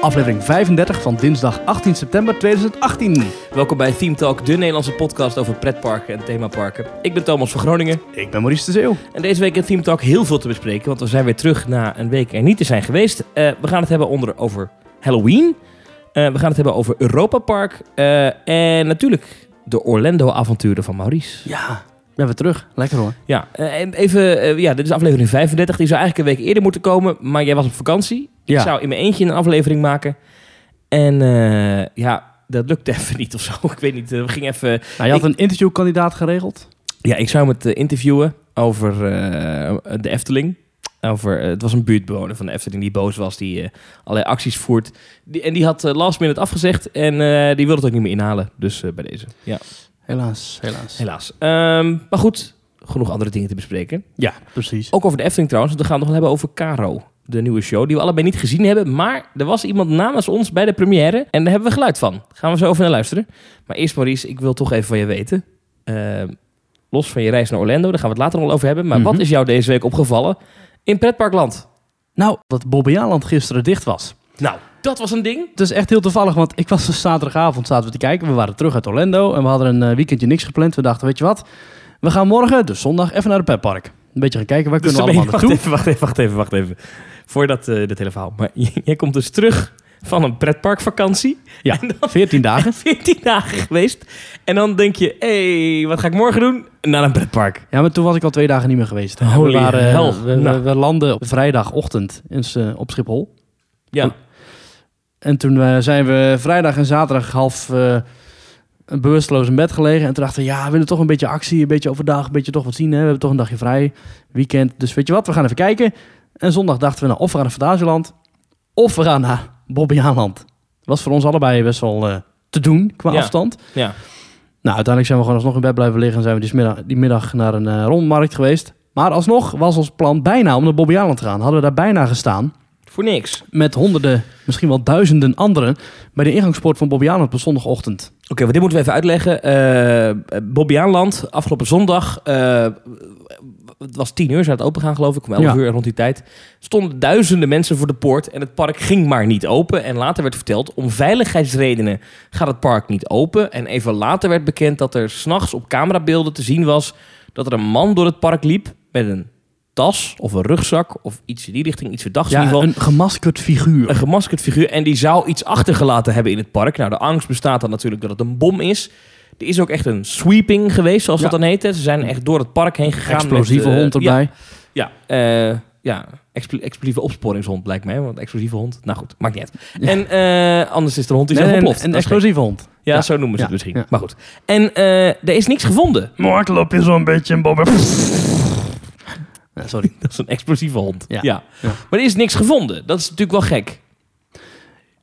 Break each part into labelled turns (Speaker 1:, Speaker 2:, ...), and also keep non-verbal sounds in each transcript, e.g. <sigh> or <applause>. Speaker 1: aflevering 35 van dinsdag 18 september 2018.
Speaker 2: Welkom bij Theme Talk, de Nederlandse podcast over pretparken en themaparken. Ik ben Thomas van Groningen
Speaker 1: Ik ben Maurice de Zeeuw.
Speaker 2: en deze week in Theme Talk heel veel te bespreken, want we zijn weer terug na een week er niet te zijn geweest. Eh, we gaan het hebben onder, over Halloween, Eh, we gaan het hebben over Europa Park eh, en natuurlijk de Orlando-avonturen van Maurice.
Speaker 1: Ja, ben weer terug. Lekker hoor.
Speaker 2: Ja, eh, en even, eh, ja, dit is aflevering 35, die zou eigenlijk een week eerder moeten komen, maar jij was op vakantie.
Speaker 1: Ja.
Speaker 2: Ik zou in mijn eentje een aflevering maken en eh, ja... Dat lukte <laughs> even niet of zo. Ik weet niet. eh, We gingen even
Speaker 1: Nou, je had een interviewkandidaat geregeld.
Speaker 2: Ja, ik zou hem het eh, interviewen over eh, de Efteling. Over, eh, het was een buurtbewoner van de Efteling die boos was, die eh, allerlei acties voert. Die, en die had eh, last minute afgezegd en eh, die wilde het ook niet meer inhalen. Dus eh, bij deze, ja,
Speaker 1: Helaas, helaas.
Speaker 2: helaas. Ehm, maar goed, genoeg andere dingen te bespreken.
Speaker 1: Ja, precies.
Speaker 2: Ook over de Efteling trouwens, want we gaan het nog wel hebben over Caro. De nieuwe show die we allebei niet gezien hebben. Maar er was iemand namens ons bij de première. En daar hebben we geluid van. Daar gaan we zo over naar luisteren. Maar eerst Maurice, ik wil toch even van je weten. ehm, los van je reis naar Orlando, daar gaan we het later nog wel over hebben. Maar
Speaker 1: Mhm.
Speaker 2: wat is jou deze week opgevallen in pretparkland?
Speaker 1: Nou, dat Bobbejaanland gisteren dicht was.
Speaker 2: Nou, dat was een ding.
Speaker 1: Het is echt heel toevallig, want ik was dus zaterdagavond zaten we te kijken. We waren terug uit Orlando en we hadden een eh, weekendje niks gepland. We dachten, weet je wat, we gaan morgen, dus zondag, even naar het petpark. Een beetje gaan kijken, waar
Speaker 2: Dus
Speaker 1: kunnen we
Speaker 2: dan
Speaker 1: allemaal
Speaker 2: ben
Speaker 1: naartoe?
Speaker 2: je- wacht even, wacht even, wacht even, wacht even. Voordat eh dit hele verhaal. Maar <laughs> jij komt dus terug van een pretparkvakantie.
Speaker 1: Ja,
Speaker 2: En dan
Speaker 1: 14 dagen.
Speaker 2: 14 dagen geweest. En dan denk je, hé, hey, wat ga ik morgen doen? Naar een pretpark.
Speaker 1: Ja, maar toen was ik al twee dagen niet meer geweest. hè.
Speaker 2: Holy
Speaker 1: we, waren, eh,
Speaker 2: hell.
Speaker 1: we, we-
Speaker 2: Nou.
Speaker 1: we landen op vrijdagochtend in, S- eh, op Schiphol.
Speaker 2: Ja.
Speaker 1: En toen eh, zijn we vrijdag en zaterdag half eh, bewusteloos in bed gelegen. En toen dachten we, ja, we willen toch een beetje actie, een beetje overdag, een beetje toch wat zien. Hè? We hebben toch een dagje vrij, weekend. Dus weet je wat, we gaan even kijken. En zondag dachten we, nou, of we gaan naar Fantasieland, of we gaan naar Bobbejaanland. Was voor ons allebei best wel eh, te doen qua
Speaker 2: Ja.
Speaker 1: afstand.
Speaker 2: Ja.
Speaker 1: Nou, uiteindelijk zijn we gewoon alsnog in bed blijven liggen en zijn we die middag, die middag naar een eh, rondmarkt geweest. Maar alsnog was ons plan bijna om naar Bobbejaanland te gaan. Hadden we daar bijna gestaan
Speaker 2: Voor niks. Oké,
Speaker 1: met honderden, misschien wel duizenden anderen bij de ingangspoort van Bobbejaanland op zondagochtend.
Speaker 2: maar dit moeten we even uitleggen. Eh Bobbejaanland, afgelopen zondag, eh, het was tien uur, zou het open gaan geloof ik, om elf
Speaker 1: Ja.
Speaker 2: uur rond die tijd, stonden duizenden mensen voor de poort en het park ging maar niet open. En later werd verteld, om veiligheidsredenen gaat het park niet open. En even later werd bekend dat er s'nachts op camerabeelden te zien was dat er een man door het park liep met een tas of een rugzak of iets in die richting, iets verdachts in
Speaker 1: Ja,
Speaker 2: ieder geval.
Speaker 1: een gemaskerd figuur.
Speaker 2: Een gemaskerd figuur. En die zou iets achtergelaten hebben in het park. Nou, de angst bestaat dan natuurlijk dat het een bom is. Er is ook echt een sweeping geweest, zoals
Speaker 1: Ja.
Speaker 2: dat dan heet. hè. Ze zijn echt door het park heen gegaan.
Speaker 1: Explosieve
Speaker 2: met, eh,
Speaker 1: hond erbij.
Speaker 2: Ja, ja, eh, ja expl- explosieve opsporingshond lijkt mij. Want explosieve hond, nou goed, maakt niet uit.
Speaker 1: Ja.
Speaker 2: En eh, anders is er een hond die
Speaker 1: Nee,
Speaker 2: zelf
Speaker 1: nee,
Speaker 2: ontploft.
Speaker 1: een
Speaker 2: Dat is
Speaker 1: explosieve hond.
Speaker 2: gek. ja,
Speaker 1: ja.
Speaker 2: zo noemen ze het
Speaker 1: Ja,
Speaker 2: misschien.
Speaker 1: ja.
Speaker 2: Maar goed. En eh, er is niks gevonden. <laughs>
Speaker 1: Moord loop je zo'n beetje in Bobbejaanland. Sorry.
Speaker 2: Dat is een explosieve hond.
Speaker 1: Ja. Ja.
Speaker 2: Maar er is niks gevonden. Dat is natuurlijk wel
Speaker 1: <laughs>
Speaker 2: gek.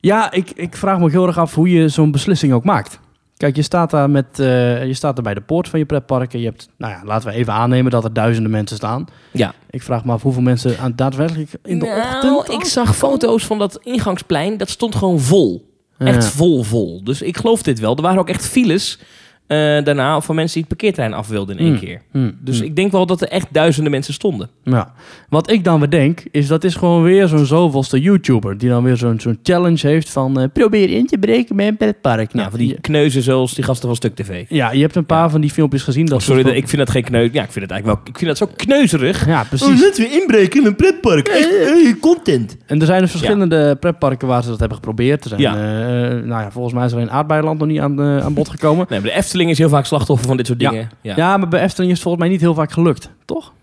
Speaker 1: Ja, ik, ik vraag me ook heel erg af hoe je zo'n beslissing ook maakt. Kijk, je staat daar, met, eh, je staat daar bij de poort van je pretpark. En je hebt, nou ja, laten we even aannemen dat er duizenden mensen staan.
Speaker 2: Ja.
Speaker 1: Ik vraag me af hoeveel mensen aan daadwerkelijk in de
Speaker 2: nou,
Speaker 1: ochtend...
Speaker 2: ik zag foto's van dat ingangsplein. Dat stond gewoon vol.
Speaker 1: Ja.
Speaker 2: Echt vol, vol. Dus ik geloof dit wel. Er waren ook echt files eh, daarna van mensen die het parkeerterrein af wilden in één
Speaker 1: Hmm.
Speaker 2: keer.
Speaker 1: Hmm,
Speaker 2: Dus
Speaker 1: hmm.
Speaker 2: ik denk wel dat er echt duizenden mensen stonden.
Speaker 1: Ja. Wat ik dan weer denk, is dat is gewoon weer zo'n zoveelste YouTuber... die dan weer zo'n zo'n challenge heeft van... eh, probeer in te breken met een pretpark.
Speaker 2: Nou,
Speaker 1: Nou,
Speaker 2: van die
Speaker 1: je-
Speaker 2: kneuzen zoals die gasten van Stuk TV.
Speaker 1: ja, je hebt een paar van die filmpjes gezien. Dat
Speaker 2: Oh, sorry,
Speaker 1: ze-
Speaker 2: dat- ik vind dat geen kneus. Ja, ik vind het eigenlijk wel. Ik vind dat zo kneuzerig.
Speaker 1: Ja,
Speaker 2: <laughs>
Speaker 1: precies.
Speaker 2: Laten we inbreken in een pretpark.
Speaker 1: eh,
Speaker 2: content.
Speaker 1: En er zijn dus verschillende pretparken waar ze dat hebben geprobeerd. Er zijn,
Speaker 2: Ja.
Speaker 1: eh, eh, nou ja, volgens mij is er een aardbeiland nog niet aan, eh,
Speaker 2: <laughs>
Speaker 1: aan bod gekomen.
Speaker 2: Nee, maar de Efteling is heel vaak slachtoffer van dit soort
Speaker 1: Ja.
Speaker 2: dingen. Ja.
Speaker 1: Ja. maar bij Efteling is het volgens mij niet heel vaak gelukt, toch?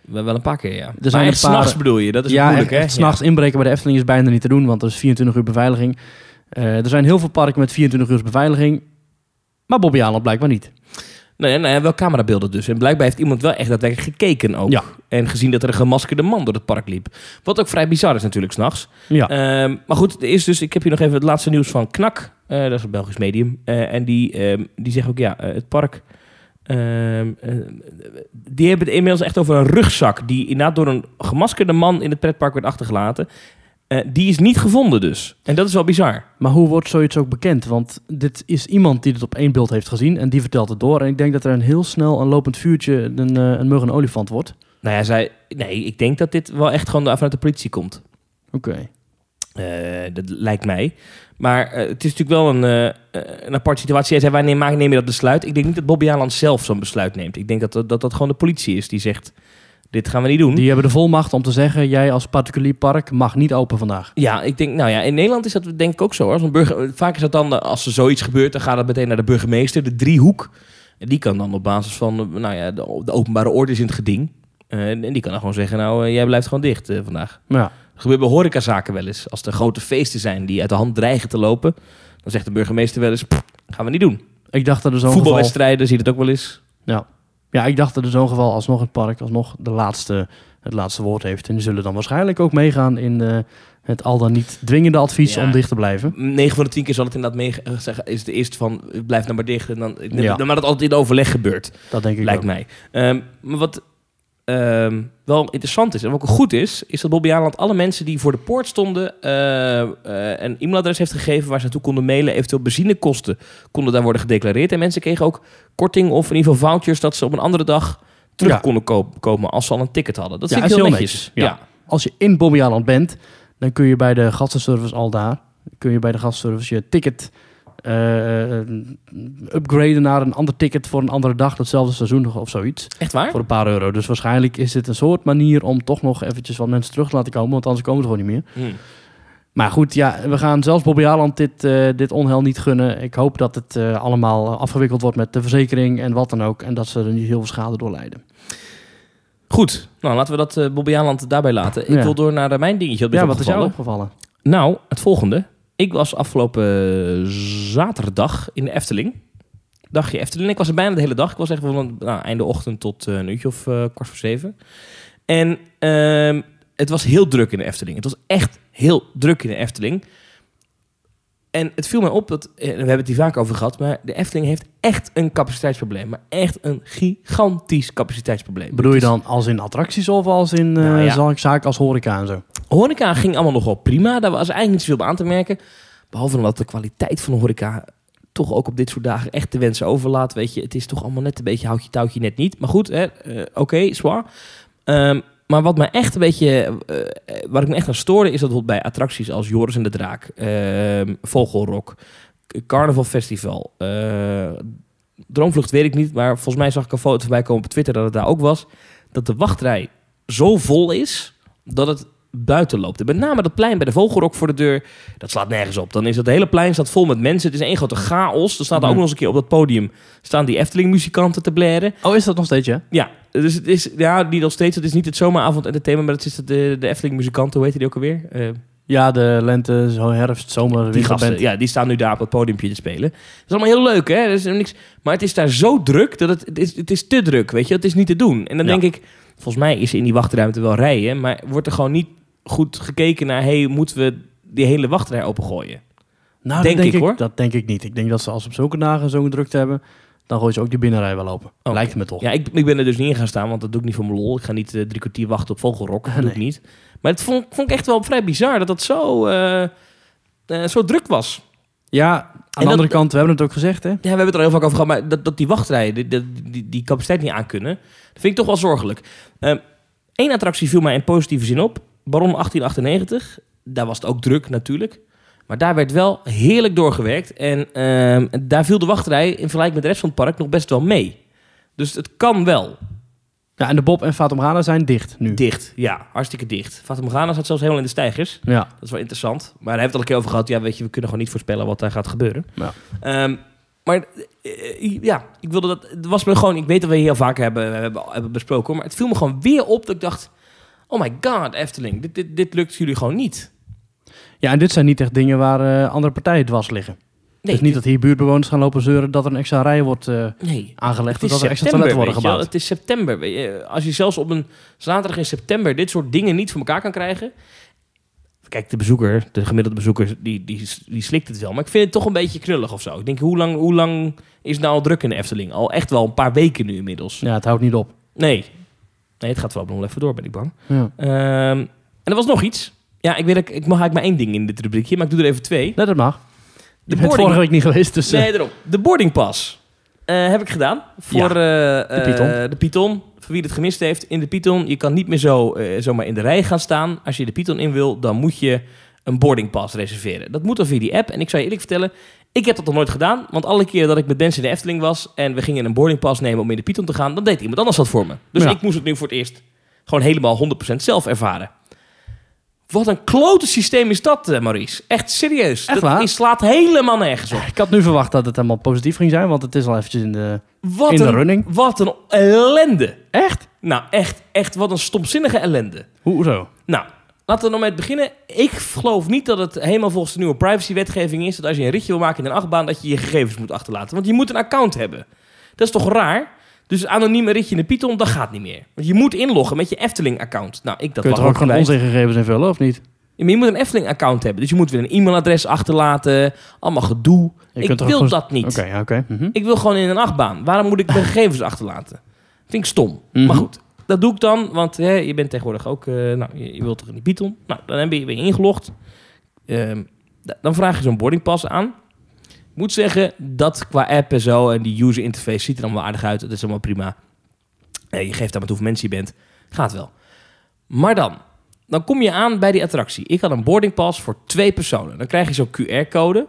Speaker 2: Wel wel een paar keer, ja. Er
Speaker 1: zijn
Speaker 2: maar
Speaker 1: een
Speaker 2: echt
Speaker 1: paar-
Speaker 2: s'nachts bedoel je. Dat is
Speaker 1: ja,
Speaker 2: moeilijk,
Speaker 1: echt,
Speaker 2: hè?
Speaker 1: echt s'nachts inbreken bij de Efteling is bijna niet te doen, want er is 24 uur beveiliging. Eh, er zijn heel veel parken met 24 uur beveiliging, maar Bobby Aland blijkbaar niet.
Speaker 2: Nee, nee, nou wel camerabeelden dus. En blijkbaar heeft iemand wel echt daadwerkelijk gekeken ook.
Speaker 1: Ja.
Speaker 2: En gezien dat er een gemaskerde man door het park liep. Wat ook vrij bizar is natuurlijk s'nachts.
Speaker 1: Ja,
Speaker 2: Ehm maar goed, er is dus, ik heb hier nog even het laatste nieuws van Knak. Eh, dat is een Belgisch medium. Eh, en die, ehm, die zegt ook, ja, eh, het park... ehm, eh, die hebben het inmiddels echt over een rugzak... die inderdaad door een gemaskerde man in het pretpark werd achtergelaten. Eh, die is niet gevonden dus. En dat is wel bizar.
Speaker 1: maar hoe wordt zoiets ook bekend? Want dit is iemand die het op één beeld heeft gezien en die vertelt het door. En ik denk dat er een heel snel een lopend vuurtje een, eh, een mug en olifant wordt.
Speaker 2: Nou ja, zij... Nee, ik denk dat dit wel echt gewoon vanuit de politie komt.
Speaker 1: Oké.
Speaker 2: Eh, dat lijkt mij. Maar eh, het is natuurlijk wel een, eh, een aparte situatie. Jij zei, wij nemen, maken- nemen dat besluit. Ik denk niet dat Bobby Haaland zelf zo'n besluit neemt. Ik denk dat dat, dat dat gewoon de politie is die zegt... dit gaan we niet doen.
Speaker 1: Die hebben de volmacht om te zeggen, jij als particulier park mag niet open vandaag.
Speaker 2: Ja, ik denk, nou ja, in Nederland is dat denk ik ook zo. hoor. Als een burger, vaak is dat dan, eh, als er zoiets gebeurt, dan gaat het meteen naar de burgemeester, de driehoek. En die kan dan op basis van, eh, nou ja, de, de openbare orde is in het geding. Eh, en die kan dan gewoon zeggen, nou, eh, jij blijft gewoon dicht eh, vandaag.
Speaker 1: Ja.
Speaker 2: Dat gebeurt bij horecazaken wel eens. Als er grote feesten zijn die uit de hand dreigen te lopen, dan zegt de burgemeester wel eens, "Pff, gaan we niet doen.
Speaker 1: Ik dacht dat er zo'n geval...
Speaker 2: Voetbalwedstrijden zie je dat ook wel eens.
Speaker 1: Ja, ik dacht dat in zo'n geval alsnog het park alsnog de laatste, het laatste woord heeft. En die zullen dan waarschijnlijk ook meegaan in eh, het al dan niet dwingende advies
Speaker 2: Ja.
Speaker 1: om dicht te blijven.
Speaker 2: 9 van de 10 keer zal het inderdaad mee eh, zeggen, is het eerst van, eh, blijf nou maar dicht. En dan,
Speaker 1: Ja.
Speaker 2: Maar dat altijd in overleg gebeurt.
Speaker 1: Dat denk ik
Speaker 2: Lijkt
Speaker 1: ook.
Speaker 2: mij. Ehm, maar wat ehm, wel interessant is en wat ook goed is, is dat Bobby Haaland alle mensen die voor de poort stonden eh, eh, een e-mailadres heeft gegeven waar ze naartoe konden mailen. Eventueel benzinekosten konden daar worden gedeclareerd. En mensen kregen ook korting of in ieder geval vouchers dat ze op een andere dag terug
Speaker 1: Ja.
Speaker 2: konden ko- komen als ze al een ticket hadden. Dat
Speaker 1: Ja,
Speaker 2: vind ik
Speaker 1: is
Speaker 2: heel
Speaker 1: heel
Speaker 2: netjes.
Speaker 1: netjes. Ja. Als je in Bobby Island bent, dan kun je bij de gastenservice al daar, kun je bij de gastenservice je ticket eh, eh, upgraden naar een ander ticket voor een andere dag, datzelfde seizoen nog of zoiets.
Speaker 2: Echt waar?
Speaker 1: Voor een paar euro. Dus waarschijnlijk is dit een soort manier om toch nog eventjes wat mensen terug te laten komen, want anders komen ze gewoon niet meer.
Speaker 2: Hm.
Speaker 1: Maar goed, ja, we gaan zelfs Bobby Haaland dit, eh, dit onheil niet gunnen. Ik hoop dat het eh, allemaal afgewikkeld wordt met de verzekering en wat dan ook. En dat ze er niet heel veel schade door lijden.
Speaker 2: Goed, nou laten we dat eh, Bobby Haaland daarbij laten. Ik
Speaker 1: Ja.
Speaker 2: wil door naar eh, mijn dingetje. Dat
Speaker 1: Ja,
Speaker 2: ja,
Speaker 1: wat is jou opgevallen?
Speaker 2: Nou, het volgende. Ik was afgelopen zaterdag in de Efteling. Dagje Efteling. Ik was er bijna de hele dag. Ik was echt van nou, einde ochtend tot eh, een uurtje of eh, kwart voor zeven. En ehm, het was heel druk in de Efteling. Het was echt heel druk in de Efteling. En het viel mij op dat, eh, we hebben het hier vaak over gehad, maar de Efteling heeft echt een capaciteitsprobleem. Maar echt een gigantisch capaciteitsprobleem.
Speaker 1: Bedoel je
Speaker 2: Het is-
Speaker 1: dan als in attracties of als in eh
Speaker 2: Nou ja.
Speaker 1: zaak- zaken als horeca en zo?
Speaker 2: Horeca ging allemaal nog wel prima. Daar was eigenlijk niet zoveel op aan te merken. Behalve dat de kwaliteit van de horeca toch ook op dit soort dagen echt de wensen overlaat. Weet je, het is toch allemaal net een beetje houtje touwtje net niet. Maar goed, hè, eh, oké, zwaar. Ehm, maar wat mij echt een beetje, eh, eh, waar ik me echt aan stoorde, is dat bijvoorbeeld bij attracties als Joris en de Draak, ehm, Vogelrok, K- Carnaval Festival, eh, Droomvlucht weet ik niet, maar volgens mij zag ik een foto voorbij komen op Twitter dat het daar ook was, dat de wachtrij zo vol is dat het buiten loopt. En met name dat plein bij de Vogelrok voor de deur, dat slaat nergens op. Dan is het hele plein staat vol met mensen. Het is één grote chaos. Er staat ook
Speaker 1: Mm.
Speaker 2: nog eens een keer op dat podium staan die Efteling muzikanten te blaren.
Speaker 1: Oh, is dat nog steeds, ja?
Speaker 2: Ja, dus het is ja, die nog steeds. Het is niet het zomeravond entertainment, maar het is de, de Efteling muzikanten, hoe heet die ook alweer? Eh,
Speaker 1: Ja, de lente, zo herfst, zomer,
Speaker 2: die gasten,
Speaker 1: winterband.
Speaker 2: ja, die staan nu daar op dat podiumpje te spelen. Het is allemaal heel leuk, hè? Er is niks, maar het is daar zo druk dat het, het, is, het is te druk, weet je? Het is niet te doen. En dan
Speaker 1: Ja.
Speaker 2: denk ik, volgens mij is in die wachtruimte wel rijden, maar wordt er gewoon niet goed gekeken naar, hey, moeten we die hele wachtrij opengooien?
Speaker 1: Nou, dat
Speaker 2: Denk
Speaker 1: denk
Speaker 2: ik,
Speaker 1: ik,
Speaker 2: hoor.
Speaker 1: Dat denk ik niet. Ik denk dat ze als ze op zulke dagen zo'n drukte hebben, dan gooien ze ook die binnenrij wel open.
Speaker 2: Oké.
Speaker 1: Lijkt me toch.
Speaker 2: Oh. Ja, ik, ik ben er dus niet in gaan staan, want dat doe ik niet voor mijn lol. Ik ga niet eh, drie kwartier wachten op Vogelrok. Dat
Speaker 1: Ah,
Speaker 2: doe ik niet. Maar het vond, vond ik echt wel vrij bizar dat dat zo, eh, eh, zo druk was.
Speaker 1: Ja, aan de
Speaker 2: dat-
Speaker 1: andere kant, we hebben het ook gezegd, hè?
Speaker 2: Ja, we hebben het er heel vaak over gehad, maar dat, dat die wachtrijen die, die, die, die capaciteit niet aankunnen, dat vind ik toch wel zorgelijk. Eén attractie viel mij in positieve zin op, Baron 1898. Daar was het ook druk natuurlijk, maar daar werd wel heerlijk doorgewerkt en ehm, daar viel de wachtrij in vergelijking met de rest van het park nog best wel mee. Dus het kan wel.
Speaker 1: Ja, en de Bob en Fatum Ghana zijn dicht nu.
Speaker 2: Dicht, ja, hartstikke dicht. Fatima Morgana zat zelfs helemaal in de stijgers.
Speaker 1: Ja.
Speaker 2: Dat is wel interessant. Maar daar hebben we het al een keer over gehad. Ja, weet je, we kunnen gewoon niet voorspellen wat daar gaat gebeuren.
Speaker 1: Ja.
Speaker 2: Ehm, maar eh, ja, ik wilde dat. Het was me gewoon. Ik weet dat we hier heel vaak hebben, eh, hebben, hebben besproken. hoor, Maar het viel me gewoon weer op dat ik dacht: oh my god, Efteling, dit, dit, dit lukt jullie gewoon niet.
Speaker 1: ja, en dit zijn niet echt dingen waar eh, andere partijen dwars liggen.
Speaker 2: Nee,
Speaker 1: dus niet dat hier buurtbewoners gaan lopen zeuren dat er een extra rij wordt eh,
Speaker 2: nee.
Speaker 1: aangelegd.
Speaker 2: Het
Speaker 1: Of
Speaker 2: is
Speaker 1: dat er extra
Speaker 2: september,
Speaker 1: toiletten worden
Speaker 2: weet je wel.
Speaker 1: gebouwd.
Speaker 2: Het is september. weet je. Als je zelfs op een zaterdag in september dit soort dingen niet voor elkaar kan krijgen. Kijk, de bezoeker, de gemiddelde bezoeker, die, die, die slikt het wel. Maar ik vind het toch een beetje knullig of zo. Ik denk, hoe lang, hoe lang is het nou al druk in de Efteling? Al echt wel een paar weken nu inmiddels.
Speaker 1: Ja, het houdt niet op.
Speaker 2: Nee. Nee, het gaat wel nog wel even door, ben ik bang.
Speaker 1: Ja.
Speaker 2: Ehm, en er was nog iets. Ja, ik weet dat ik, ik mag eigenlijk maar één ding in dit rubriekje, maar ik doe er even twee.
Speaker 1: Nee, dat mag.
Speaker 2: De
Speaker 1: Je bent
Speaker 2: boarding-
Speaker 1: vorige week niet geweest, dus... eh,
Speaker 2: Nee, daarom. De boarding pass eh, heb ik gedaan voor eh, eh,
Speaker 1: de Python.
Speaker 2: de Python. Voor wie het gemist heeft, in de Python. Je kan niet meer zo, eh, zomaar in de rij gaan staan. Als je de Python in wil, dan moet je een boarding pass reserveren. Dat moet dan via die app. En ik zou je eerlijk vertellen, ik heb dat nog nooit gedaan. Want alle keer dat ik met mensen in de Efteling was en we gingen een boarding pass nemen om in de Python te gaan, dan deed iemand anders dat voor me. Dus
Speaker 1: Ja.
Speaker 2: ik moest het nu voor het eerst gewoon helemaal 100% zelf ervaren. Wat een klote systeem is dat, eh, Maurice. Echt serieus.
Speaker 1: Echt
Speaker 2: dat
Speaker 1: waar?
Speaker 2: is- slaat helemaal nergens op.
Speaker 1: Ik had nu verwacht dat het helemaal positief ging zijn, want het is al eventjes in de...
Speaker 2: Wat
Speaker 1: In de
Speaker 2: een,
Speaker 1: running.
Speaker 2: Wat een ellende.
Speaker 1: Echt?
Speaker 2: Nou, echt, echt, wat een stomzinnige ellende.
Speaker 1: Hoezo?
Speaker 2: Nou, laten we nog met beginnen. Ik geloof niet dat het helemaal volgens de nieuwe privacywetgeving is... dat als je een ritje wil maken in een achtbaan... dat je je gegevens moet achterlaten. Want je moet een account hebben. Dat is toch raar? Dus een anoniem ritje in de Python, dat gaat niet meer. Want je moet inloggen met je Efteling-account. Nou, ik dat
Speaker 1: Kun je
Speaker 2: mag
Speaker 1: toch ook gewoon
Speaker 2: gelijk.
Speaker 1: onze gegevens invullen, of niet?
Speaker 2: Ja, maar je moet een Efteling-account hebben. Dus je moet weer een e-mailadres achterlaten. Allemaal gedoe.
Speaker 1: Je
Speaker 2: ik
Speaker 1: kunt toch
Speaker 2: wil
Speaker 1: gewoon-
Speaker 2: dat niet.
Speaker 1: Oké, ja, oké. Mhm.
Speaker 2: Ik wil gewoon in een achtbaan. Waarom moet ik
Speaker 1: <laughs>
Speaker 2: mijn gegevens achterlaten? Vind ik stom.
Speaker 1: Mhm.
Speaker 2: Maar goed, dat doe ik dan, want hè, je bent tegenwoordig ook... eh, nou, je, je wilt toch in die Python? Nou, dan heb je ben je ingelogd. Ehm, da- dan vraag je zo'n boardingpas aan. Ik moet zeggen, dat qua app en zo... en die user interface ziet er allemaal aardig uit. Dat is allemaal prima. Eh, je geeft aan met hoeveel mensen je bent. Gaat wel. Maar dan, dan kom je aan bij die attractie. Ik had een boardingpas voor twee personen. Dan krijg je zo'n QR-code...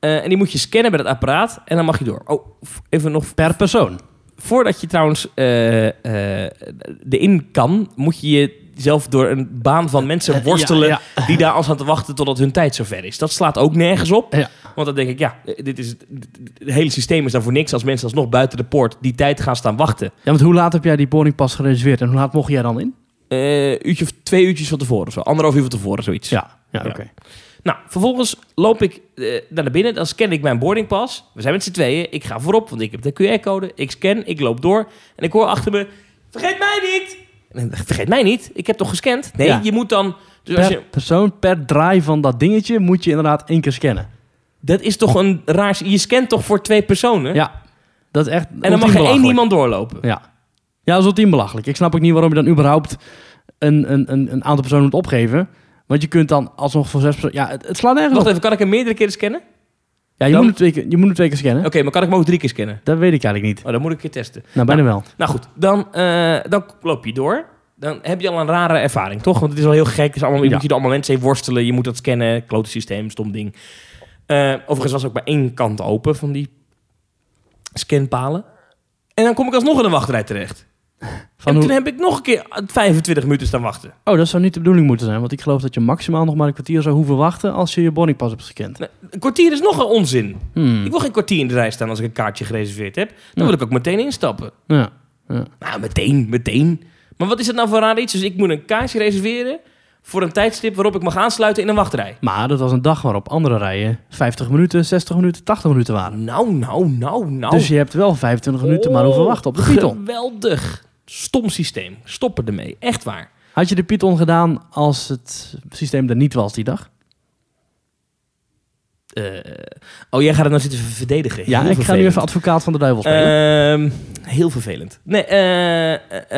Speaker 2: eh, en die moet je scannen bij dat apparaat en dan mag je door. Oh, f- even nog
Speaker 1: Per persoon.
Speaker 2: Voordat je trouwens eh eh, erin kan, moet je jezelf door een baan van mensen worstelen.
Speaker 1: Ja,
Speaker 2: die daar al staan te wachten totdat hun tijd zover is. Dat slaat ook nergens op.
Speaker 1: Ja.
Speaker 2: Want dan denk ik, ja, eh, dit is, het hele systeem is daar voor niks. als mensen alsnog buiten de poort die tijd gaan staan wachten.
Speaker 1: Ja, want hoe laat heb jij die boardingpas gereserveerd en hoe laat mocht jij dan in?
Speaker 2: Eh uurtje of twee uurtjes van tevoren, of zo. anderhalf uur van tevoren, zoiets.
Speaker 1: Ja, ja
Speaker 2: Ja.
Speaker 1: oké.
Speaker 2: Nou, vervolgens loop ik eh, naar binnen. Dan scan ik mijn boardingpas. We zijn met z'n tweeën. Ik ga voorop, want ik heb de QR-code. Ik scan, ik loop door. En ik hoor achter me... Vergeet mij niet! En dan dacht ik, Vergeet mij niet? Ik heb toch gescand? Nee,
Speaker 1: Ja.
Speaker 2: je moet dan... Dus als
Speaker 1: Per
Speaker 2: je,
Speaker 1: persoon, per draai van dat dingetje moet je inderdaad één keer scannen.
Speaker 2: dat is toch een raar... Je scant toch voor twee personen?
Speaker 1: Ja, dat is echt
Speaker 2: en dan mag er één iemand doorlopen.
Speaker 1: Ja. ja, dat is ultiem belachelijk. Ik snap ook niet waarom je dan überhaupt een, een, een, een aantal personen moet opgeven. Want je kunt dan alsnog voor zes personen... Ja, het, het slaat nergens
Speaker 2: Wacht
Speaker 1: op.
Speaker 2: even, kan ik hem meerdere keren scannen? Oké,
Speaker 1: Ja, je,
Speaker 2: dan-
Speaker 1: moet het twee, keer- je moet het twee keer scannen.
Speaker 2: maar kan ik hem ook drie keer scannen?
Speaker 1: Dat weet ik eigenlijk niet.
Speaker 2: Oh, dan moet ik een keer testen.
Speaker 1: Nou, bijna wel.
Speaker 2: Nou goed, dan, eh, dan loop je door. Dan heb je al een rare ervaring, toch? Want het is al heel gek. Het is allemaal, je
Speaker 1: Ja.
Speaker 2: moet hier allemaal mensen heen worstelen. Je moet dat scannen. Klote systeem, stom ding. Eh, overigens was ook maar één kant open van die scanpalen. En dan kom ik alsnog in een wachtrij terecht.
Speaker 1: Van
Speaker 2: en
Speaker 1: hoe...
Speaker 2: toen heb ik nog een keer 25 minuten staan wachten.
Speaker 1: Oh, dat zou niet de bedoeling moeten zijn. Want ik geloof dat je maximaal nog maar een kwartier zou hoeven wachten... als je je boardingpas hebt gescand.
Speaker 2: Nou, Een kwartier is nog een onzin.
Speaker 1: Hmm.
Speaker 2: Ik wil geen kwartier in de rij staan als ik een kaartje gereserveerd heb. Dan wil ik ook meteen instappen.
Speaker 1: Ja.
Speaker 2: Nou, meteen, meteen. Maar wat is het nou voor raar iets? Dus ik moet een kaartje reserveren voor een tijdstip waarop ik mag aansluiten in een wachtrij.
Speaker 1: Maar dat was een dag waarop andere rijen 50 minuten, 60 minuten, 80 minuten waren.
Speaker 2: Nou, nou, nou, nou.
Speaker 1: Dus je hebt wel 25 minuten maar hoeven wachten op de Python.
Speaker 2: <laughs> Geweldig. Stom systeem. Stoppen ermee. Echt waar.
Speaker 1: Had je de Python gedaan als het systeem er niet was die dag?
Speaker 2: Eh, oh, jij gaat het nou zitten verdedigen.
Speaker 1: Ja,
Speaker 2: Heel
Speaker 1: ik ga nu
Speaker 2: vervelend.
Speaker 1: even advocaat van de duivel spelen.
Speaker 2: Ehm, heel vervelend. Nee, eh, eh,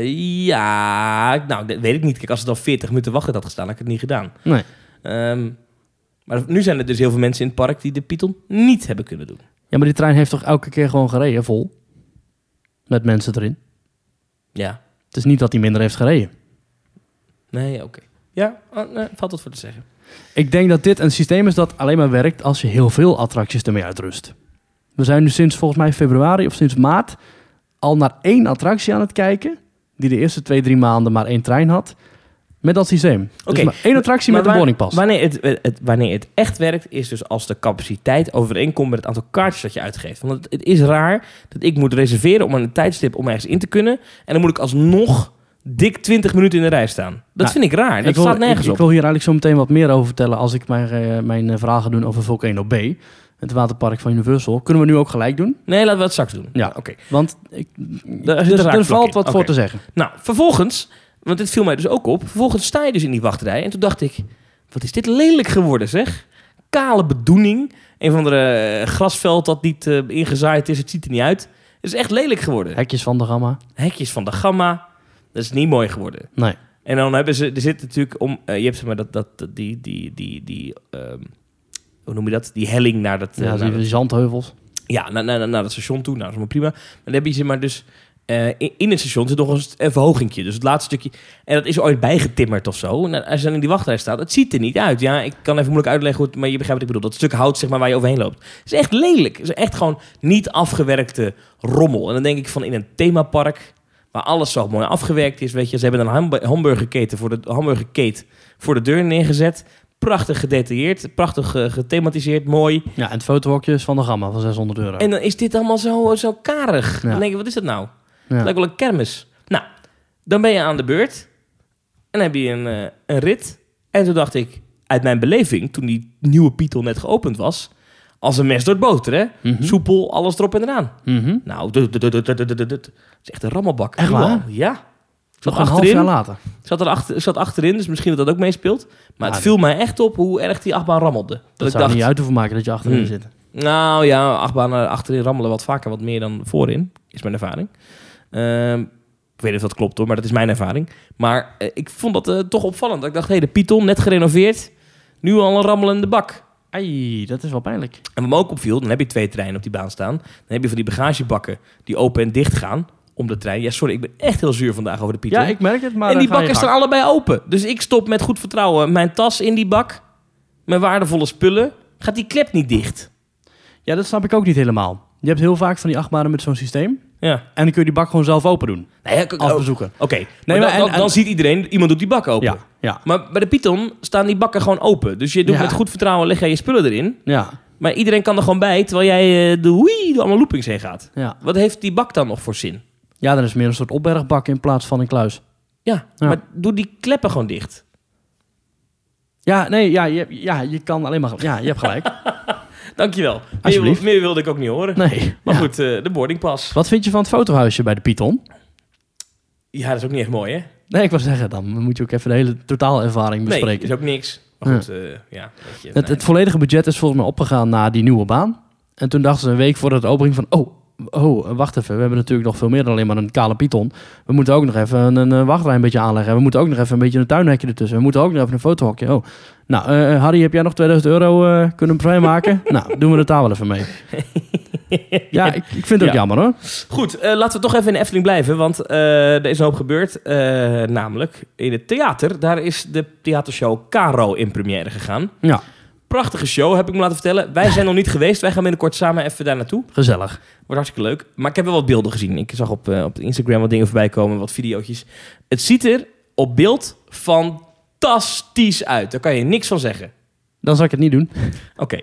Speaker 2: eh, ja, nou, dat weet ik niet. Kijk, als het al 40 minuten wachten had gestaan, had ik het niet gedaan.
Speaker 1: Nee.
Speaker 2: Ehm, maar nu zijn er dus heel veel mensen in het park die de Python niet hebben kunnen doen.
Speaker 1: Ja, maar die trein heeft toch elke keer gewoon gereden, vol? Met mensen erin.
Speaker 2: Ja.
Speaker 1: Het is niet dat hij minder heeft gereden.
Speaker 2: Nee, oké. Ja, oh, nee, valt wat voor te zeggen.
Speaker 1: Ik denk dat dit een systeem is dat alleen maar werkt als je heel veel attracties ermee uitrust. We zijn nu sinds volgens mij februari of sinds maart al naar één attractie aan het kijken. Die de eerste twee, drie maanden maar één trein had. Met dat systeem.
Speaker 2: Oké,
Speaker 1: Dus maar één attractie met een
Speaker 2: waar-
Speaker 1: boardingpas.
Speaker 2: Wanneer het, het- het- wanneer het echt werkt, is dus als de capaciteit overeenkomt met het aantal kaartjes dat je uitgeeft. Want het, het is raar dat ik moet reserveren om aan een tijdstip om ergens in te kunnen. En dan moet ik alsnog dik 20 minuten in de rij staan. Dat
Speaker 1: Nou,
Speaker 2: vind ik raar. Dat
Speaker 1: ik wil,
Speaker 2: staat nergens
Speaker 1: ik,
Speaker 2: op.
Speaker 1: Ik wil hier eigenlijk zo meteen wat meer over vertellen als ik mijn, eh, mijn eh, verhaal ga doen over Volcano B. Het waterpark van Universal. Kunnen we nu ook gelijk doen?
Speaker 2: Nee, laten we het straks doen. Dus
Speaker 1: Ja.
Speaker 2: oké.
Speaker 1: Want ik, dus
Speaker 2: Daar
Speaker 1: er,
Speaker 2: zit een
Speaker 1: er
Speaker 2: raakvlak
Speaker 1: valt
Speaker 2: in.
Speaker 1: wat
Speaker 2: Oké.
Speaker 1: voor te zeggen.
Speaker 2: Nou, vervolgens, want dit viel mij dus ook op. Vervolgens sta je dus in die wachtrij. En toen dacht ik, wat is dit lelijk geworden zeg. Kale bedoening. Een van de eh, grasveld dat niet eh, ingezaaid is. Het ziet er niet uit. Het is echt lelijk geworden.
Speaker 1: Hekjes van de gamma?
Speaker 2: Hekjes van de gamma. Dat is niet mooi geworden.
Speaker 1: Nee.
Speaker 2: En dan hebben ze, er zit natuurlijk om, eh, je hebt zeg maar dat, dat, dat- die, die, die, die, ehm, hoe noem je dat? Die helling naar dat, eh,
Speaker 1: Ja,
Speaker 2: naar
Speaker 1: die
Speaker 2: dat-
Speaker 1: zandheuvels.
Speaker 2: ja, naar, naar, naar dat station toe. Nou, dat is maar prima. Maar dan heb je zeg maar dus eh, in, in het station zit nog eens een verhogingje. Dus het laatste stukje. En dat is ooit bijgetimmerd of zo. En als je dan in die wachtrij staat, het ziet er niet uit. Ja, ik kan even moeilijk uitleggen hoe het, maar je begrijpt wat ik bedoel. Dat stuk hout zeg maar, waar je overheen loopt. Het is echt lelijk. Het is echt gewoon niet afgewerkte rommel. En dan denk ik van in een themapark waar alles zo mooi afgewerkt is. Weet je, ze hebben een hamb- hamburgerketen voor de hamburgerketen voor de deur neergezet. Prachtig gedetailleerd, prachtig eh, gethematiseerd, mooi.
Speaker 1: Ja, en het fotohokje is van de gamma van 600 euro.
Speaker 2: Oh. En dan is dit allemaal zo, zo karig.
Speaker 1: Ja.
Speaker 2: Dan denk je, wat is dat nou?
Speaker 1: Ja.
Speaker 2: Lijkt wel een kermis. Nou, dan ben je aan de beurt. En dan heb je een, eh, een rit. En toen dacht ik, uit mijn beleving, toen die nieuwe Python net geopend was... Als een mes door het boter, hè?
Speaker 1: Mhm.
Speaker 2: Soepel, alles erop en eraan.
Speaker 1: Mhm.
Speaker 2: Nou, dut, dut, dut, dut, dut, dut. het is echt een rammelbak.
Speaker 1: Echt
Speaker 2: Nu al.
Speaker 1: waar?
Speaker 2: Ja. Ik Zat
Speaker 1: Nog een half
Speaker 2: achterin,
Speaker 1: jaar later.
Speaker 2: ik zat, er achter, ik zat achterin, dus misschien dat dat ook meespeelt. Maar
Speaker 1: Ah,
Speaker 2: het viel mij echt op hoe erg die achtbaan rammelde. Dat,
Speaker 1: Dat zou
Speaker 2: ik
Speaker 1: er
Speaker 2: dacht,
Speaker 1: niet uit Mm. hoeven maken dat je achterin
Speaker 2: Hmm.
Speaker 1: zit.
Speaker 2: nou ja, achtbanen achterin rammelen wat vaker, wat meer dan voorin, is mijn ervaring. Ehm, ik weet niet of dat klopt hoor, maar dat is mijn ervaring. Maar eh, ik vond dat eh, toch opvallend. Dat ik dacht, hé, de Python, net gerenoveerd, nu al een rammelende bak.
Speaker 1: Ai, dat is wel pijnlijk.
Speaker 2: En wat me ook opviel, dan heb je twee treinen op die baan staan. Dan heb je van die bagagebakken die open en dicht gaan om de trein. Ja, sorry, ik ben echt heel zuur vandaag over de Python.
Speaker 1: Ja, ik merk het, maar
Speaker 2: en die
Speaker 1: eh, ga je
Speaker 2: bakken
Speaker 1: gang.
Speaker 2: staan allebei open. Dus ik stop met goed vertrouwen mijn tas in die bak, mijn waardevolle spullen. Gaat die klep niet dicht?
Speaker 1: Ja, dat snap ik ook niet helemaal. Je hebt heel vaak van die achtbanen met zo'n systeem.
Speaker 2: Ja.
Speaker 1: En dan kun je die bak gewoon zelf open doen.
Speaker 2: Nee, ik-
Speaker 1: Als
Speaker 2: oh,
Speaker 1: bezoeker.
Speaker 2: Oké, maar
Speaker 1: maar
Speaker 2: dan,
Speaker 1: en-
Speaker 2: dan, dan
Speaker 1: en-
Speaker 2: ziet iedereen, iemand doet die bak open.
Speaker 1: Ja, ja,
Speaker 2: Maar bij de Python staan die bakken gewoon open. Dus je doet
Speaker 1: Ja.
Speaker 2: met goed vertrouwen, leg jij je spullen erin.
Speaker 1: ja,
Speaker 2: Maar iedereen kan er gewoon bij, terwijl jij eh, de hoei door allemaal loopings heen gaat.
Speaker 1: ja.
Speaker 2: Wat heeft die bak dan nog voor zin?
Speaker 1: Ja, dan is het meer een soort opbergbak in plaats van een kluis.
Speaker 2: Ja,
Speaker 1: Ja.
Speaker 2: maar doe die kleppen gewoon dicht.
Speaker 1: Ja, nee, ja, je, ja, je kan alleen maar... Ja, je hebt <laughs> gelijk.
Speaker 2: Dankjewel. Meer,
Speaker 1: Alsjeblieft.
Speaker 2: meer wilde ik ook niet horen.
Speaker 1: Nee.
Speaker 2: Maar
Speaker 1: Ja.
Speaker 2: goed, eh, de boarding pas.
Speaker 1: Wat vind je van het fotohuisje bij de Python?
Speaker 2: Ja, dat is ook niet echt mooi, hè?
Speaker 1: Nee, ik wil zeggen, dan moet je ook even de hele totaalervaring
Speaker 2: Nee,
Speaker 1: bespreken.
Speaker 2: is ook niks. Maar goed, eh, ja. weet je,
Speaker 1: het,
Speaker 2: nee.
Speaker 1: het volledige budget is volgens mij opgegaan naar die nieuwe baan. En toen dachten ze een week voordat het openging van... Oh, oh, wacht even. We hebben natuurlijk nog veel meer dan alleen maar een kale python. We moeten ook nog even een, een eh, wachtrij een beetje aanleggen. En We moeten ook nog even een beetje een tuinhekje ertussen. We moeten ook nog even een fotohokje. Oh, nou, eh, Harry, heb jij nog 2000 euro eh, kunnen
Speaker 2: <laughs>
Speaker 1: vrijmaken? nou, doen we het daar wel even mee. ja, ik, ik vind het ook
Speaker 2: Ja.
Speaker 1: jammer hoor.
Speaker 2: Goed, eh, laten we toch even in de Efteling blijven, want eh, er is een hoop gebeurd. Eh, namelijk in het theater, daar is de theatershow Caro in première gegaan.
Speaker 1: Ja,
Speaker 2: Prachtige show, heb ik me laten vertellen. Wij zijn nog niet geweest, wij gaan binnenkort samen even daar naartoe.
Speaker 1: gezellig.
Speaker 2: Wordt hartstikke leuk. Maar ik heb wel wat beelden gezien. Ik zag op, eh, op Instagram wat dingen voorbij komen, wat videootjes. Het ziet er op beeld fantastisch uit, daar kan je niks van zeggen.
Speaker 1: Dan zal ik het niet doen.
Speaker 2: Oké.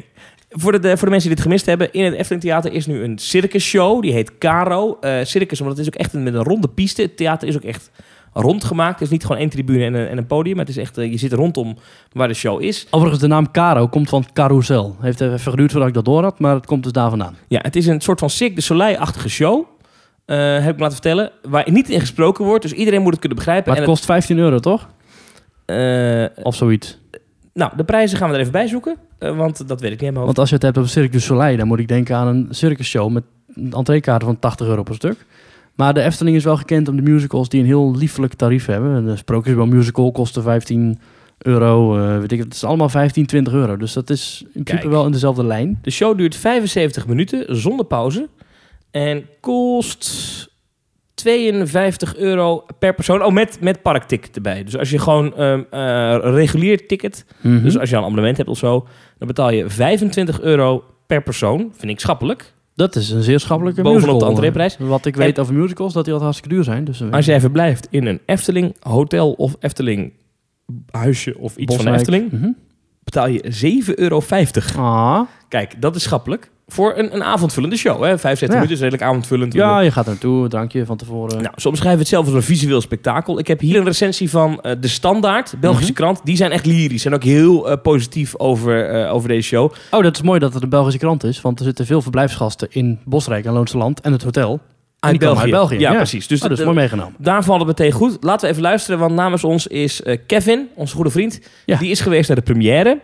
Speaker 2: Voor, de, de- voor de mensen die dit gemist hebben, in het Efteling Theater is nu een circusshow. Die heet Caro. Eh, circus, omdat het is ook echt een, met een ronde piste. Het theater is ook echt rondgemaakt. Het is niet gewoon één tribune en een, en een podium. Het is echt, eh, je zit rondom waar de show is.
Speaker 1: Overigens, de naam Caro komt van carousel. Heeft even geduurd voordat ik dat door had, maar het komt dus daar vandaan.
Speaker 2: Ja, het is een soort van Cirque du Soleil-achtige show. eh, heb ik me laten vertellen. Waar niet in gesproken wordt. Dus iedereen moet het kunnen begrijpen.
Speaker 1: Maar het
Speaker 2: En
Speaker 1: kost 15 euro toch?
Speaker 2: het, eh,
Speaker 1: Of zoiets.
Speaker 2: nou, de prijzen gaan we er even bij zoeken. eh, want dat weet ik niet helemaal.
Speaker 1: Want als je het hebt op Cirque du Soleil, dan moet ik denken aan een circusshow met een entreekaart van 80 euro per stuk. Maar de Efteling is wel gekend om de musicals die een heel liefelijk tarief hebben. De Sprookjesbal musical kostte 15 euro, eh, weet ik het. Het is allemaal 15, 20 euro. Dus dat is in principe
Speaker 2: Kijk.
Speaker 1: wel in dezelfde lijn.
Speaker 2: De show duurt 75 minuten zonder pauze. En kost 52 euro per persoon. Oh, met, met parkticket erbij. Dus als je gewoon ehm, eh, regulier ticket. Dus
Speaker 1: Mhm.
Speaker 2: als je al een abonnement hebt of zo. Dan betaal je 25 euro per persoon. Vind ik schappelijk.
Speaker 1: dat is een zeer schappelijke
Speaker 2: Bovenop
Speaker 1: musical. eh,
Speaker 2: de entreeprijs.
Speaker 1: Wat ik weet over musicals, dat die altijd hartstikke duur zijn. Dus eh,
Speaker 2: Als jij verblijft in een Efteling hotel of Efteling huisje of iets van de
Speaker 1: Boswijk.
Speaker 2: Efteling.
Speaker 1: Mhm.
Speaker 2: Betaal je 7,50 euro.
Speaker 1: Ah,
Speaker 2: Kijk, dat is schappelijk. Voor een, een avondvullende show. Hè? 75
Speaker 1: Ja.
Speaker 2: minuten is redelijk avondvullend.
Speaker 1: ja, je gaat er naartoe, drankje van tevoren.
Speaker 2: Nou, ze omschrijven het zelf als een visueel spektakel. Ik heb hier een recensie van eh, De Standaard, Belgische
Speaker 1: Mhm.
Speaker 2: krant. Die zijn echt lyrisch en ook heel eh, positief over, eh, over deze show.
Speaker 1: Oh, dat is mooi dat het een Belgische krant is, want er zitten veel verblijfsgasten in Bosrijk en Loonse Land en het hotel.
Speaker 2: Uit
Speaker 1: die komen uit België,
Speaker 2: Ja,
Speaker 1: ja.
Speaker 2: precies. Dus
Speaker 1: Dus dat is
Speaker 2: dat-
Speaker 1: mooi meegenomen.
Speaker 2: daar valt het meteen goed. Laten we even luisteren, want namens ons is eh, Kevin, onze goede vriend.
Speaker 1: Ja.
Speaker 2: Die is geweest naar de première.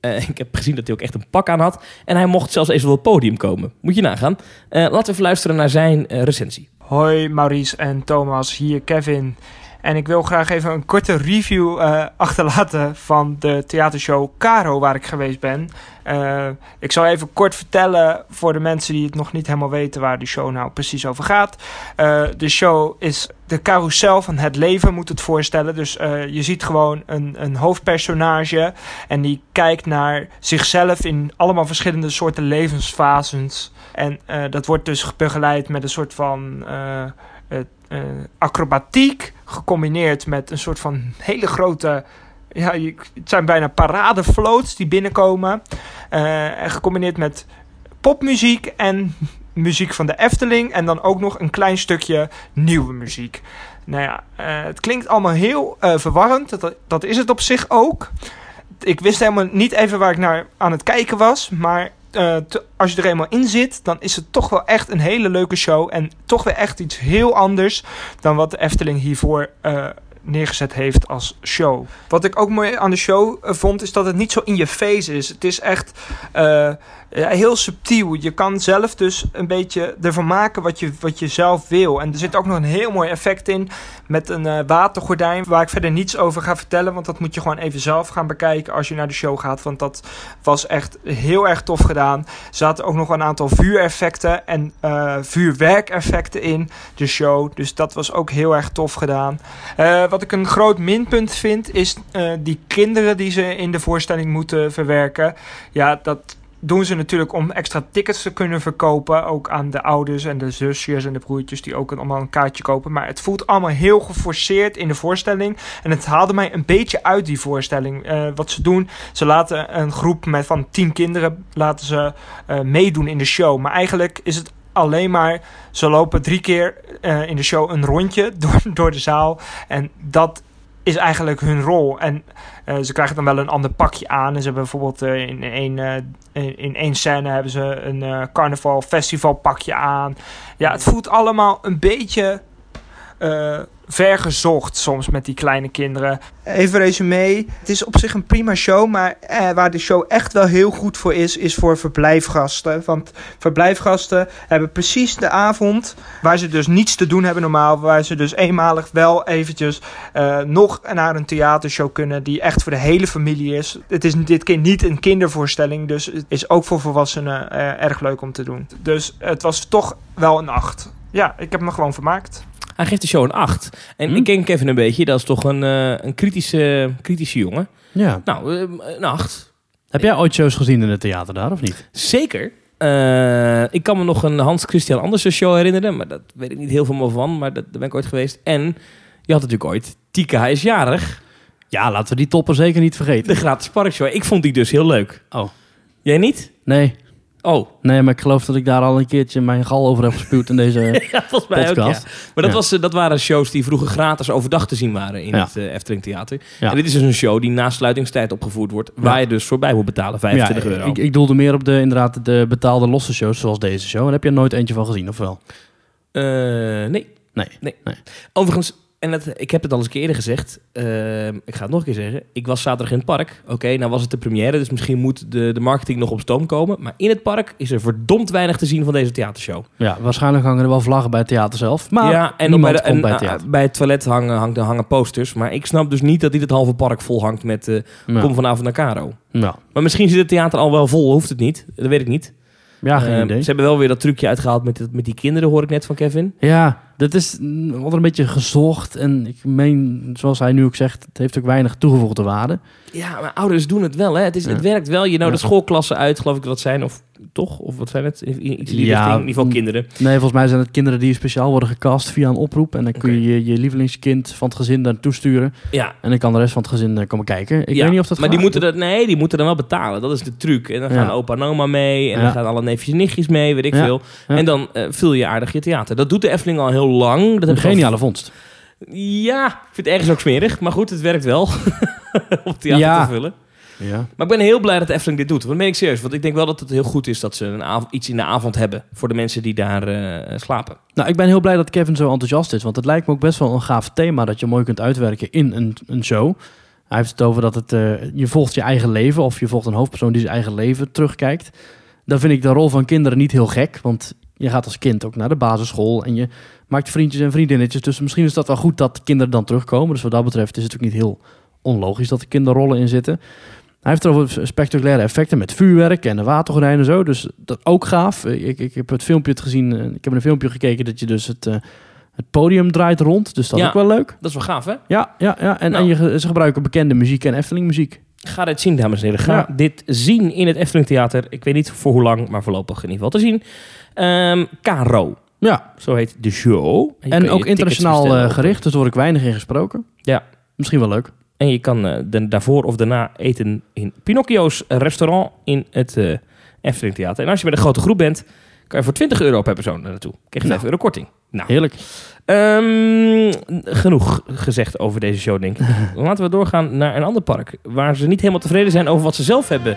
Speaker 2: Eh, <laughs> ik heb gezien dat hij ook echt een pak aan had. En hij mocht zelfs even op het podium komen. Moet je nagaan. Eh, laten we even luisteren naar zijn eh, recensie.
Speaker 3: Hoi Maurice en Thomas, hier Kevin. En ik wil graag even een korte review eh, achterlaten van de theatershow Caro, waar ik geweest ben. Eh, ik zal even kort vertellen voor de mensen die het nog niet helemaal weten waar de show nou precies over gaat. Eh, de show is de carousel van het leven, moet het voorstellen. Dus eh, je ziet gewoon een, een hoofdpersonage en die kijkt naar zichzelf in allemaal verschillende soorten levensfases. En eh, dat wordt dus begeleid met een soort van eh, het, eh, acrobatiek, gecombineerd met een soort van hele grote. Ja, je- het zijn bijna paradefloats die binnenkomen. Eh, en gecombineerd met popmuziek en <laughs> muziek van de Efteling. En dan ook nog een klein stukje nieuwe muziek. Nou ja, eh, het klinkt allemaal heel eh, verwarrend. Dat, dat is het op zich ook. Ik wist helemaal niet even waar ik naar aan het kijken was. Maar eh, te- als je er eenmaal in zit, dan is het toch wel echt een hele leuke show. En toch weer echt iets heel anders dan wat de Efteling hiervoor eh, neergezet heeft als show. Wat ik ook mooi aan de show eh, vond, is dat het niet zo in je face is. Het is echt eh, ja, heel subtiel. Je kan zelf dus een beetje ervan maken wat je, wat je zelf wil. En er zit ook nog een heel mooi effect in met een eh, watergordijn... waar ik verder niets over ga vertellen... want dat moet je gewoon even zelf gaan bekijken als je naar de show gaat. Want dat was echt heel erg tof gedaan. Er zaten ook nog een aantal vuureffecten en eh vuurwerkeffecten in de show. Dus dat was ook heel erg tof gedaan. Eh, wat ik een groot minpunt vind, is eh, die kinderen die ze in de voorstelling moeten verwerken. Ja, dat doen ze natuurlijk om extra tickets te kunnen verkopen. Ook aan de ouders en de zusjes en de broertjes die ook een- allemaal een kaartje kopen. Maar het voelt allemaal heel geforceerd in de voorstelling. En het haalde mij een beetje uit die voorstelling. Eh, wat ze doen, ze laten een groep met van tien kinderen laten ze, eh, meedoen in de show. Maar eigenlijk is het alleen maar ze lopen drie keer eh, in de show een rondje <laughs> door, door de zaal. En dat is eigenlijk hun rol. En eh, ze krijgen dan wel een ander pakje aan. En ze hebben bijvoorbeeld eh, in, één, eh, in, in één scène hebben ze een eh carnaval festival pakje aan. Ja, het voelt allemaal een beetje eh vergezocht soms met die kleine kinderen. Even resume. Het is op zich een prima show. Maar eh, waar de show echt wel heel goed voor is, is voor verblijfgasten. Want verblijfgasten hebben precies de avond waar ze dus niets te doen hebben normaal. Waar ze dus eenmalig wel eventjes eh, nog naar een theatershow kunnen die echt voor de hele familie is. Het is dit keer niet een kindervoorstelling, dus het is ook voor volwassenen eh, erg leuk om te doen. Dus het was toch wel een acht. Ja, ik heb me gewoon vermaakt.
Speaker 2: Hij geeft de show een 8. En
Speaker 1: Hm.
Speaker 2: ik denk even een beetje, dat is toch een, eh, een kritische, kritische jongen.
Speaker 1: Ja.
Speaker 2: Nou, eh, een 8.
Speaker 1: Heb jij ooit shows gezien in het theater daar, of niet?
Speaker 2: Zeker. Eh, ik kan me nog een Hans-Christian Andersen show herinneren, maar dat weet ik niet heel veel meer van, maar dat, daar ben ik ooit geweest. En je had natuurlijk ooit Tika, hij is jarig,
Speaker 1: Ja, laten we die topper zeker niet vergeten.
Speaker 2: de gratis parkshow. Ik vond die dus heel leuk.
Speaker 1: Oh.
Speaker 2: Jij niet?
Speaker 1: Nee,
Speaker 2: Oh,
Speaker 1: nee, maar ik geloof dat ik daar al een keertje mijn gal over heb gespuwd in <laughs> deze
Speaker 2: <laughs> ja, volgens mij ook, ja.
Speaker 1: podcast.
Speaker 2: Maar dat,
Speaker 1: Ja.
Speaker 2: was, eh, dat waren shows die vroeger gratis overdag te zien waren in
Speaker 1: Ja.
Speaker 2: het eh, Efteling Theater.
Speaker 1: Ja.
Speaker 2: En dit is dus een show die na sluitingstijd opgevoerd wordt,
Speaker 1: Ja.
Speaker 2: waar je dus voorbij moet betalen, 25
Speaker 1: ja,
Speaker 2: euro.
Speaker 1: Ik, ik doelde meer op de, inderdaad, de betaalde losse shows, zoals deze show. En daar heb je er nooit eentje van gezien, of wel?
Speaker 2: Eh, nee.
Speaker 1: Nee.
Speaker 2: nee.
Speaker 1: Nee.
Speaker 2: Overigens, en dat, ik heb het al eens een keer eerder gezegd. eh, ik ga het nog een keer zeggen. Ik was zaterdag in het park. Oké, nou was het de première, dus misschien moet de, de marketing nog op stoom komen. Maar in het park is er verdomd weinig te zien van deze theatershow.
Speaker 1: Ja, waarschijnlijk hangen er wel vlaggen bij het theater zelf. Maar
Speaker 2: ja, en
Speaker 1: niemand
Speaker 2: bij, de-
Speaker 1: komt
Speaker 2: en,
Speaker 1: bij het
Speaker 2: ah,
Speaker 1: theater.
Speaker 2: bij het toilet hangen, hangen, hangen posters. Maar ik snap dus niet dat dit het halve park vol hangt met eh,
Speaker 1: ja.
Speaker 2: kom vanavond naar Caro.
Speaker 1: Ja.
Speaker 2: Maar misschien zit het theater al wel vol, hoeft het niet. Dat weet ik niet.
Speaker 1: ja, geen
Speaker 2: Eh,
Speaker 1: idee.
Speaker 2: Ze hebben wel weer dat trucje uitgehaald met, dat- met die kinderen, hoor ik net van Kevin.
Speaker 1: Ja, dat is mm, altijd een beetje gezocht. En ik meen, zoals hij nu ook zegt, het heeft ook weinig toegevoegde waarde.
Speaker 2: Ja, maar ouders doen het wel, hè? Het, is,
Speaker 1: Ja.
Speaker 2: het werkt wel. Je nodigt
Speaker 1: Ja.
Speaker 2: schoolklassen uit, geloof ik dat zijn. Of toch? Of wat zijn het? I- i- Iets in die
Speaker 1: Ja,
Speaker 2: richting. In ieder geval
Speaker 1: mm.
Speaker 2: kinderen.
Speaker 1: Nee, volgens mij zijn het kinderen die speciaal worden gecast via een oproep. En dan kun je je, je lievelingskind van het gezin naartoe sturen.
Speaker 2: Ja.
Speaker 1: En dan kan de rest van het gezin eh, komen kijken. Ik
Speaker 2: ja.
Speaker 1: weet niet of dat
Speaker 2: maar die
Speaker 1: gaat.
Speaker 2: moeten dat, nee, die moeten dan wel betalen. Dat is de truc. En dan
Speaker 1: Ja.
Speaker 2: gaan opa en oma mee. En dan
Speaker 1: Ja.
Speaker 2: gaan alle neefjes en nichtjes mee, weet ik
Speaker 1: Ja.
Speaker 2: veel.
Speaker 1: Ja.
Speaker 2: En dan eh, vul je aardig je theater. Dat doet de Efteling al heel lang. Dat
Speaker 1: Een
Speaker 2: heb ik al-
Speaker 1: geniale vondst.
Speaker 2: Ja, ik vind het ergens ook smerig. Maar goed, het werkt wel. <laughs> Om theater
Speaker 1: Ja.
Speaker 2: te vullen.
Speaker 1: Ja.
Speaker 2: Maar ik ben heel blij dat de Efteling dit doet. Want dan ben ik serieus. Want ik denk wel dat het heel goed is dat ze een av- iets in de avond hebben. Voor de mensen die daar eh, slapen.
Speaker 1: Nou, ik ben heel blij dat Kevin zo enthousiast is. Want het lijkt me ook best wel een gaaf thema dat je mooi kunt uitwerken in een, een show. Hij heeft het over dat het, eh, je volgt je eigen leven of je volgt een hoofdpersoon die zijn eigen leven terugkijkt. Dan vind ik de rol van kinderen niet heel gek. Want Je gaat als kind ook naar de basisschool en je maakt vriendjes en vriendinnetjes. Dus misschien is dat wel goed dat kinderen dan terugkomen. Dus wat dat betreft is het ook niet heel onlogisch dat er kinderrollen in zitten. Hij heeft erover spectaculaire effecten met vuurwerk en een watergordijn en zo. Dus dat ook gaaf. Eh, Ik, ik heb het filmpje het gezien. eh, Ik heb een filmpje gekeken dat je dus het, eh, het podium draait rond. Dus dat
Speaker 2: Ja.
Speaker 1: ook wel leuk.
Speaker 2: Dat is wel gaaf, hè?
Speaker 1: Ja, ja, ja. En,
Speaker 2: Nou.
Speaker 1: en je, ge- ze gebruiken bekende muziek en Efteling muziek.
Speaker 2: Ga dit zien, dames en heren. Ga
Speaker 1: Ja.
Speaker 2: dit zien in het Efteling Theater. Ik weet niet voor hoe lang, maar voorlopig in ieder geval te zien. Ehm Caro,
Speaker 1: Ja,
Speaker 2: zo heet de show. je kan
Speaker 1: en
Speaker 2: je
Speaker 1: ook
Speaker 2: tickets
Speaker 1: internationaal
Speaker 2: bestellen
Speaker 1: eh,
Speaker 2: op-
Speaker 1: gericht. Dus daar word ik weinig in gesproken.
Speaker 2: Ja.
Speaker 1: Misschien wel leuk.
Speaker 2: En je kan eh, dan daarvoor of daarna eten in Pinocchio's restaurant in het eh Efteling Theater. En als je bij de grote groep bent, kan je voor 20 euro per persoon daar naartoe. Krijg je 5
Speaker 1: Nou.
Speaker 2: euro korting. Nou,
Speaker 1: Heerlijk.
Speaker 2: ehm, genoeg gezegd over deze show, <laughs> denk ik. Laten we doorgaan naar een ander park. Waar ze niet helemaal tevreden zijn over wat ze zelf hebben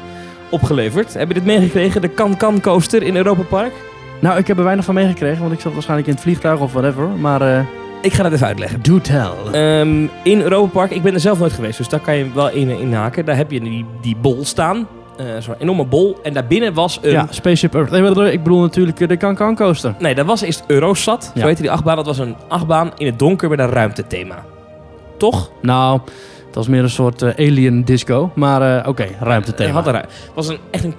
Speaker 2: opgeleverd. Heb je dit meegekregen? De Can Can Coaster in Europa Park.
Speaker 1: Nou, ik heb er weinig van meegekregen, want ik zat waarschijnlijk in het vliegtuig of whatever. Maar eh,
Speaker 2: Ik ga dat even uitleggen.
Speaker 1: do tell.
Speaker 2: Ehm, in Europa Park, ik ben er zelf nooit geweest, dus daar kan je wel in, in haken. Daar heb je die, die bol staan, Eh, zo'n enorme bol. En daarbinnen was een...
Speaker 1: ja, Spaceship Earth. Nee, ik bedoel natuurlijk eh, de Can-Can Coaster.
Speaker 2: Nee, daar was eerst Eurosat. Zo
Speaker 1: Ja.
Speaker 2: heette die achtbaan. Dat was een achtbaan in het donker met een ruimtethema. Toch?
Speaker 1: Nou, dat was meer een soort eh, alien disco. Maar eh, oké, ruimtethema.
Speaker 2: Eh, Had een, ru- was een, echt een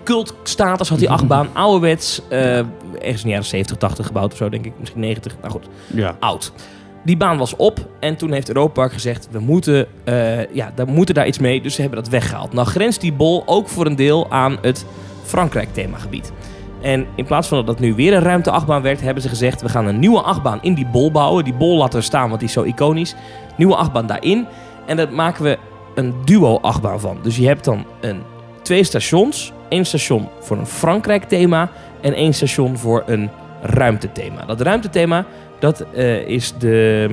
Speaker 1: <laughs>
Speaker 2: cultstatus, had die achtbaan. Ouderwets, eh, ergens in de jaren 70, 80 gebouwd of zo, denk ik. Misschien 90, nou goed.
Speaker 1: Ja.
Speaker 2: oud. Die baan was op en toen heeft Europa Park gezegd: we moeten, eh, ja, daar moeten daar iets mee. Dus ze hebben dat weggehaald. Nou grenst die bol ook voor een deel aan het Frankrijk-themagebied. En in plaats van dat dat nu weer een ruimte achtbaan werd, hebben ze gezegd: we gaan een nieuwe achtbaan in die bol bouwen. Die bol laten we staan, want die is zo iconisch. Nieuwe achtbaan daarin. En daar maken we een duo-achtbaan van. Dus je hebt dan een, twee stations. Eén station voor een Frankrijk-thema en één station voor een ruimtethema. Dat ruimtethema dat eh, is de.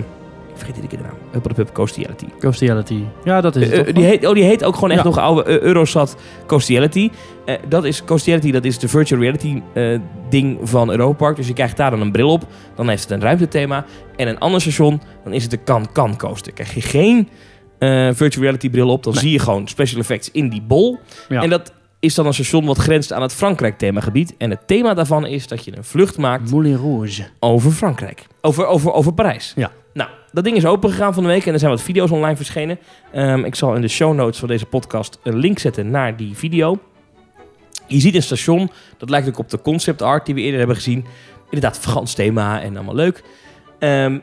Speaker 2: Ik vergeet iedere keer de naam. Hupplepup Coastiality.
Speaker 1: Coastiality. Ja, dat is het.
Speaker 2: Eh, eh,
Speaker 1: toch?
Speaker 2: die, heet, oh, die heet ook gewoon echt
Speaker 1: Ja.
Speaker 2: nog oude eh, Eurosat Coastiality. Eh, dat is Coastiality, dat is de virtual reality eh, ding van Europa Park. Dus je krijgt daar dan een bril op. Dan heeft het een ruimtethema. En een ander station, dan is het de Can-Can Coaster. Krijg je geen eh, virtual reality bril op, dan
Speaker 1: Nee.
Speaker 2: zie je gewoon special effects in die bol.
Speaker 1: Ja.
Speaker 2: En dat is dan een station wat grenst aan het Frankrijk themagebied. En het thema daarvan is dat je een vlucht maakt
Speaker 1: Moulin Rouge.
Speaker 2: over Frankrijk. Over, over, over Parijs.
Speaker 1: Ja.
Speaker 2: Nou, dat ding is opengegaan van de week en er zijn wat video's online verschenen. Ehm, ik zal in de show notes van deze podcast een link zetten naar die video. Je ziet een station, dat lijkt ook op de concept art die we eerder hebben gezien. Inderdaad, Frans thema en allemaal leuk. Ehm,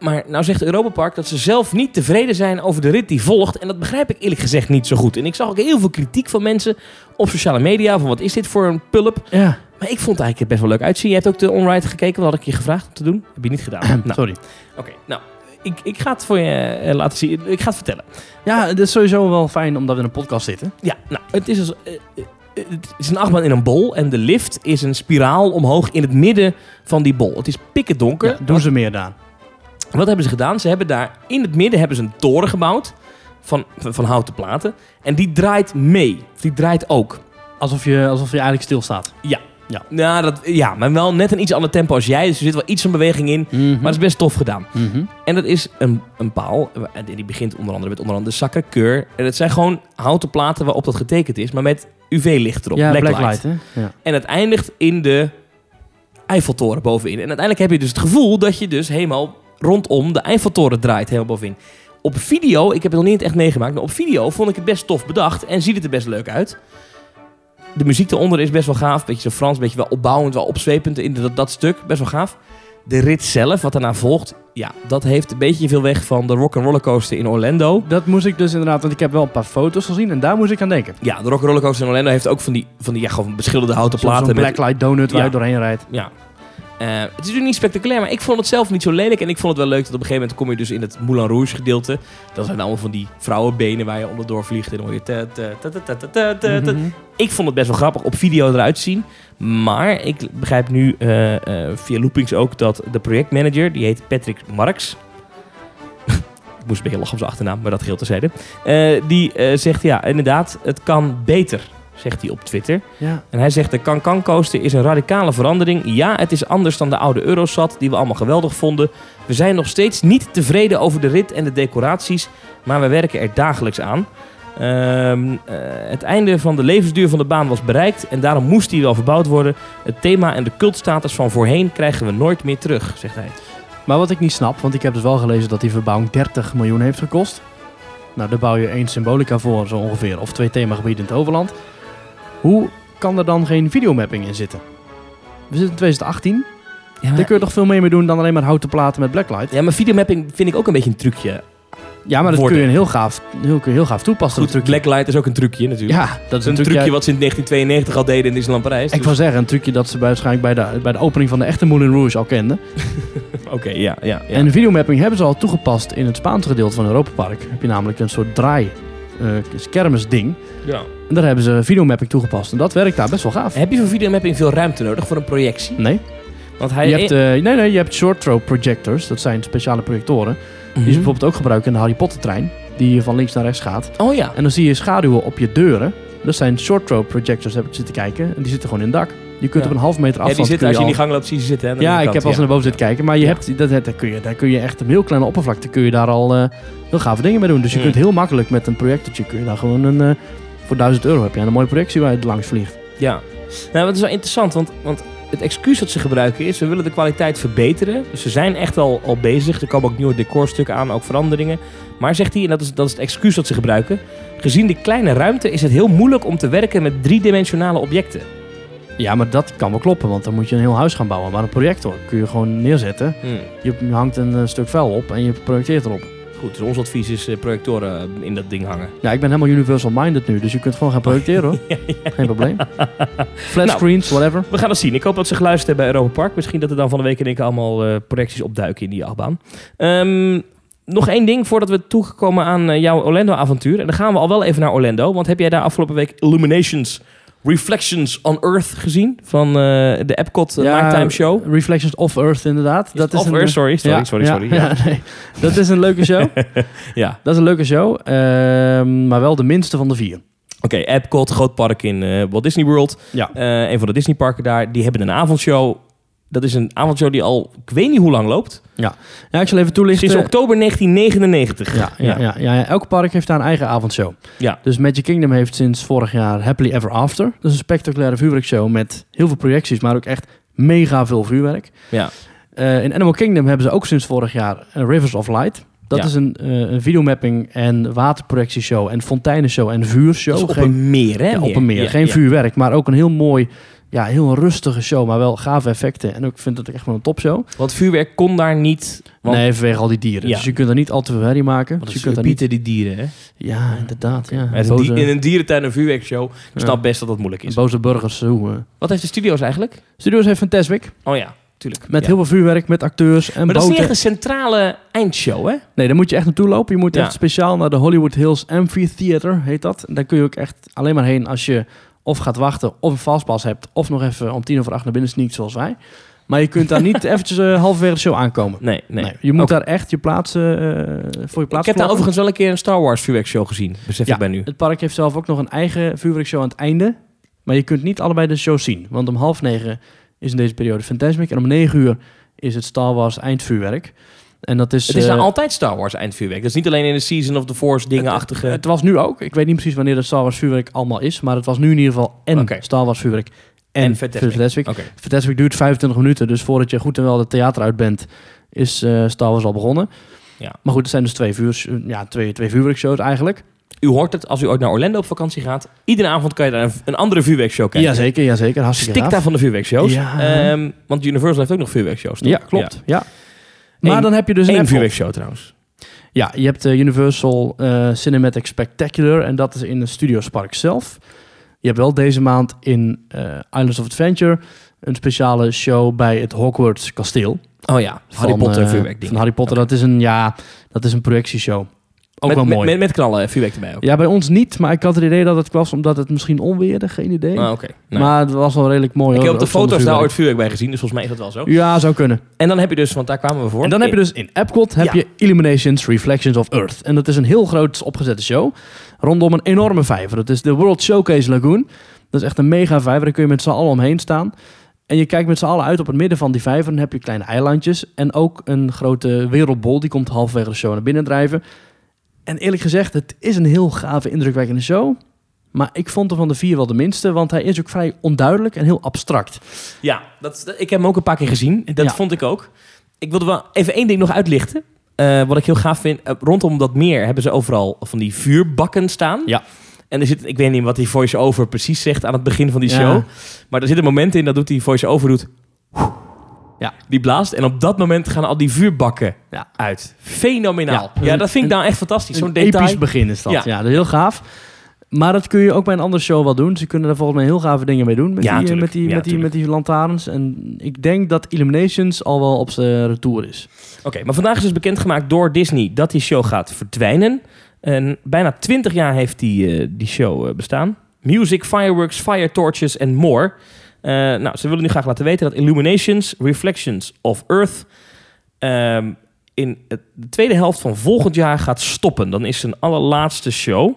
Speaker 2: maar nou zegt Europa Park dat ze zelf niet tevreden zijn over de rit die volgt. En dat begrijp ik eerlijk gezegd niet zo goed. En ik zag ook heel veel kritiek van mensen op sociale media. Van wat is dit voor een pulp? <clears throat>
Speaker 1: Ja,
Speaker 2: Maar ik vond het eigenlijk best wel leuk uitzien. Je hebt ook de onride gekeken, wat had ik je gevraagd om te doen? Heb je niet gedaan.
Speaker 1: <clears throat>
Speaker 2: nou,
Speaker 1: sorry.
Speaker 2: oké. Nou, ik, ik ga het voor je eh, laten zien. Ik ga het vertellen.
Speaker 1: Ja, het is sowieso wel fijn omdat we in een podcast zitten.
Speaker 2: Ja, nou, het is, als, eh, eh, het is een achtbaan in een bol en de lift is een spiraal omhoog in het midden van die bol. Het is pikken donker.
Speaker 1: Ja, doen ze meer dan.
Speaker 2: Wat hebben ze gedaan? Ze hebben daar in het midden hebben ze een toren gebouwd van, van, van houten platen. En die draait mee. Of die draait ook.
Speaker 1: Alsof je, alsof je eigenlijk stilstaat.
Speaker 2: Nou, dat, ja, maar wel net een iets ander tempo als jij. Dus er zit wel iets van beweging in. Maar het is best tof gedaan.
Speaker 1: Mhm.
Speaker 2: En dat is een, een paal. En die begint onder andere met onder andere de Sacre-Cœur. En het zijn gewoon houten platen waarop dat getekend is. Maar met UV-licht erop.
Speaker 1: Ja,
Speaker 2: blacklight.
Speaker 1: Blacklight. hè? Ja.
Speaker 2: En het eindigt in de Eiffeltoren bovenin. En uiteindelijk heb je dus het gevoel dat je dus helemaal rondom de Eiffeltoren draait. Helemaal bovenin. Op video, ik heb het nog niet echt meegemaakt. Maar op video vond ik het best tof bedacht. En ziet het er best leuk uit. De muziek eronder is best wel gaaf. Beetje zo Frans, beetje wel opbouwend, wel opzwepend in dat, dat stuk. Best wel gaaf. De rit zelf, wat daarna volgt, ja, dat heeft een beetje veel weg van de Rock'n'Roller Coaster in Orlando.
Speaker 1: Dat moest ik dus inderdaad, want ik heb wel een paar foto's gezien en daar moest ik aan denken.
Speaker 2: Ja, de Rock'n'Roller Coaster in Orlando heeft ook van die, van die ja, gewoon beschilderde houten
Speaker 1: Zo'n
Speaker 2: platen.
Speaker 1: zo'n
Speaker 2: met-
Speaker 1: Blacklight donut waar
Speaker 2: Ja.
Speaker 1: je doorheen rijdt.
Speaker 2: Ja. Eh, het is natuurlijk niet spectaculair, maar ik vond het zelf niet zo lelijk. En ik vond het wel leuk dat op een gegeven moment kom je dus in het Moulin Rouge gedeelte. Dat zijn allemaal van die vrouwenbenen waar je onderdoor vliegt. En dan hoor je... ta- ta- ta- ta- ta- ta- ta- ta- ta.
Speaker 1: Mhm.
Speaker 2: Ik vond het best wel grappig op video eruit zien. Maar ik begrijp nu eh, eh, via Loopings ook dat de projectmanager, die heet Patrick Marks. <laughs> ik moest een beetje lachen op zijn achternaam, maar dat geldt terzijde. Eh die eh, zegt, ja, inderdaad, het kan beter, zegt hij op Twitter.
Speaker 1: Ja.
Speaker 2: En hij zegt, de Can-Can Coaster is een radicale verandering. Ja, het is anders dan de oude Eurosat, die we allemaal geweldig vonden. We zijn nog steeds niet tevreden over de rit en de decoraties, maar we werken er dagelijks aan. Ehm, eh, het einde van de levensduur van de baan was bereikt en daarom moest die wel verbouwd worden. Het thema en de cultstatus van voorheen krijgen we nooit meer terug, zegt hij.
Speaker 1: Maar wat ik niet snap, want ik heb dus wel gelezen dat die verbouwing 30 miljoen heeft gekost. Nou, daar bouw je één symbolica voor zo ongeveer, of twee themagebieden in het overland. Hoe kan er dan geen videomapping in zitten? We zitten in 2018, daar kun je toch veel meer mee doen dan alleen maar houten platen met blacklight.
Speaker 2: Ja, maar videomapping vind ik ook een beetje een trucje.
Speaker 1: Ja, maar dat kun
Speaker 2: Worden.
Speaker 1: je een heel gaaf, heel, kun je heel gaaf toepassen.
Speaker 2: Goed,
Speaker 1: dat trucje.
Speaker 2: Blacklight is ook een trucje natuurlijk.
Speaker 1: Ja, dat is
Speaker 2: een
Speaker 1: natuurlijk-
Speaker 2: trucje
Speaker 1: ja,
Speaker 2: wat ze in 1992 al deden in Disneyland Parijs.
Speaker 1: Ik
Speaker 2: Dus-
Speaker 1: wou zeggen, een trucje dat ze bij- waarschijnlijk bij de, bij de opening van de echte Moulin Rouge al kenden.
Speaker 2: Oké, ja, ja. ja.
Speaker 1: En de videomapping hebben ze al toegepast in het Spaanse gedeelte van Europa Park. Heb je namelijk een soort draai, eh kermisding.
Speaker 2: ja.
Speaker 1: En daar hebben ze videomapping toegepast. En dat werkt daar best wel gaaf.
Speaker 2: Heb je voor videomapping veel ruimte nodig voor een projectie?
Speaker 1: Nee,
Speaker 2: Want hij
Speaker 1: je hebt, eh, nee, nee, je hebt short throw projectors. Dat zijn speciale projectoren. Die
Speaker 2: Mhm.
Speaker 1: ze bijvoorbeeld ook gebruiken in de Harry Potter trein. Die van links naar rechts gaat.
Speaker 2: Oh ja.
Speaker 1: En dan zie je schaduwen op je deuren. Dat zijn short throw projectors, heb ik zitten kijken. En die zitten gewoon in het dak. Je kunt
Speaker 2: Ja.
Speaker 1: op een half meter
Speaker 2: ja
Speaker 1: afstand...
Speaker 2: die
Speaker 1: kun
Speaker 2: zitten, als je in
Speaker 1: al-
Speaker 2: die gang loopt, zie je ze zitten. Hè, aan de
Speaker 1: Ja, ik
Speaker 2: linkerkant,
Speaker 1: heb al eens
Speaker 2: ja.
Speaker 1: naar boven zitten kijken. Maar je
Speaker 2: Ja.
Speaker 1: hebt, dat, dat- daar, kun je, daar kun je echt op een heel kleine oppervlakte kun je daar al eh, heel gave dingen mee doen. Dus je
Speaker 2: Hmm.
Speaker 1: kunt heel makkelijk met een projectortje kun je daar gewoon een... eh, voor 1000 euro heb je een mooie projectie waar je langs vliegt.
Speaker 2: Ja. Nou, dat is wel interessant, want, want het excuus dat ze gebruiken is... we willen de kwaliteit verbeteren. Dus ze zijn echt al, al bezig. Er komen ook nieuwe decorstukken aan, ook veranderingen. Maar zegt hij, en dat is, dat is het excuus dat ze gebruiken... gezien de kleine ruimte is het heel moeilijk om te werken met driedimensionale objecten.
Speaker 1: Ja, maar dat kan wel kloppen, want dan moet je een heel huis gaan bouwen. Maar een projector kun je gewoon neerzetten. Je hangt een eh, stuk vuil op en je projecteert erop.
Speaker 2: Hmm. Goed, dus ons advies is eh, projectoren in dat ding hangen.
Speaker 1: Ja, ik ben helemaal universal minded nu, dus je kunt gewoon gaan projecteren
Speaker 2: <laughs>
Speaker 1: hoor. Geen probleem. Flat
Speaker 2: Nou.
Speaker 1: screens, whatever.
Speaker 2: We gaan het zien. Ik hoop dat ze geluisterd hebben bij Europa Park. Misschien dat er dan van de week in één keer allemaal eh, projecties opduiken in die achtbaan. Ehm, nog één ding voordat we toegekomen aan eh, jouw Orlando-avontuur. En dan gaan we al wel even naar Orlando. Want heb jij daar afgelopen week Illuminations, Reflections on Earth gezien? Van eh, de Epcot eh, Nighttime Show.
Speaker 1: Reflections of Earth inderdaad. dat
Speaker 2: of
Speaker 1: is een, eh,
Speaker 2: Earth, sorry. Sorry,
Speaker 1: ja,
Speaker 2: sorry, <laughs>
Speaker 1: ja,
Speaker 2: sorry.
Speaker 1: ja, <laughs>
Speaker 2: Ja.
Speaker 1: nee. Dat is een leuke show.
Speaker 2: Ja.
Speaker 1: Dat is een leuke show, ehm, maar wel de minste van de vier.
Speaker 2: Oké, Epcot, groot park in eh, Walt Disney World.
Speaker 1: Ja.
Speaker 2: Eh, een van de Disneyparken daar. Die hebben een avondshow. Dat is een avondshow die al, ik weet niet hoe lang loopt.
Speaker 1: Ja, ik zal even toelichten.
Speaker 2: Sinds oktober 1999.
Speaker 1: Ja, ja, ja. ja, ja. elk park heeft daar een eigen avondshow.
Speaker 2: Ja.
Speaker 1: Dus Magic Kingdom heeft sinds vorig jaar Happily Ever After. Dat is een spectaculaire vuurwerkshow met heel veel projecties, maar ook echt mega veel vuurwerk.
Speaker 2: Ja.
Speaker 1: Eh, in Animal Kingdom hebben ze ook sinds vorig jaar eh, Rivers of Light. Dat
Speaker 2: Ja.
Speaker 1: is een, eh, een videomapping en waterprojectieshow en fonteinenshow en vuurshow.
Speaker 2: Dat is op
Speaker 1: Geen-
Speaker 2: een meer, hè?
Speaker 1: ja, op een meer. Geen
Speaker 2: ja.
Speaker 1: vuurwerk, maar ook een heel mooi, ja, heel rustige show, maar wel gave effecten. En ook- ik vind dat echt wel een topshow.
Speaker 2: Want vuurwerk kon daar niet. Want,
Speaker 1: nee, vanwege al die dieren.
Speaker 2: Ja.
Speaker 1: Dus je kunt er niet al te veel herrie maken.
Speaker 2: want
Speaker 1: Dus
Speaker 2: het
Speaker 1: je kunt er niet...
Speaker 2: pieten die dieren, hè?
Speaker 1: Ja, inderdaad. Ja.
Speaker 2: Met een
Speaker 1: Boze-
Speaker 2: dier- in een dierentuin een vuurwerkshow. Ik
Speaker 1: Ja.
Speaker 2: snap best dat dat moeilijk is.
Speaker 1: Boze burgers. Hoe, eh.
Speaker 2: Wat heeft de studio's eigenlijk?
Speaker 1: Studios heeft Fantasmic.
Speaker 2: Oh ja, tuurlijk.
Speaker 1: Met
Speaker 2: Ja.
Speaker 1: heel veel vuurwerk, met acteurs en
Speaker 2: maar dat is
Speaker 1: boten.
Speaker 2: niet echt een centrale eindshow, hè?
Speaker 1: Nee, daar moet je echt naartoe lopen. Je moet
Speaker 2: Ja.
Speaker 1: echt speciaal naar de Hollywood Hills Amphitheater, heet dat. En daar kun je ook echt alleen maar heen als je of gaat wachten, of een fastpass hebt, of nog even om tien over acht naar binnen sneakt, zoals wij. Maar je kunt <laughs> daar niet eventjes eh, halverwege de show aankomen.
Speaker 2: Nee, nee.
Speaker 1: Nee. je moet
Speaker 2: Ook-
Speaker 1: daar echt je plaatsen eh, voor je
Speaker 2: ik
Speaker 1: plaats
Speaker 2: heb daar
Speaker 1: plakken.
Speaker 2: overigens wel een keer een Star Wars vuurwerkshow gezien. Besef
Speaker 1: Ja.
Speaker 2: ik bij nu.
Speaker 1: Het park heeft zelf ook nog een eigen vuurwerkshow aan het einde. Maar je kunt niet allebei de show zien. Want om half negen is in deze periode Fantasmic. En om negen uur is het Star Wars eindvuurwerk. En dat is...
Speaker 2: Het is
Speaker 1: eh,
Speaker 2: daar altijd Star Wars eindvuurwerk. Dat is niet alleen in de Season of the Force dingenachtige...
Speaker 1: het was nu ook. Ik weet niet precies wanneer dat Star Wars vuurwerk allemaal is. Maar het was nu in ieder geval en
Speaker 2: Oké.
Speaker 1: Star Wars vuurwerk en,
Speaker 2: En Fantasmic.
Speaker 1: Fantasmic. Fantasmic.
Speaker 2: Oké.
Speaker 1: duurt 25 minuten. Dus voordat je goed en wel het theater uit bent, is eh, Star Wars al begonnen.
Speaker 2: Ja.
Speaker 1: Maar goed, het zijn dus twee, vuurs, ja, twee, twee vuurwerkshows eigenlijk.
Speaker 2: U hoort het als u ooit naar Orlando op vakantie gaat. Iedere avond kan je daar een, een andere vuurwerkshow kijken.
Speaker 1: Jazeker, jazeker. Hartstikke
Speaker 2: Stik
Speaker 1: gaaf.
Speaker 2: daar van de vuurwerkshows.
Speaker 1: Ja.
Speaker 2: Ehm, want Universal heeft ook nog vuurwerkshows. toch?
Speaker 1: Ja, klopt. Ja. Maar
Speaker 2: Eén-
Speaker 1: dan heb je dus een
Speaker 2: Eén
Speaker 1: Apple.
Speaker 2: vuurwerkshow trouwens.
Speaker 1: Ja, je hebt de Universal eh, Cinematic Spectacular en dat is in het Studios Park zelf. Je hebt wel deze maand in eh, Islands of Adventure een speciale show bij het Hogwarts kasteel.
Speaker 2: Oh ja, Harry
Speaker 1: Van,
Speaker 2: Potter
Speaker 1: eh,
Speaker 2: vuurwerkding.
Speaker 1: Van Harry Potter, dat is een, ja, dat is een projectieshow. Ook
Speaker 2: met,
Speaker 1: wel
Speaker 2: met-
Speaker 1: mooi.
Speaker 2: Met, met knallen vuurwerk erbij ook.
Speaker 1: Ja, bij ons niet, maar ik had het idee dat het was omdat het misschien onweerde, geen idee.
Speaker 2: Ah, oké. Nou,
Speaker 1: Maar het was wel redelijk mooi.
Speaker 2: ik
Speaker 1: hoor,
Speaker 2: heb op de
Speaker 1: ook zonder
Speaker 2: foto's daar
Speaker 1: vuurwerk.
Speaker 2: ooit vuurwerk bij gezien, dus volgens mij is dat wel zo.
Speaker 1: Ja, zou kunnen.
Speaker 2: En dan heb je dus, want daar kwamen we voor.
Speaker 1: En dan heb je dus in Epcot heb
Speaker 2: Ja.
Speaker 1: je Illuminations Reflections of Earth. En dat is een heel groot opgezette show rondom een enorme vijver. Dat is de World Showcase Lagoon. Dat is echt een mega vijver. Daar kun je met z'n allen omheen staan. En je kijkt met z'n allen uit op het midden van die vijver. Dan heb je kleine eilandjes en ook een grote wereldbol. Die komt halverwege de show naar binnen drijven. En eerlijk gezegd, het is een heel gave, indrukwekkende show. Maar ik vond er van de vier wel de minste, want hij is ook vrij onduidelijk en heel abstract.
Speaker 2: Ja, dat, dat- ik heb hem ook een paar keer gezien. Dat
Speaker 1: Ja.
Speaker 2: vond ik ook. Ik wilde wel even één ding nog uitlichten. Eh, wat ik heel gaaf vind. eh, rondom dat meer hebben ze overal van die vuurbakken staan.
Speaker 1: Ja.
Speaker 2: En er zit, ik weet niet wat die voice-over precies zegt aan het begin van die
Speaker 1: Ja.
Speaker 2: show. Maar er zit een moment in dat doet die voice-over doet...
Speaker 1: Ja.
Speaker 2: Die blaast. En op dat moment gaan al die vuurbakken
Speaker 1: Ja.
Speaker 2: uit. Fenomenaal.
Speaker 1: Ja.
Speaker 2: Ja, dat vind ik nou echt fantastisch. Zo'n
Speaker 1: Een
Speaker 2: detail.
Speaker 1: episch begin is dat. Ja.
Speaker 2: Ja.
Speaker 1: dat is heel gaaf. Maar dat kun je ook bij een andere show wel doen. Ze kunnen daar volgens mij heel gave dingen mee doen. Met,
Speaker 2: Ja,
Speaker 1: die, eh,
Speaker 2: tuurlijk.
Speaker 1: met, die,
Speaker 2: Ja,
Speaker 1: met, die, met
Speaker 2: tuurlijk.
Speaker 1: die lantaarns. En ik denk dat Illuminations al wel op zijn retour is.
Speaker 2: Oké, maar vandaag is dus bekendgemaakt door Disney dat die show gaat verdwijnen. En bijna 20 jaar heeft die, eh, die show eh, bestaan. Music, fireworks, fire torches en more. Eh, nou, ze willen nu graag laten weten dat Illuminations, Reflections of Earth... ehm, in het- de tweede helft van volgend jaar gaat stoppen. Dan is zijn allerlaatste show.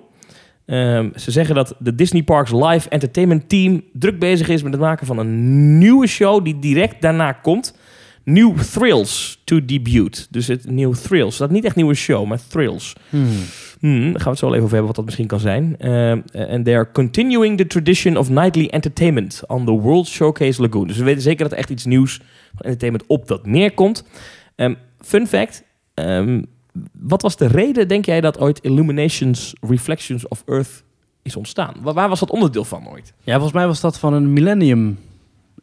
Speaker 2: Ehm, ze zeggen dat de Disney Parks Live Entertainment Team druk bezig is met het maken van een nieuwe show die direct daarna komt. New Thrills to debut. Dus het New Thrills. Dat is niet echt nieuwe show, maar Thrills. Hmm, daar gaan we het zo wel even over hebben wat dat misschien kan zijn. Eh, En they are continuing the tradition of nightly entertainment on the World Showcase Lagoon. Dus we weten zeker dat er echt iets nieuws van entertainment op dat meer komt. Ehm, fun fact. ehm, wat was de reden, denk jij, dat ooit Illuminations Reflections of Earth is ontstaan? Wa- Waar was dat onderdeel van ooit?
Speaker 1: Ja, volgens mij was dat van een Millennium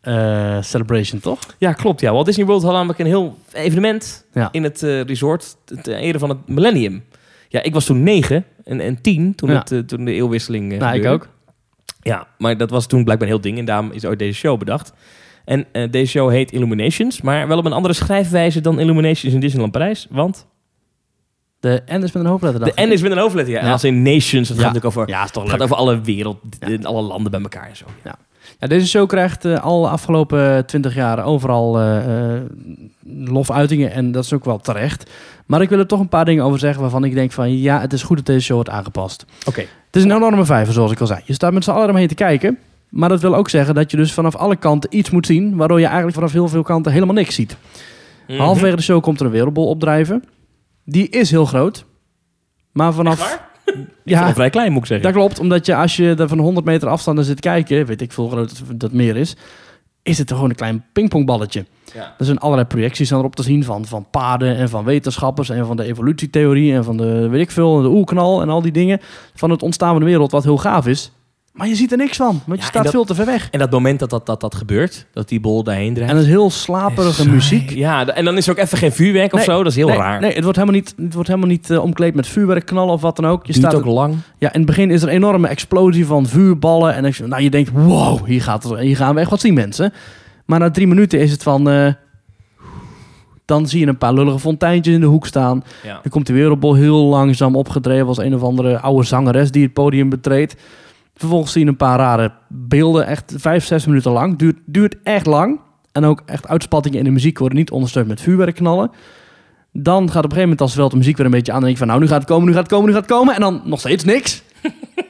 Speaker 1: eh, Celebration, toch?
Speaker 2: Ja, klopt. Ja. Walt Disney World had namelijk een heel evenement
Speaker 1: Ja.
Speaker 2: in het eh, resort te- ten ere van het millennium. Ja, ik was toen negen en, en tien toen,
Speaker 1: Ja.
Speaker 2: het, eh, toen de eeuwwisseling eh,
Speaker 1: nou, ik
Speaker 2: gebeurde.
Speaker 1: ook.
Speaker 2: Ja, maar dat was toen blijkbaar een heel ding en daarom is ooit deze show bedacht. En eh, deze show heet Illuminations, maar wel op een andere schrijfwijze dan Illuminations in Disneyland Parijs. Want
Speaker 1: De N is met een hoofdletter. dacht
Speaker 2: de
Speaker 1: ik.
Speaker 2: N is met een hoofdletter. Ja. En
Speaker 1: Ja.
Speaker 2: als in Nations, dat
Speaker 1: Ja.
Speaker 2: gaat natuurlijk over,
Speaker 1: Ja, is toch leuk.
Speaker 2: gaat over alle wereld,
Speaker 1: Ja.
Speaker 2: en alle landen bij elkaar en zo.
Speaker 1: Ja, deze show krijgt eh, al de afgelopen twintig jaar overal eh, eh, lofuitingen en dat is ook wel terecht. Maar ik wil er toch een paar dingen over zeggen waarvan ik denk van ja, het is goed dat deze show wordt aangepast.
Speaker 2: Oké.
Speaker 1: Het is een enorme vijver, zoals ik al zei. Je staat met z'n allen eromheen te kijken. Maar dat wil ook zeggen dat je dus vanaf alle kanten iets moet zien, waardoor je eigenlijk vanaf heel veel kanten helemaal niks ziet.
Speaker 2: Mhm.
Speaker 1: Halverwege de show komt er een wereldbol opdrijven. Die is heel groot. Maar vanaf...
Speaker 2: Ja. Wel vrij klein, moet ik zeggen.
Speaker 1: Dat klopt, omdat je als je er van 100 meter afstand naar zit kijken, weet ik veel hoe groot het- dat meer is, is het gewoon een klein pingpongballetje.
Speaker 2: Ja.
Speaker 1: Er zijn allerlei projecties aan erop te zien van, van paarden en van wetenschappers en van de evolutietheorie en van de weet ik veel, de oerknal en al die dingen van het ontstaan van de wereld, wat heel gaaf is. Maar je ziet er niks van, want je
Speaker 2: Ja,
Speaker 1: staat
Speaker 2: en dat-
Speaker 1: veel te ver weg.
Speaker 2: En dat moment dat dat, dat, dat gebeurt, dat die bol daarheen draait.
Speaker 1: En dat is heel slaperige
Speaker 2: Saai.
Speaker 1: muziek.
Speaker 2: Ja, d- en dan is er ook even geen vuurwerk of
Speaker 1: Nee,
Speaker 2: zo. Dat is heel
Speaker 1: nee,
Speaker 2: raar.
Speaker 1: Nee, het wordt helemaal niet, het wordt helemaal niet eh, omkleed met vuurwerk, knallen of wat dan ook. Je
Speaker 2: Je
Speaker 1: staat
Speaker 2: staat ook lang.
Speaker 1: Ja, in het begin is er een enorme explosie van vuurballen. En ik- nou, je denkt, wow, hier, gaat het, hier gaan we echt wat zien, mensen. Maar na drie minuten is het van... eh, dan zie je een paar lullige fonteintjes in de hoek staan.
Speaker 2: Ja.
Speaker 1: Dan komt de wereldbol heel langzaam opgedreven... als een of andere oude zangeres die het podium betreedt. Vervolgens zie je een paar rare beelden. Echt vijf, zes minuten lang. Duurt, duurt echt lang. En ook echt uitspattingen in de muziek worden niet ondersteund met vuurwerkknallen. Dan gaat op een gegeven moment als wel de muziek weer een beetje aan. Dan denk je van nou, nu gaat het komen, nu gaat het komen, nu gaat het komen. En dan nog steeds
Speaker 2: <laughs>
Speaker 1: niks.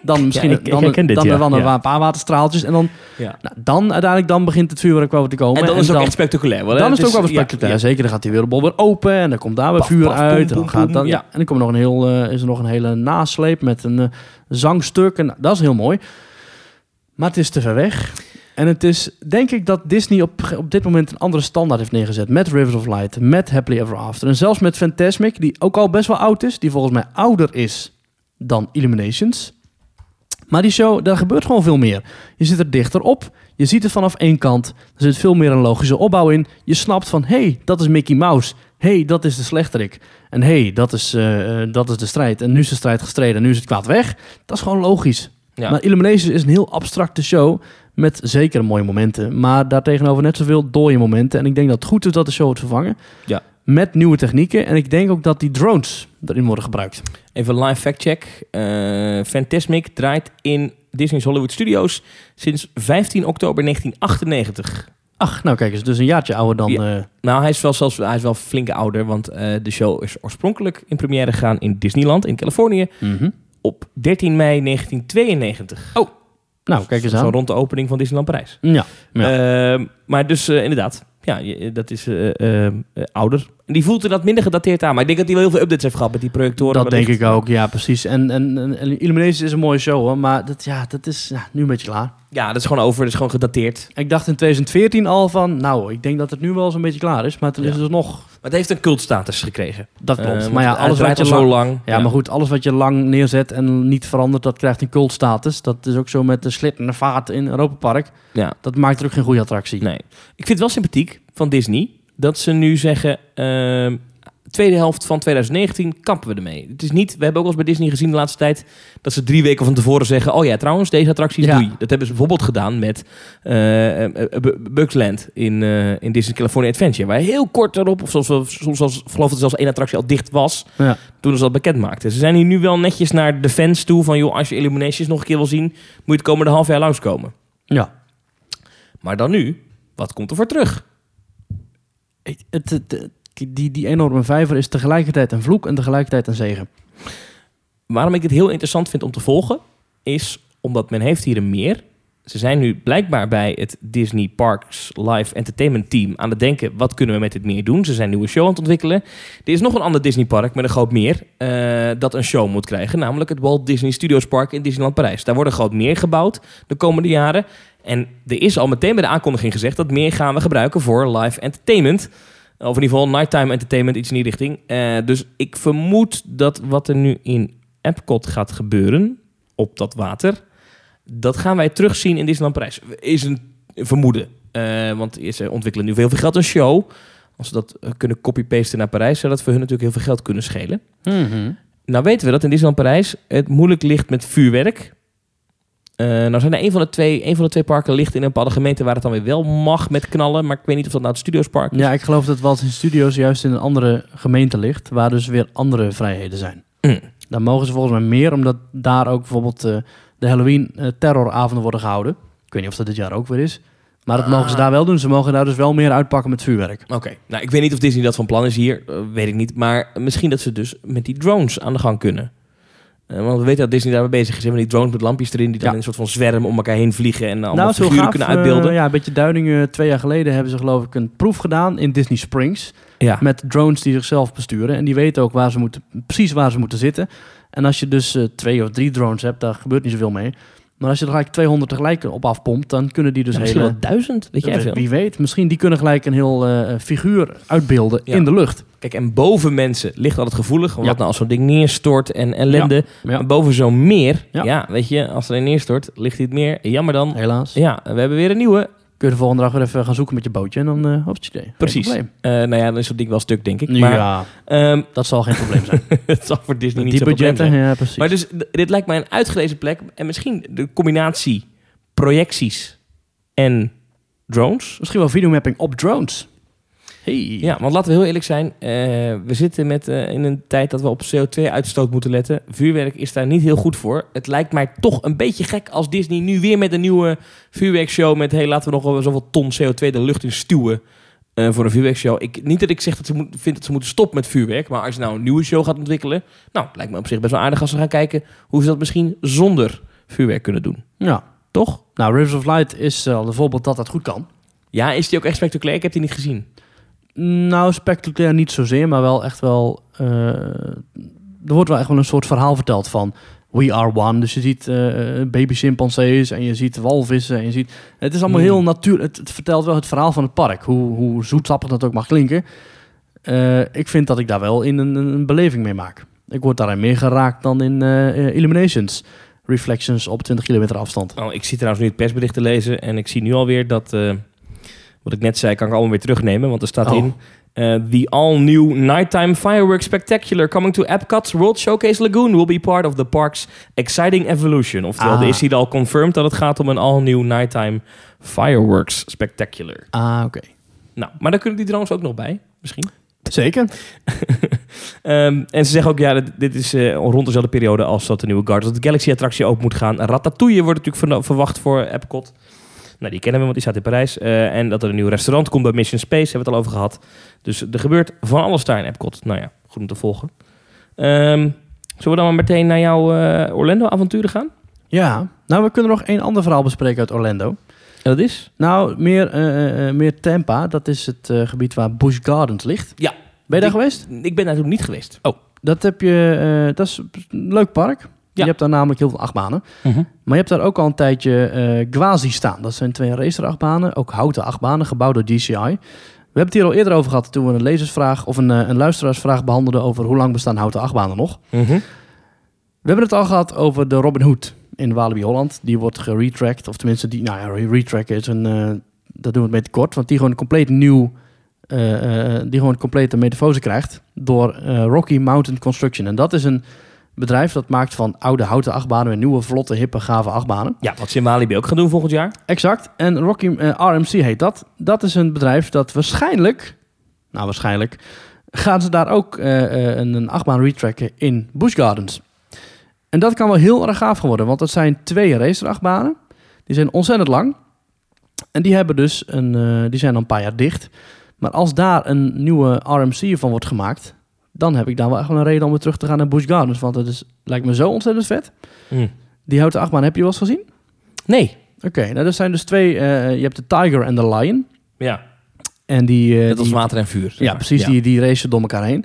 Speaker 1: Dan misschien
Speaker 2: ik- ik
Speaker 1: dan,
Speaker 2: herken dit,
Speaker 1: dan,
Speaker 2: ja.
Speaker 1: dan wel een
Speaker 2: Ja.
Speaker 1: paar waterstraaltjes. En dan,
Speaker 2: Ja.
Speaker 1: nou, dan uiteindelijk dan begint het vuurwerk wel weer te komen.
Speaker 2: En dan is het ook echt spectaculair. wel, hè?
Speaker 1: dan is het ook wel
Speaker 2: ja,
Speaker 1: spectaculair.
Speaker 2: ja.
Speaker 1: Zeker, dan gaat die wereldbol weer open en dan komt daar weer
Speaker 2: Paf,
Speaker 1: vuur
Speaker 2: paf,
Speaker 1: uit.
Speaker 2: poem,
Speaker 1: en, dan
Speaker 2: poem,
Speaker 1: gaat dan,
Speaker 2: poem,
Speaker 1: ja.
Speaker 2: ja.
Speaker 1: en dan komt nog een heel, eh, is er nog een hele nasleep met een eh, zangstuk. En, nou, dat is heel mooi. Maar het is te ver weg. En het is, denk ik, dat Disney op, op dit moment een andere standaard heeft neergezet. Met Rivers of Light, met Happily Ever After. En zelfs met Fantasmic, die ook al best wel oud is. Die volgens mij ouder is dan Illuminations. Maar die show, daar gebeurt gewoon veel meer. Je zit er dichter op. Je ziet het vanaf één kant. Er zit veel meer een logische opbouw in. Je snapt van, hé, hey, dat is Mickey Mouse. Hé, hey, dat is de slechterik. En hé, hey, dat, is, eh, eh, dat is de strijd. En nu is de strijd gestreden en nu is het kwaad weg. Dat is gewoon logisch.
Speaker 2: Ja.
Speaker 1: Maar Illuminations is een heel abstracte show met zeker mooie momenten. Maar daartegenover net zoveel dode momenten. En ik denk dat het goed is dat de show wordt vervangen.
Speaker 2: Ja.
Speaker 1: Met nieuwe technieken. En ik denk ook dat die drones erin worden gebruikt.
Speaker 2: Even live factcheck. Eh Fantasmic draait in Disney's Hollywood Studios sinds 15 oktober 1998.
Speaker 1: Ach, nou kijk eens, dus een jaartje ouder dan...
Speaker 2: Ja.
Speaker 1: eh,
Speaker 2: Nou, hij is wel, zelfs, hij is wel flink ouder, want eh, de show is oorspronkelijk in première gegaan in Disneyland in Californië
Speaker 1: mhm.
Speaker 2: op 13 mei 1992.
Speaker 1: Nou, kijk eens
Speaker 2: Zo
Speaker 1: aan.
Speaker 2: rond de opening van Disneyland Parijs.
Speaker 1: Ja,
Speaker 2: Ehm, maar dus eh, inderdaad, ja, je- dat is eh, ehm, eh, ouder. Die voelt er dat minder gedateerd aan. Maar ik denk dat hij wel heel veel updates heeft gehad met die projectoren.
Speaker 1: Dat denk
Speaker 2: wellicht.
Speaker 1: ik ook, ja, precies. En, en, en, en Illuminations is een mooie show, hoor. Maar dat, ja, dat is ja, nu een beetje klaar.
Speaker 2: Ja, dat is gewoon over. Dat is gewoon gedateerd.
Speaker 1: Ik dacht in 2014 al van, nou, ik denk dat het nu wel zo'n beetje klaar is. Maar toen
Speaker 2: Ja.
Speaker 1: is het nog,
Speaker 2: Maar het heeft een cultstatus gekregen.
Speaker 1: dat klopt.
Speaker 2: Eh,
Speaker 1: maar ja,
Speaker 2: want
Speaker 1: alles
Speaker 2: het
Speaker 1: wat
Speaker 2: draait
Speaker 1: je
Speaker 2: al
Speaker 1: lang-
Speaker 2: zo lang.
Speaker 1: Ja, maar goed, alles wat je lang neerzet en niet verandert, dat krijgt een cultstatus. Dat is ook zo met de slitterende vaat in Europa Park.
Speaker 2: Ja.
Speaker 1: Dat maakt er ook geen goede attractie.
Speaker 2: Nee. Ik vind het wel sympathiek van Disney dat ze nu zeggen... ehm, tweede helft van 2019 kampen we ermee. Het is niet, we hebben ook wel eens bij Disney gezien de laatste tijd... dat ze drie weken van tevoren zeggen... oh ja, trouwens, deze attractie
Speaker 1: Ja.
Speaker 2: doei. Dat hebben ze bijvoorbeeld gedaan met eh, eh, eh, Bu- Bugs Land in, eh, in Disney California Adventure. Waar heel kort erop, of soms, wel- soms als, geloof dat zelfs één attractie al dicht was...
Speaker 1: Ja.
Speaker 2: toen ze dat bekend maakten. Ze zijn hier nu wel netjes naar de fans toe van... joh, als je Illuminations nog een keer wil zien... moet je het komende half jaar langskomen.
Speaker 1: Ja.
Speaker 2: Maar dan nu, wat komt er voor terug?
Speaker 1: Ik- het, het- het- die, die enorme vijver is tegelijkertijd een vloek en tegelijkertijd een zegen.
Speaker 2: Waarom ik het heel interessant vind om te volgen, is omdat men heeft hier een meer. Ze zijn nu blijkbaar bij het Disney Parks Live Entertainment Team aan het denken... wat kunnen we met dit meer doen? Ze zijn een nieuwe show aan het ontwikkelen. Er is nog een ander Disney park met een groot meer eh, dat een show moet krijgen. Namelijk het Walt Disney Studios Park in Disneyland Parijs. Daar wordt een groot meer gebouwd de komende jaren. En er is al meteen bij de aankondiging gezegd... dat meer gaan we gebruiken voor live entertainment... Of in ieder geval nighttime entertainment, iets in die richting. Eh, dus ik vermoed dat wat er nu in Epcot gaat gebeuren, op dat water, dat gaan wij terugzien in Disneyland Parijs. Is een vermoeden. Eh, want ze ontwikkelen nu heel veel geld een show. Als ze dat eh, kunnen copy-pasten naar Parijs, zou dat voor hun natuurlijk heel veel geld kunnen schelen. Nou weten we dat in Disneyland Parijs het moeilijk ligt met vuurwerk. Eh nou zijn er een van, de twee, een van de twee parken ligt in een bepaalde gemeente waar het dan weer wel mag met knallen. Maar ik weet niet of dat nou het Studiospark is.
Speaker 1: Ja, ik geloof dat Walt in Studios juist in een andere gemeente ligt, waar dus weer andere vrijheden zijn.
Speaker 2: Mm.
Speaker 1: Daar mogen ze volgens mij meer, omdat daar ook bijvoorbeeld eh, de Halloween eh, terroravonden worden gehouden. Ik weet niet of dat dit jaar ook weer is. Maar dat mogen ze
Speaker 2: Ah.
Speaker 1: daar wel doen. Ze mogen daar dus wel meer uitpakken met vuurwerk.
Speaker 2: Oké, nou ik weet niet of Disney dat van plan is hier, eh, weet ik niet. Maar misschien dat ze dus met die drones aan de gang kunnen. Eh, want we weten dat Disney daarmee bezig is. hè, Met die drones met lampjes erin, die dan
Speaker 1: Ja.
Speaker 2: in een soort van zwerm om elkaar heen vliegen en eh, allemaal
Speaker 1: het is
Speaker 2: Nou, figuren
Speaker 1: heel Nou, gaaf.
Speaker 2: kunnen uitbeelden.
Speaker 1: Eh, ja, een beetje Duidingen. Twee jaar geleden hebben ze geloof ik een proef gedaan in Disney Springs.
Speaker 2: ja.
Speaker 1: Met drones die zichzelf besturen. En die weten ook waar ze moeten, precies waar ze moeten zitten. En als je dus eh, twee of drie drones hebt, daar gebeurt niet zoveel mee. Maar als je er gelijk 200 tegelijk op afpompt, dan kunnen die dus
Speaker 2: Ja, misschien
Speaker 1: hele...
Speaker 2: wel duizend, weet jij
Speaker 1: Dus
Speaker 2: veel.
Speaker 1: Wie weet, misschien die kunnen gelijk een heel eh, figuur uitbeelden
Speaker 2: Ja.
Speaker 1: in de lucht.
Speaker 2: Kijk, en boven mensen ligt altijd gevoelig. Want
Speaker 1: Ja.
Speaker 2: wat nou als zo'n ding neerstort en ellende.
Speaker 1: Ja.
Speaker 2: Maar boven zo'n meer, ja.
Speaker 1: Ja.
Speaker 2: weet je, als er een neerstort, ligt dit meer. Jammer dan.
Speaker 1: Helaas.
Speaker 2: Ja, we hebben weer een nieuwe.
Speaker 1: Kun je de volgende dag weer even gaan zoeken met je bootje en dan eh op het idee. Geen
Speaker 2: Precies.
Speaker 1: probleem.
Speaker 2: Eh, nou ja, dan is dat ding wel stuk, denk ik.
Speaker 1: Nu,
Speaker 2: Maar
Speaker 1: ja,
Speaker 2: ehm,
Speaker 1: dat
Speaker 2: <laughs>
Speaker 1: zal geen probleem zijn.
Speaker 2: het zal voor Disney niet
Speaker 1: die
Speaker 2: zo'n probleem zijn.
Speaker 1: budgetten, ja precies.
Speaker 2: Maar dus, d- dit lijkt mij een uitgelezen plek. En misschien de combinatie projecties en drones.
Speaker 1: Misschien wel videomapping op drones. Hey.
Speaker 2: Ja, want laten we heel eerlijk zijn. eh, we zitten met, eh, in een tijd dat we op CO2-uitstoot moeten letten. Vuurwerk is daar niet heel goed voor. Het lijkt mij toch een beetje gek als Disney nu weer met een nieuwe vuurwerkshow... met, hey, laten we nog wel zoveel ton CO2 de lucht in stuwen eh, voor een vuurwerkshow. Ik, niet dat ik zeg dat ze moet, vind dat ze moeten stoppen met vuurwerk... maar als je nou een nieuwe show gaat ontwikkelen... nou, het lijkt me op zich best wel aardig als ze gaan kijken... hoe ze dat misschien zonder vuurwerk kunnen doen.
Speaker 1: Ja.
Speaker 2: Toch?
Speaker 1: Nou, Rivers of Light is eh, al een voorbeeld dat dat goed kan.
Speaker 2: Ja, is die ook echt spectaculair? Ik heb die niet gezien.
Speaker 1: Nou, spectaculair niet zozeer, maar wel echt wel... eh, er wordt wel echt wel een soort verhaal verteld van... We are one. Dus je ziet eh baby chimpansees en je ziet walvissen en je ziet... Het is allemaal
Speaker 2: Hmm.
Speaker 1: heel natuurlijk. Het, het vertelt wel het verhaal van het park. Hoe, hoe zoetsappig dat ook mag klinken. Eh, ik vind dat ik daar wel in een, een, een beleving mee maak. Ik word daarin meer geraakt dan in eh, eh, Illuminations. Reflections op 20 kilometer afstand.
Speaker 2: Oh, ik zie trouwens nu het persbericht te lezen en ik zie nu alweer dat... eh, wat ik net zei, kan ik allemaal weer terugnemen, want er staat
Speaker 1: Oh.
Speaker 2: in... eh, the all-new nighttime fireworks spectacular coming to Epcot's World Showcase Lagoon... will be part of the park's exciting evolution. Oftewel,
Speaker 1: Ah.
Speaker 2: er is hier al confirmed dat het gaat om een all-new nighttime fireworks spectacular.
Speaker 1: Ah, oké.
Speaker 2: Nou, maar daar kunnen die trouwens ook nog bij, misschien.
Speaker 1: Zeker.
Speaker 2: <laughs> Ehm, en ze zeggen ook, ja, dit, dit is eh, rond dezelfde periode als dat de nieuwe Guardians of the Galaxy-attractie open moet gaan. Ratatouille wordt natuurlijk verno- verwacht voor Epcot. Nou, die kennen we, want die staat in Parijs. Eh, en dat er een nieuw restaurant komt bij Mission Space, hebben we het al over gehad. Dus er gebeurt van alles daar in Epcot. Nou ja, goed om te volgen. Ehm, zullen we dan maar meteen naar jouw eh, Orlando-avonturen gaan?
Speaker 1: Ja. Nou, we kunnen nog één ander verhaal bespreken uit Orlando.
Speaker 2: En dat is?
Speaker 1: Nou, meer, eh, eh, eh, meer Tampa. Dat is het eh, gebied waar Busch Gardens ligt.
Speaker 2: Ja.
Speaker 1: Ben je daar
Speaker 2: Die-
Speaker 1: geweest?
Speaker 2: Ik ben daar toen niet geweest. Oh.
Speaker 1: Dat, heb je, eh, dat is een leuk park. Je hebt daar namelijk heel veel achtbanen. Maar je hebt daar ook al een tijdje eh Gwazi staan. Dat zijn twee racerachtbanen, ook houten achtbanen, gebouwd door DCI. We hebben het hier al eerder over gehad toen we een lezersvraag of een, eh, een luisteraarsvraag behandelden over hoe lang bestaan houten achtbanen nog.
Speaker 2: Mhm.
Speaker 1: We hebben het al gehad over de Robin Hood in Walibi Holland. Die wordt geretracked, of tenminste, die, nou ja, re- retrack is een, eh, dat doen we het mee kort, want die gewoon een compleet nieuw, eh, eh, die gewoon een complete metamfose krijgt door eh, Rocky Mountain Construction. En dat is een bedrijf dat maakt van oude houten achtbanen weer nieuwe, vlotte, hippe, gave achtbanen.
Speaker 2: Ja, wat ze in Walibi ook gaan doen volgend jaar.
Speaker 1: Exact. En Rocky eh, RMC heet dat. Dat is een bedrijf dat waarschijnlijk, nou waarschijnlijk, gaan ze daar ook eh, eh, een, een achtbaan retracken in Busch Gardens. En dat kan wel heel erg gaaf worden, want dat zijn twee racerachtbanen. Die zijn ontzettend lang. En die, hebben dus een, eh, die zijn al een paar jaar dicht. Maar als daar een nieuwe RMC van wordt gemaakt, dan heb ik daar wel echt wel een reden om weer terug te gaan naar Busch Gardens. Want het is, lijkt me zo ontzettend vet.
Speaker 2: Mm.
Speaker 1: Die houten achtbaan heb je wel eens gezien?
Speaker 2: Nee.
Speaker 1: Oké, nou er zijn dus twee. eh, je hebt de Tiger en de Lion.
Speaker 2: Ja,
Speaker 1: En die, eh,
Speaker 2: net als
Speaker 1: die-
Speaker 2: water en vuur. zeg
Speaker 1: ja,
Speaker 2: maar.
Speaker 1: precies,
Speaker 2: Ja.
Speaker 1: Die, die racen door elkaar heen.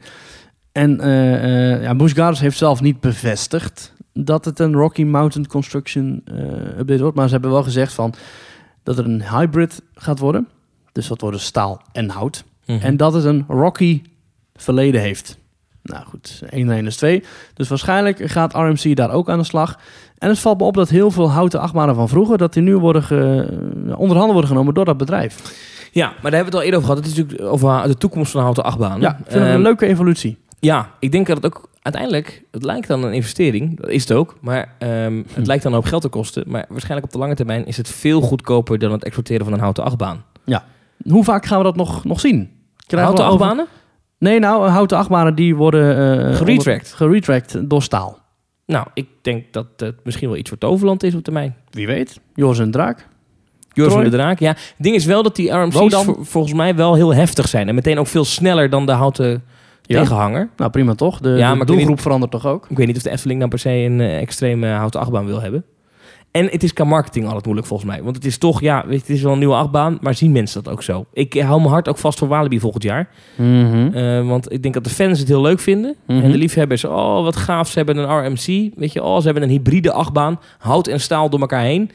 Speaker 1: En eh eh, ja, Busch Gardens heeft zelf niet bevestigd dat het een Rocky Mountain Construction eh, update wordt. Maar ze hebben wel gezegd van dat er een hybrid gaat worden. Dus dat worden staal en hout.
Speaker 2: Mhm.
Speaker 1: En dat het een Rocky verleden heeft. Nou goed, 1 en 1 is 2. Dus waarschijnlijk gaat RMC daar ook aan de slag. En het valt me op dat heel veel houten achtbanen van vroeger... dat die nu worden ge, onderhanden worden genomen door dat bedrijf.
Speaker 2: Ja, maar daar hebben we het al eerder over gehad. Het is natuurlijk over de toekomst van de houten achtbaan.
Speaker 1: Ja, ik vind
Speaker 2: ehm,
Speaker 1: het een leuke evolutie.
Speaker 2: Ja, ik denk dat het ook uiteindelijk, het lijkt dan een investering, dat is het ook, maar ehm, het
Speaker 1: Hm.
Speaker 2: lijkt dan ook geld te kosten. Maar waarschijnlijk op de lange termijn is het veel goedkoper dan het exporteren van een houten achtbaan.
Speaker 1: Hoe vaak gaan we dat nog, nog zien? Krijgen we
Speaker 2: houten
Speaker 1: over-
Speaker 2: achtbanen?
Speaker 1: Nee, nou, houten achtbanen die worden... eh,
Speaker 2: Geretracked.
Speaker 1: onder- geretracked door staal.
Speaker 2: Nou, ik denk dat het misschien wel iets voor Toverland is op termijn.
Speaker 1: Wie weet. Joris en Draak.
Speaker 2: Joris van
Speaker 1: Troy?
Speaker 2: de Draak, ja. Het ding is wel dat die RMC's
Speaker 1: Rodan.
Speaker 2: vol- volgens mij wel heel heftig zijn. En meteen ook veel sneller dan de houten
Speaker 1: Ja.
Speaker 2: tegenhanger.
Speaker 1: Nou, prima toch? De,
Speaker 2: Ja,
Speaker 1: de
Speaker 2: maar ik weet
Speaker 1: doelgroep verandert toch ook?
Speaker 2: Ik weet niet of de Efteling dan per se een eh, extreme houten achtbaan wil hebben. En het is qua marketing altijd moeilijk volgens mij. Want het is toch, ja, weet je, het is wel een nieuwe achtbaan, maar zien mensen dat ook zo? Ik eh, hou mijn hart ook vast voor Walibi volgend jaar. Eh, want ik denk dat de fans het heel leuk vinden.
Speaker 1: Hm? Mhm.
Speaker 2: En de liefhebbers, oh wat gaaf, ze hebben een RMC. Weet je, oh ze hebben een hybride achtbaan. Hout en staal door elkaar heen.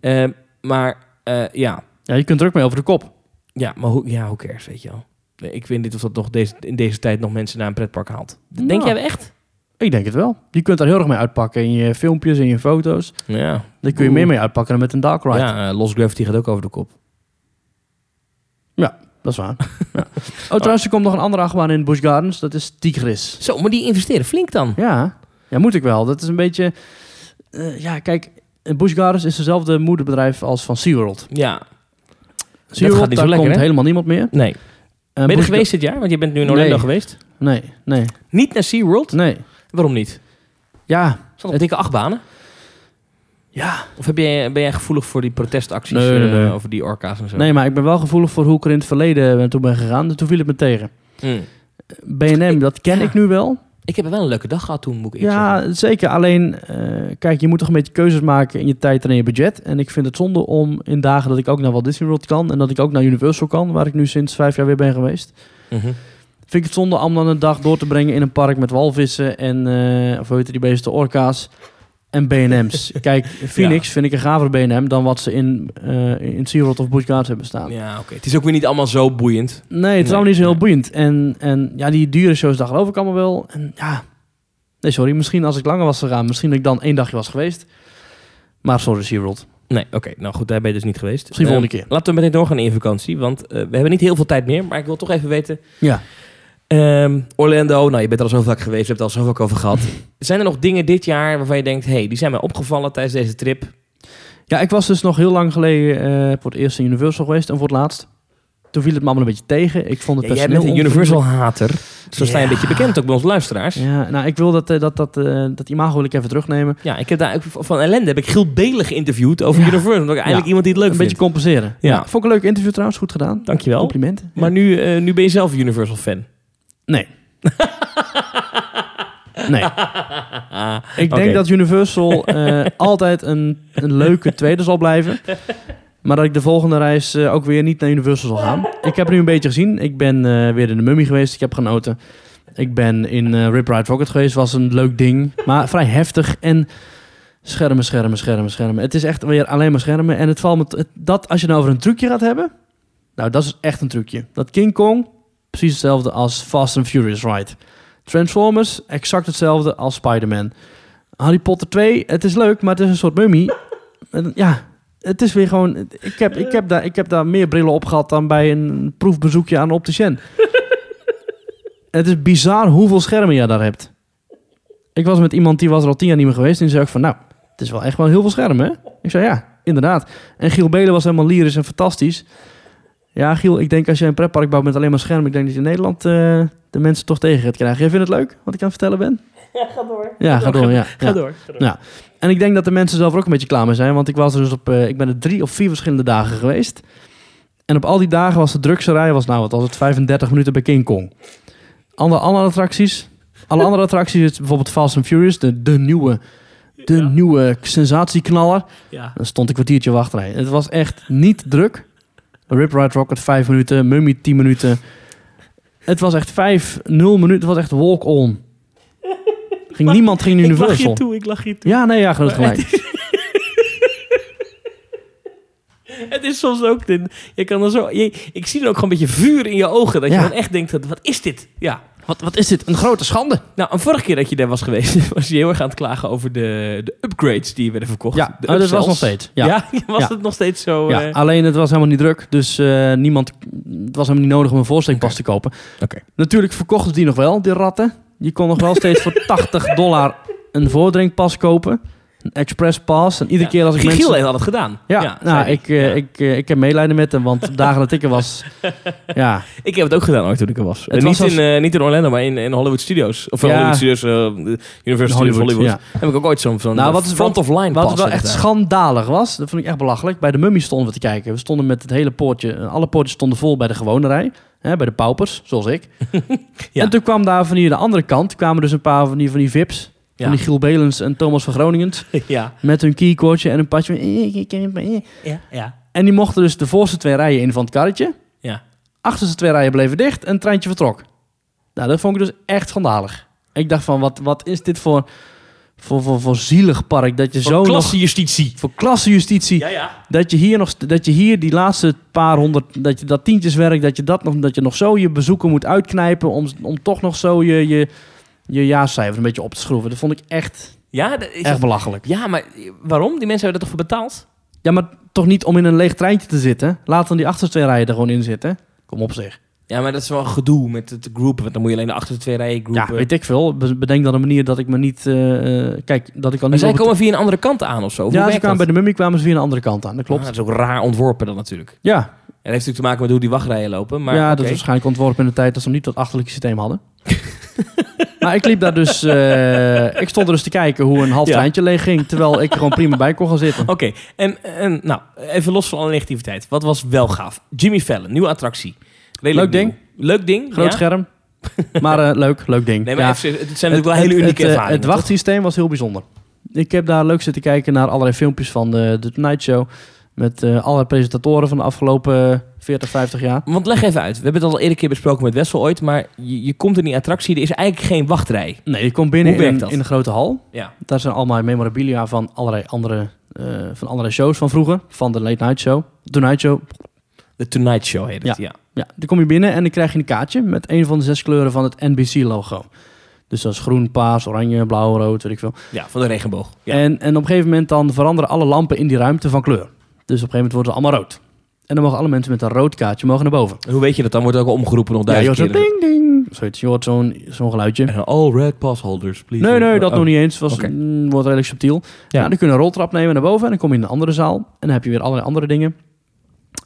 Speaker 2: Eh, maar eh, ja,
Speaker 1: Ja, je kunt er ook mee over de kop.
Speaker 2: ja, maar hoe, ja, hoe cares, weet je wel. Nee, Ik weet niet of dat nog deze, in deze tijd nog mensen naar een pretpark haalt. Denk
Speaker 1: Nou.
Speaker 2: jij echt?
Speaker 1: Ik denk het wel. Je kunt er heel erg mee uitpakken in je filmpjes, in je foto's.
Speaker 2: Ja.
Speaker 1: Daar kun je
Speaker 2: Oeh.
Speaker 1: meer mee uitpakken dan met een dark ride.
Speaker 2: Ja, eh, Lost Gravity gaat ook over de kop.
Speaker 1: Dat is
Speaker 2: <laughs>
Speaker 1: waar. ja. Oh, trouwens, er komt nog een andere achtbaan in Busch Gardens. Dat is Tigris.
Speaker 2: Zo, maar die investeren flink dan.
Speaker 1: Ja, ja moet ik wel. Dat is een beetje... eh, ja, kijk, Busch Gardens is dezelfde moederbedrijf als van SeaWorld.
Speaker 2: Ja,
Speaker 1: SeaWorld,
Speaker 2: gaat niet zo
Speaker 1: daar
Speaker 2: lekker,
Speaker 1: komt
Speaker 2: hè?
Speaker 1: helemaal niemand meer.
Speaker 2: nee. Ben
Speaker 1: Eh,
Speaker 2: je er
Speaker 1: Busch-
Speaker 2: geweest dit jaar? Want je bent nu in Orlando
Speaker 1: Nee.
Speaker 2: geweest.
Speaker 1: Nee, nee,
Speaker 2: Niet naar SeaWorld?
Speaker 1: nee.
Speaker 2: Waarom niet?
Speaker 1: Ja,
Speaker 2: Zat op dikke achtbanen?
Speaker 1: ja.
Speaker 2: Of heb jij, ben jij gevoelig voor die protestacties
Speaker 1: Nee, nee,
Speaker 2: eh,
Speaker 1: nee.
Speaker 2: over die orka's en zo?
Speaker 1: Nee, maar ik ben wel gevoelig voor hoe ik er in het verleden ben- toe ben gegaan. En Toen viel het me tegen.
Speaker 2: Mm.
Speaker 1: BNM, dat ken ik nu wel.
Speaker 2: Ik heb wel een leuke dag gehad toen, moet ik eerlijk zeggen.
Speaker 1: Ja, zeker. Alleen, eh, kijk, je moet toch een beetje keuzes maken in je tijd en in je budget. En ik vind het zonde om in dagen dat ik ook naar Walt Disney World kan en dat ik ook naar Universal kan, waar ik nu sinds vijf jaar weer ben geweest.
Speaker 2: Mhm.
Speaker 1: Vind ik het zonde om dan een dag door te brengen in een park met walvissen en, eh of hoe heet die beesten, orka's en B&M's. kijk, Phoenix vind ik een gaver B&M dan wat ze in, eh in SeaWorld of Busch Gardens hebben staan.
Speaker 2: Ja, oké. Het is ook weer niet allemaal zo boeiend.
Speaker 1: Nee, het is
Speaker 2: Nee,
Speaker 1: allemaal niet zo heel
Speaker 2: nee.
Speaker 1: boeiend. En, en ja, die dure shows, daar geloof ik allemaal wel. En ja, nee, sorry. Misschien als ik langer was gegaan, misschien dat ik dan één dagje was geweest. Maar sorry, SeaWorld.
Speaker 2: Nee, oké. Nou goed, daar ben je dus niet geweest.
Speaker 1: Misschien
Speaker 2: Eh,
Speaker 1: volgende keer.
Speaker 2: Laten we meteen doorgaan in je vakantie, want eh, we hebben niet heel veel tijd meer. Maar ik wil toch even weten,
Speaker 1: Ja.
Speaker 2: Ehm, Orlando, nou je bent er al zo vaak geweest, je hebt het al zo vaak over gehad. <laughs> zijn er nog dingen dit jaar waarvan je denkt, hey, die zijn mij opgevallen tijdens deze trip?
Speaker 1: Ja, ik was dus nog heel lang geleden eh, voor het eerst in Universal geweest en voor het laatst. Toen viel het me allemaal een beetje tegen. Ik vond het
Speaker 2: Ja, jij
Speaker 1: personeel
Speaker 2: bent een Universal-hater. Zo sta je een
Speaker 1: Ja.
Speaker 2: beetje bekend ook bij onze luisteraars. Ja.
Speaker 1: Ja, nou, ik wil dat, eh, dat, dat, eh, dat imago wil ik even terugnemen.
Speaker 2: ik heb daar ook van ellende heb ik Giel Belen geïnterviewd over
Speaker 1: Ja.
Speaker 2: Universal. Omdat ik eigenlijk
Speaker 1: Ja.
Speaker 2: iemand die het leuk
Speaker 1: een
Speaker 2: vindt.
Speaker 1: beetje compenseren.
Speaker 2: Ja.
Speaker 1: vond ik een leuk interview trouwens. Goed gedaan.
Speaker 2: Dankjewel.
Speaker 1: Complimenten.
Speaker 2: Maar nu, eh, nu ben je zelf een Universal-fan.
Speaker 1: <laughs> Nee. nee. Ik denk
Speaker 2: Oké.
Speaker 1: <laughs> dat Universal eh, altijd een, een leuke tweede zal blijven. Maar dat ik de volgende reis eh, ook weer niet naar Universal zal gaan. Ik heb er nu een beetje gezien. Ik ben eh, weer in de Mummy geweest. Ik heb genoten. Ik ben in eh, Rip Ride Rocket geweest. Was een leuk ding. Maar vrij heftig. En schermen, schermen, schermen, schermen. Het is echt weer alleen maar schermen. En het valt me... t- het- dat als je nou over een trucje gaat hebben... Nou, dat is echt een trucje. Dat King Kong, precies hetzelfde als Fast and Furious Ride. Transformers, exact hetzelfde als Spider-Man. Harry Potter 2, het is leuk, maar het is een soort mummy. En Ja, het is weer gewoon... Ik heb, ik heb, daar, ik heb daar meer brillen op gehad dan bij een proefbezoekje aan een opticien. het is bizar hoeveel schermen je daar hebt. Ik was met iemand die was er al tien jaar niet meer geweest. En die zei ook van, nou, het is wel echt wel heel veel schermen, hè? Ik zei, ja, inderdaad. En Giel Belen was helemaal lyrisch en fantastisch. Ja, Giel, ik denk als jij een pretpark bouwt met alleen maar schermen... ik denk dat je in Nederland eh, de mensen toch tegen gaat krijgen. Jij vindt het leuk, wat ik aan het vertellen ben?
Speaker 2: Ja, ga door.
Speaker 1: Ja, ga door, ja.
Speaker 2: Ga
Speaker 1: ja.
Speaker 2: door. Ga door.
Speaker 1: Ja. En ik denk dat de mensen zelf er ook een beetje klaar mee zijn. Want ik, was er dus op, eh, ik ben er drie of vier verschillende dagen geweest. En op al die dagen was de drugserij, was nou wat was het, 35 minuten bij King Kong. Andere, andere attracties, alle andere attracties, is bijvoorbeeld Fast and Furious, de, de nieuwe, de
Speaker 2: Ja.
Speaker 1: nieuwe sensatieknaller.
Speaker 2: Ja.
Speaker 1: Dan stond een kwartiertje wachtrij. Het was echt niet druk. Rip Ride Rocket 5 minuten, Mummy 10 minuten. Het was echt 5, 0 minuten. Het was echt walk-on. Ging niemand ging
Speaker 2: Ik lach je
Speaker 1: Universal.
Speaker 2: toe, ik lach je toe.
Speaker 1: Ja, nee, ja, groot gelijk.
Speaker 2: <laughs> Het is soms ook... De, je kan dan zo, je, ik zie dan ook gewoon een beetje vuur in je ogen. Dat
Speaker 1: Ja.
Speaker 2: je dan echt denkt, dat, wat is dit? Ja.
Speaker 1: Wat, wat is dit? Een grote schande.
Speaker 2: Nou, een vorige keer dat je daar was geweest... <laughs> was je heel erg aan het klagen over de, de upgrades die werden verkocht.
Speaker 1: Ja,
Speaker 2: De
Speaker 1: oh, dat was
Speaker 2: upsells.
Speaker 1: nog steeds. Ja.
Speaker 2: Ja, <laughs>
Speaker 1: Ja.
Speaker 2: was
Speaker 1: Ja.
Speaker 2: het nog steeds zo... eh,
Speaker 1: alleen het was helemaal niet druk. Dus eh, niemand, het was helemaal niet nodig om een voorstellingpas
Speaker 2: Oké.
Speaker 1: te kopen.
Speaker 2: Oké.
Speaker 1: Natuurlijk verkochten ze die nog wel, die ratten. Je kon nog wel
Speaker 2: <laughs>
Speaker 1: steeds voor 80 dollar een voordrinkpas kopen. Een expresspas. En iedere
Speaker 2: ja.
Speaker 1: keer als ik
Speaker 2: Giel
Speaker 1: mensen...
Speaker 2: had het gedaan.
Speaker 1: Ja, nou,
Speaker 2: zei
Speaker 1: ik, eh,
Speaker 2: Ja.
Speaker 1: Ik, eh, ik heb medelijden met hem, want dagen dat ik er
Speaker 2: <laughs>
Speaker 1: was... Ja,
Speaker 2: Ik heb het ook gedaan ooit toen ik er was.
Speaker 1: Het
Speaker 2: Eh,
Speaker 1: was
Speaker 2: niet,
Speaker 1: als-
Speaker 2: in, eh, niet in Orlando, maar in, in Hollywood Studios. Of in
Speaker 1: Ja.
Speaker 2: Hollywood Studios, eh, Universal Studios
Speaker 1: Hollywood,
Speaker 2: Hollywood.
Speaker 1: ja.
Speaker 2: Heb ik ook ooit zo'n zo'n
Speaker 1: Nou, wat is-
Speaker 2: front of line
Speaker 1: Wat
Speaker 2: pass
Speaker 1: wel
Speaker 2: heb ik
Speaker 1: echt
Speaker 2: daar.
Speaker 1: schandalig was, dat vond ik echt belachelijk. Bij de mummy stonden we te kijken. We stonden met het hele poortje, eh, alle poortjes stonden vol bij de gewone rij. Hè, bij de paupers, zoals ik.
Speaker 2: <laughs> Ja.
Speaker 1: En toen kwam daar van hier de andere kant, kwamen dus een paar van die, van die vips.
Speaker 2: Ja.
Speaker 1: Van die Giel Belens en Thomas van Groningen.
Speaker 2: <laughs> ja,
Speaker 1: Met hun keycordje en een padje. van, "Ik heb een-"
Speaker 2: ja, ja.
Speaker 1: En die mochten dus de voorste twee rijen in van het karretje.
Speaker 2: Ja.
Speaker 1: Achterste twee rijen bleven dicht en het treintje vertrok. Nou, dat vond ik dus echt schandalig. Ik dacht van, wat, wat is dit voor, voor, voor, voor zielig park? Dat je zo
Speaker 2: Zo'n
Speaker 1: nog...
Speaker 2: klassejustitie.
Speaker 1: Voor klassenjustitie.
Speaker 2: Ja, ja.
Speaker 1: Dat je hier nog, st- dat je hier die laatste paar honderd, dat je dat tientjeswerk, dat je dat nog, dat je nog zo je bezoeken moet uitknijpen om, om toch nog zo je, je, je jaarcijfers een beetje op te schroeven. Dat vond ik echt,
Speaker 2: Ja, dat is-
Speaker 1: echt belachelijk.
Speaker 2: ja, maar waarom? Die mensen hebben er toch voor betaald?
Speaker 1: Ja, maar toch niet om in een leeg treintje te zitten. Laat dan die achterste twee rijen er gewoon in zitten. Kom op zich.
Speaker 2: Ja, maar dat is wel een gedoe met het groepen. Want dan moet je alleen de achter de twee rijen groepen.
Speaker 1: Ja, weet ik veel. Be- Bedenk dan een manier dat ik me niet, eh, eh, kijk, dat ik al
Speaker 2: maar
Speaker 1: niet...
Speaker 2: zij
Speaker 1: op het-
Speaker 2: komen via een andere kant aan of zo. Hoe
Speaker 1: ja, ze
Speaker 2: werkt
Speaker 1: kwamen bij
Speaker 2: dat?
Speaker 1: de mummy kwamen ze via een andere kant aan. Dat klopt.
Speaker 2: Ah, dat is ook raar ontworpen dan natuurlijk. En
Speaker 1: Ja,
Speaker 2: dat heeft natuurlijk te maken met hoe die wachtrijen lopen. Maar,
Speaker 1: ja,
Speaker 2: oké.
Speaker 1: dat is waarschijnlijk ontworpen in de tijd dat ze nog niet dat achterlijke systeem hadden. <laughs> maar ik liep daar dus... eh, ik stond er dus te kijken hoe een half
Speaker 2: Ja.
Speaker 1: treintje leeg ging... terwijl ik er gewoon prima bij kon gaan zitten.
Speaker 2: Oké, en, en nou, even los van alle negativiteit. Wat was wel gaaf? Jimmy Fallon, nieuwe attractie. Redelijk
Speaker 1: Leuk
Speaker 2: nieuw. Leuk ding.
Speaker 1: Groot
Speaker 2: ja.
Speaker 1: scherm. Maar eh, leuk, leuk ding.
Speaker 2: Nee, maar
Speaker 1: Ja.
Speaker 2: even serieus, het zijn natuurlijk wel hele
Speaker 1: het,
Speaker 2: unieke
Speaker 1: eh,
Speaker 2: ervaringen.
Speaker 1: Het wachtsysteem was heel bijzonder. Ik heb daar leuk zitten kijken naar allerlei filmpjes van de, de Tonight Show... met eh allerlei presentatoren van de afgelopen eh, 40, 50 jaar.
Speaker 2: toch? Want leg even uit. We hebben het al eerder keer besproken met Wessel ooit. Maar je, je komt in die attractie, er is eigenlijk geen wachtrij.
Speaker 1: Nee, je komt binnen
Speaker 2: Hoe werkt
Speaker 1: in,
Speaker 2: dat?
Speaker 1: in een grote hal.
Speaker 2: Ja.
Speaker 1: Daar zijn allemaal memorabilia van allerlei andere, eh, van allerlei shows van vroeger. Van de Late Night Show. De Night Show.
Speaker 2: De Tonight Show heet het, ja.
Speaker 1: Ja, dan kom je binnen en dan krijg je een kaartje met een van de zes kleuren van het NBC-logo. Dus dat is groen, paars, oranje, blauw, rood, weet ik veel.
Speaker 2: Ja, van de regenboog. Ja.
Speaker 1: En, en op een gegeven moment dan veranderen alle lampen in die ruimte van kleur. Dus op een gegeven moment worden ze allemaal rood. En dan mogen alle mensen met een rood kaartje mogen naar boven.
Speaker 2: En hoe weet je dat? Dan wordt ook al omgeroepen nog
Speaker 1: Ja, je hoort
Speaker 2: duizend
Speaker 1: zo
Speaker 2: keer.
Speaker 1: ding, ding. Zoiets, je hoort zo'n zo'n geluidje.
Speaker 2: En dan, all red pass holders, please.
Speaker 1: Nee, nee, dat
Speaker 2: Oh.
Speaker 1: nog niet eens. Was,
Speaker 2: Oké.
Speaker 1: mm, wordt redelijk subtiel. Ja. dan kun je een roltrap nemen naar boven en dan kom je in een andere zaal. En dan heb je weer allerlei andere dingen.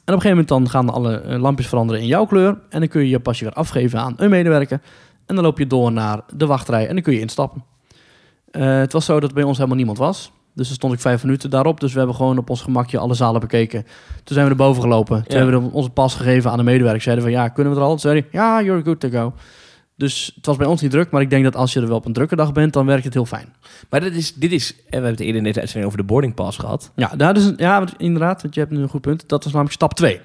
Speaker 1: En op een gegeven moment dan gaan alle eh, lampjes veranderen in jouw kleur. En dan kun je je pasje weer afgeven aan een medewerker. En dan loop je door naar de wachtrij en dan kun je instappen. Eh, het was zo dat bij ons helemaal niemand was. Dus dan stond ik vijf minuten daarop. Dus we hebben gewoon op ons gemakje alle zalen bekeken. Toen zijn we naar boven gelopen. Toen
Speaker 2: Ja.
Speaker 1: hebben we onze pas gegeven aan de medewerker. Zeiden we, ja, kunnen we er al? Toen zei hij, ja, you're good to go. Dus het was bij ons niet druk, maar ik denk dat als je er wel op een drukke dag bent, dan werkt het heel fijn.
Speaker 2: Maar dit is, dit is, en we hebben het eerder in deze uitzending over de boarding pass gehad.
Speaker 1: Ja, dat is, ja want inderdaad, want je hebt nu een goed punt. Dat is namelijk stap 2.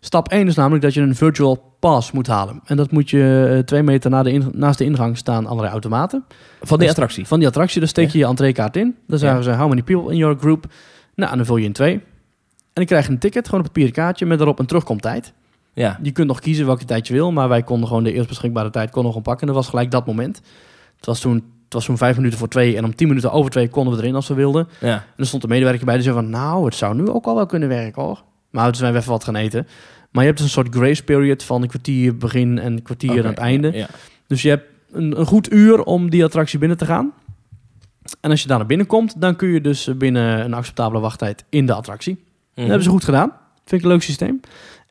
Speaker 1: Stap 1 is namelijk dat je een virtual pass moet halen. En dat moet je eh, twee meter na de in- naast de ingang staan allerlei automaten.
Speaker 2: Van die
Speaker 1: Dus-
Speaker 2: attractie.
Speaker 1: Van die attractie, daar steek je je entreekaart in. Dan zeggen ze, how many people in your group? Nou, en dan vul je in twee. En dan krijg je een ticket, gewoon een papieren kaartje met daarop een terugkomtijd.
Speaker 2: Ja.
Speaker 1: Je kunt nog kiezen welke tijd je wil, maar wij konden gewoon de eerst beschikbare tijd konden we gewoon pakken. En dat was gelijk dat moment. Het was toen, het was toen vijf minuten voor twee en om tien minuten over twee konden we erin als we wilden.
Speaker 2: ja.
Speaker 1: En er stond een medewerker bij die zei van... nou, het zou nu ook al wel kunnen werken hoor. Maar toen zijn we even wat gaan eten. Maar je hebt dus een soort grace period van een kwartier begin en een kwartier
Speaker 2: Oké,
Speaker 1: aan het einde.
Speaker 2: Ja.
Speaker 1: Dus je hebt een, een goed uur om die attractie binnen te gaan. En als je daar naar binnen komt, dan kun je dus binnen een acceptabele wachttijd in de attractie.
Speaker 2: Mhm.
Speaker 1: Dat hebben ze goed gedaan. Vind ik een leuk systeem.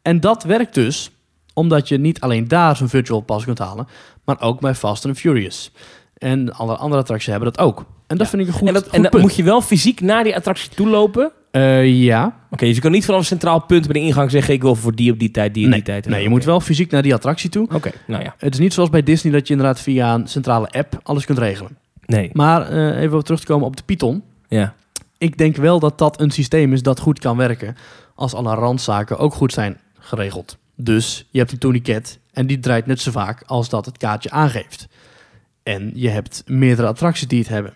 Speaker 1: En dat werkt dus omdat je niet alleen daar zo'n virtual pass kunt halen, maar ook bij Fast and Furious. En alle andere attracties hebben dat ook. En dat
Speaker 2: Ja.
Speaker 1: vind ik een goed,
Speaker 2: en dat,
Speaker 1: goed
Speaker 2: en dan
Speaker 1: punt.
Speaker 2: moet je wel fysiek naar die attractie toe lopen. Oké,
Speaker 1: Eh, ja,
Speaker 2: dus je kan niet vanaf een centraal punt bij de ingang zeggen... ik wil voor die op die tijd, die op die tijd.
Speaker 1: Nee, je moet wel fysiek naar die attractie toe.
Speaker 2: Oké, nou ja.
Speaker 1: Het is niet zoals bij Disney dat je inderdaad via een centrale app alles kunt regelen.
Speaker 2: Nee.
Speaker 1: Maar eh, even op terug te komen op de Python.
Speaker 2: Ja.
Speaker 1: Ik denk wel dat dat een systeem is dat goed kan werken als alle randzaken ook goed zijn geregeld. Dus je hebt een tourniquet en die draait net zo vaak als dat het kaartje aangeeft. En je hebt meerdere attracties die het hebben.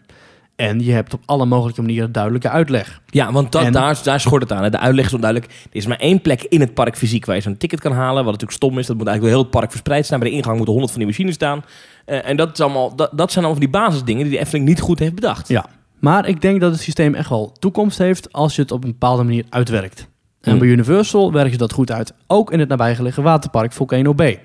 Speaker 1: En je hebt op alle mogelijke manieren duidelijke uitleg.
Speaker 2: ja, want dat,
Speaker 1: En-
Speaker 2: daar, daar schort het aan. hè. De uitleg is onduidelijk. Er is maar één plek in het park fysiek waar je zo'n ticket kan halen. Wat natuurlijk stom is. Dat moet eigenlijk door heel het park verspreid staan. Bij de ingang moeten honderd van die machines staan. Eh, en dat, is allemaal, dat, dat zijn allemaal van die basisdingen die de Efteling niet goed heeft bedacht.
Speaker 1: Ja. Maar ik denk dat het systeem echt wel toekomst heeft als je het op een bepaalde manier uitwerkt. En
Speaker 2: Hmm.
Speaker 1: bij Universal werken ze dat goed uit. Ook in het nabijgelegen waterpark Volcano Bay.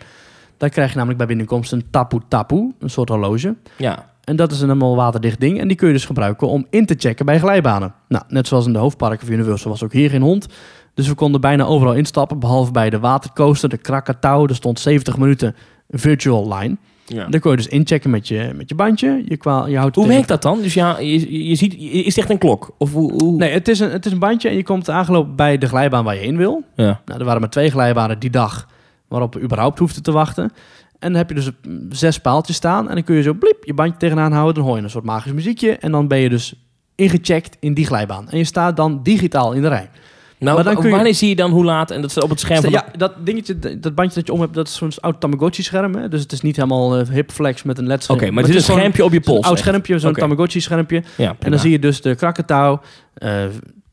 Speaker 1: Daar krijg je namelijk bij binnenkomst een tapu tapu, een soort horloge.
Speaker 2: Ja.
Speaker 1: En dat is een helemaal waterdicht ding. En die kun je dus gebruiken om in te checken bij glijbanen. Nou, net zoals in de hoofdparken van Universal was ook hier geen hond. Dus we konden bijna overal instappen, behalve bij de watercoaster, de Krakatau. Er stond 70 minuten virtual line.
Speaker 2: ja.
Speaker 1: Daar kun je dus inchecken met je, met je bandje. Je, kwa- je houdt het
Speaker 2: Hoe
Speaker 1: tegen-
Speaker 2: werkt dat dan? Dus ja, je, je ziet, je- is het echt een klok? Of hoe? hoe-
Speaker 1: Nee, het is, een, het is een bandje en je komt aangelopen bij de glijbaan waar je in wil.
Speaker 2: Ja.
Speaker 1: Nou, er waren maar twee glijbanen die dag waarop we überhaupt hoefden te wachten. En dan heb je dus mm, zes paaltjes staan en dan kun je zo bliep je bandje tegenaan houden. Dan hoor je een soort magisch muziekje en dan ben je dus ingecheckt in die glijbaan. En je staat dan digitaal in de rij.
Speaker 2: Nou,
Speaker 1: Maar dan
Speaker 2: wa-
Speaker 1: kun je-
Speaker 2: wanneer zie je dan hoe laat? En dat staat op het scherm van
Speaker 1: ja, dat dingetje, d- dat bandje dat je om hebt, dat is zo'n oud Tamagotchi-scherm. hè. Dus het is niet helemaal eh, hip flex met een led
Speaker 2: de... Oké, maar het is een schermpje op je pols.
Speaker 1: Een oud
Speaker 2: echt.
Speaker 1: schermpje, zo'n
Speaker 2: Oké.
Speaker 1: Tamagotchi-schermpje.
Speaker 2: Ja,
Speaker 1: En dan zie je dus de krakkentouw, eh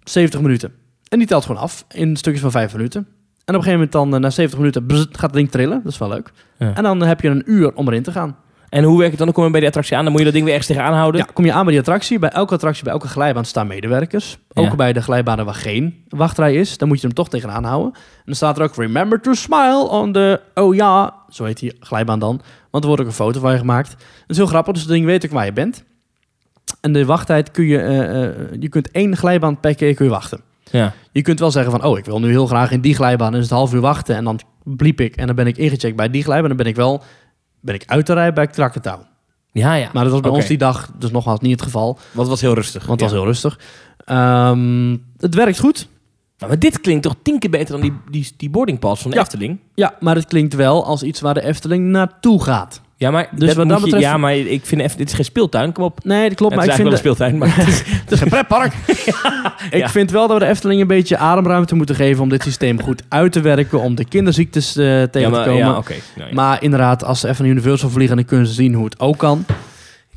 Speaker 1: 70 minuten. En die telt gewoon af in stukjes van 5 minuten. En op een gegeven moment dan, eh, na 70 minuten, bzz, gaat het ding trillen. Dat is wel leuk.
Speaker 2: Ja.
Speaker 1: En dan heb je een uur om erin te gaan.
Speaker 2: En hoe werkt het dan? Dan kom je bij die attractie aan, dan moet je dat ding weer ergens tegenaan houden.
Speaker 1: Ja, kom je aan bij die attractie. Bij elke attractie, bij elke glijbaan staan medewerkers. Ook
Speaker 2: Ja.
Speaker 1: bij de glijbanen waar geen wachtrij is. Dan moet je hem toch tegenaan houden. En dan staat er ook, remember to smile on the... Oh ja, zo heet die glijbaan dan. Want er wordt ook een foto van je gemaakt. Dat is heel grappig, dus het ding weet ook waar je bent. En de wachttijd kun je... eh, eh, je kunt één glijbaan per keer kun je wachten.
Speaker 2: Ja.
Speaker 1: Je kunt wel zeggen van, oh, ik wil nu heel graag in die glijbaan. En is het half uur wachten en dan bliep ik. En dan ben ik ingecheckt bij die glijbaan. En dan ben ik wel ben ik uit de rij bij Krakentouw.
Speaker 2: Ja, ja.
Speaker 1: Maar dat was bij
Speaker 2: Oké.
Speaker 1: ons die dag dus nogmaals niet het geval.
Speaker 2: Want het was heel rustig.
Speaker 1: Want het was
Speaker 2: Ja.
Speaker 1: heel rustig. Ehm, het werkt goed.
Speaker 2: Nou, maar dit klinkt toch tien keer beter dan die, die, die boarding pass van de
Speaker 1: Ja.
Speaker 2: Efteling?
Speaker 1: Ja, maar het klinkt wel als iets waar de Efteling naartoe gaat.
Speaker 2: Ja, maar,
Speaker 1: Dus
Speaker 2: dat
Speaker 1: wat
Speaker 2: moet
Speaker 1: dat
Speaker 2: je-
Speaker 1: betreft-
Speaker 2: ja, maar ik vind Eff- dit is geen speeltuin, kom op.
Speaker 1: Nee, dat klopt.
Speaker 2: het
Speaker 1: Maar
Speaker 2: is
Speaker 1: ik vind,
Speaker 2: eigenlijk wel
Speaker 1: <laughs>
Speaker 2: een speeltuin, maar het is-
Speaker 1: het is een <laughs> pretpark. Ik
Speaker 2: Ja.
Speaker 1: vind wel dat we de Efteling een beetje ademruimte moeten geven... om dit systeem goed uit te werken. Om de kinderziektes eh, tegen
Speaker 2: ja, maar,
Speaker 1: te komen.
Speaker 2: Ja, oké. Nou, ja.
Speaker 1: Maar inderdaad, als ze even naar Universal vliegen... dan kunnen ze zien hoe het ook kan.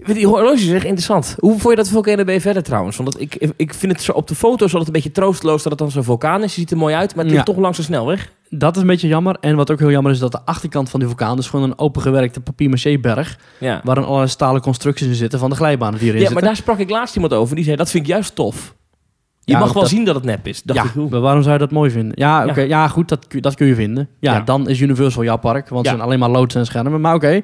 Speaker 2: Die horloges is echt interessant. Hoe vond je dat Volcano Bay verder trouwens? Want ik, ik vind het zo, op de foto's altijd een beetje troosteloos dat het dan zo'n vulkaan is. Je ziet er mooi uit, maar het ligt
Speaker 1: Ja.
Speaker 2: toch langs de snelweg.
Speaker 1: Dat is een beetje jammer. En wat ook heel jammer is... dat de achterkant van die vulkaan... dus gewoon een opengewerkte papier-maché-berg...
Speaker 2: Ja.
Speaker 1: waar dan allerlei stalen constructies in zitten... van de glijbanen die erin
Speaker 2: Ja,
Speaker 1: zitten.
Speaker 2: maar daar sprak ik laatst iemand over. Die zei, dat vind ik juist tof. Je
Speaker 1: Ja,
Speaker 2: mag wel
Speaker 1: dat-
Speaker 2: zien dat het nep is. Dacht
Speaker 1: ja,
Speaker 2: ik, hoe-
Speaker 1: maar waarom zou je dat mooi vinden? Ja, oké,
Speaker 2: Ja.
Speaker 1: ja. goed, dat, kun- dat kun je vinden. Ja,
Speaker 2: Ja.
Speaker 1: dan is Universal jouw park, want
Speaker 2: Ja.
Speaker 1: het zijn alleen maar loodsen en schermen. Maar oké, <laughs>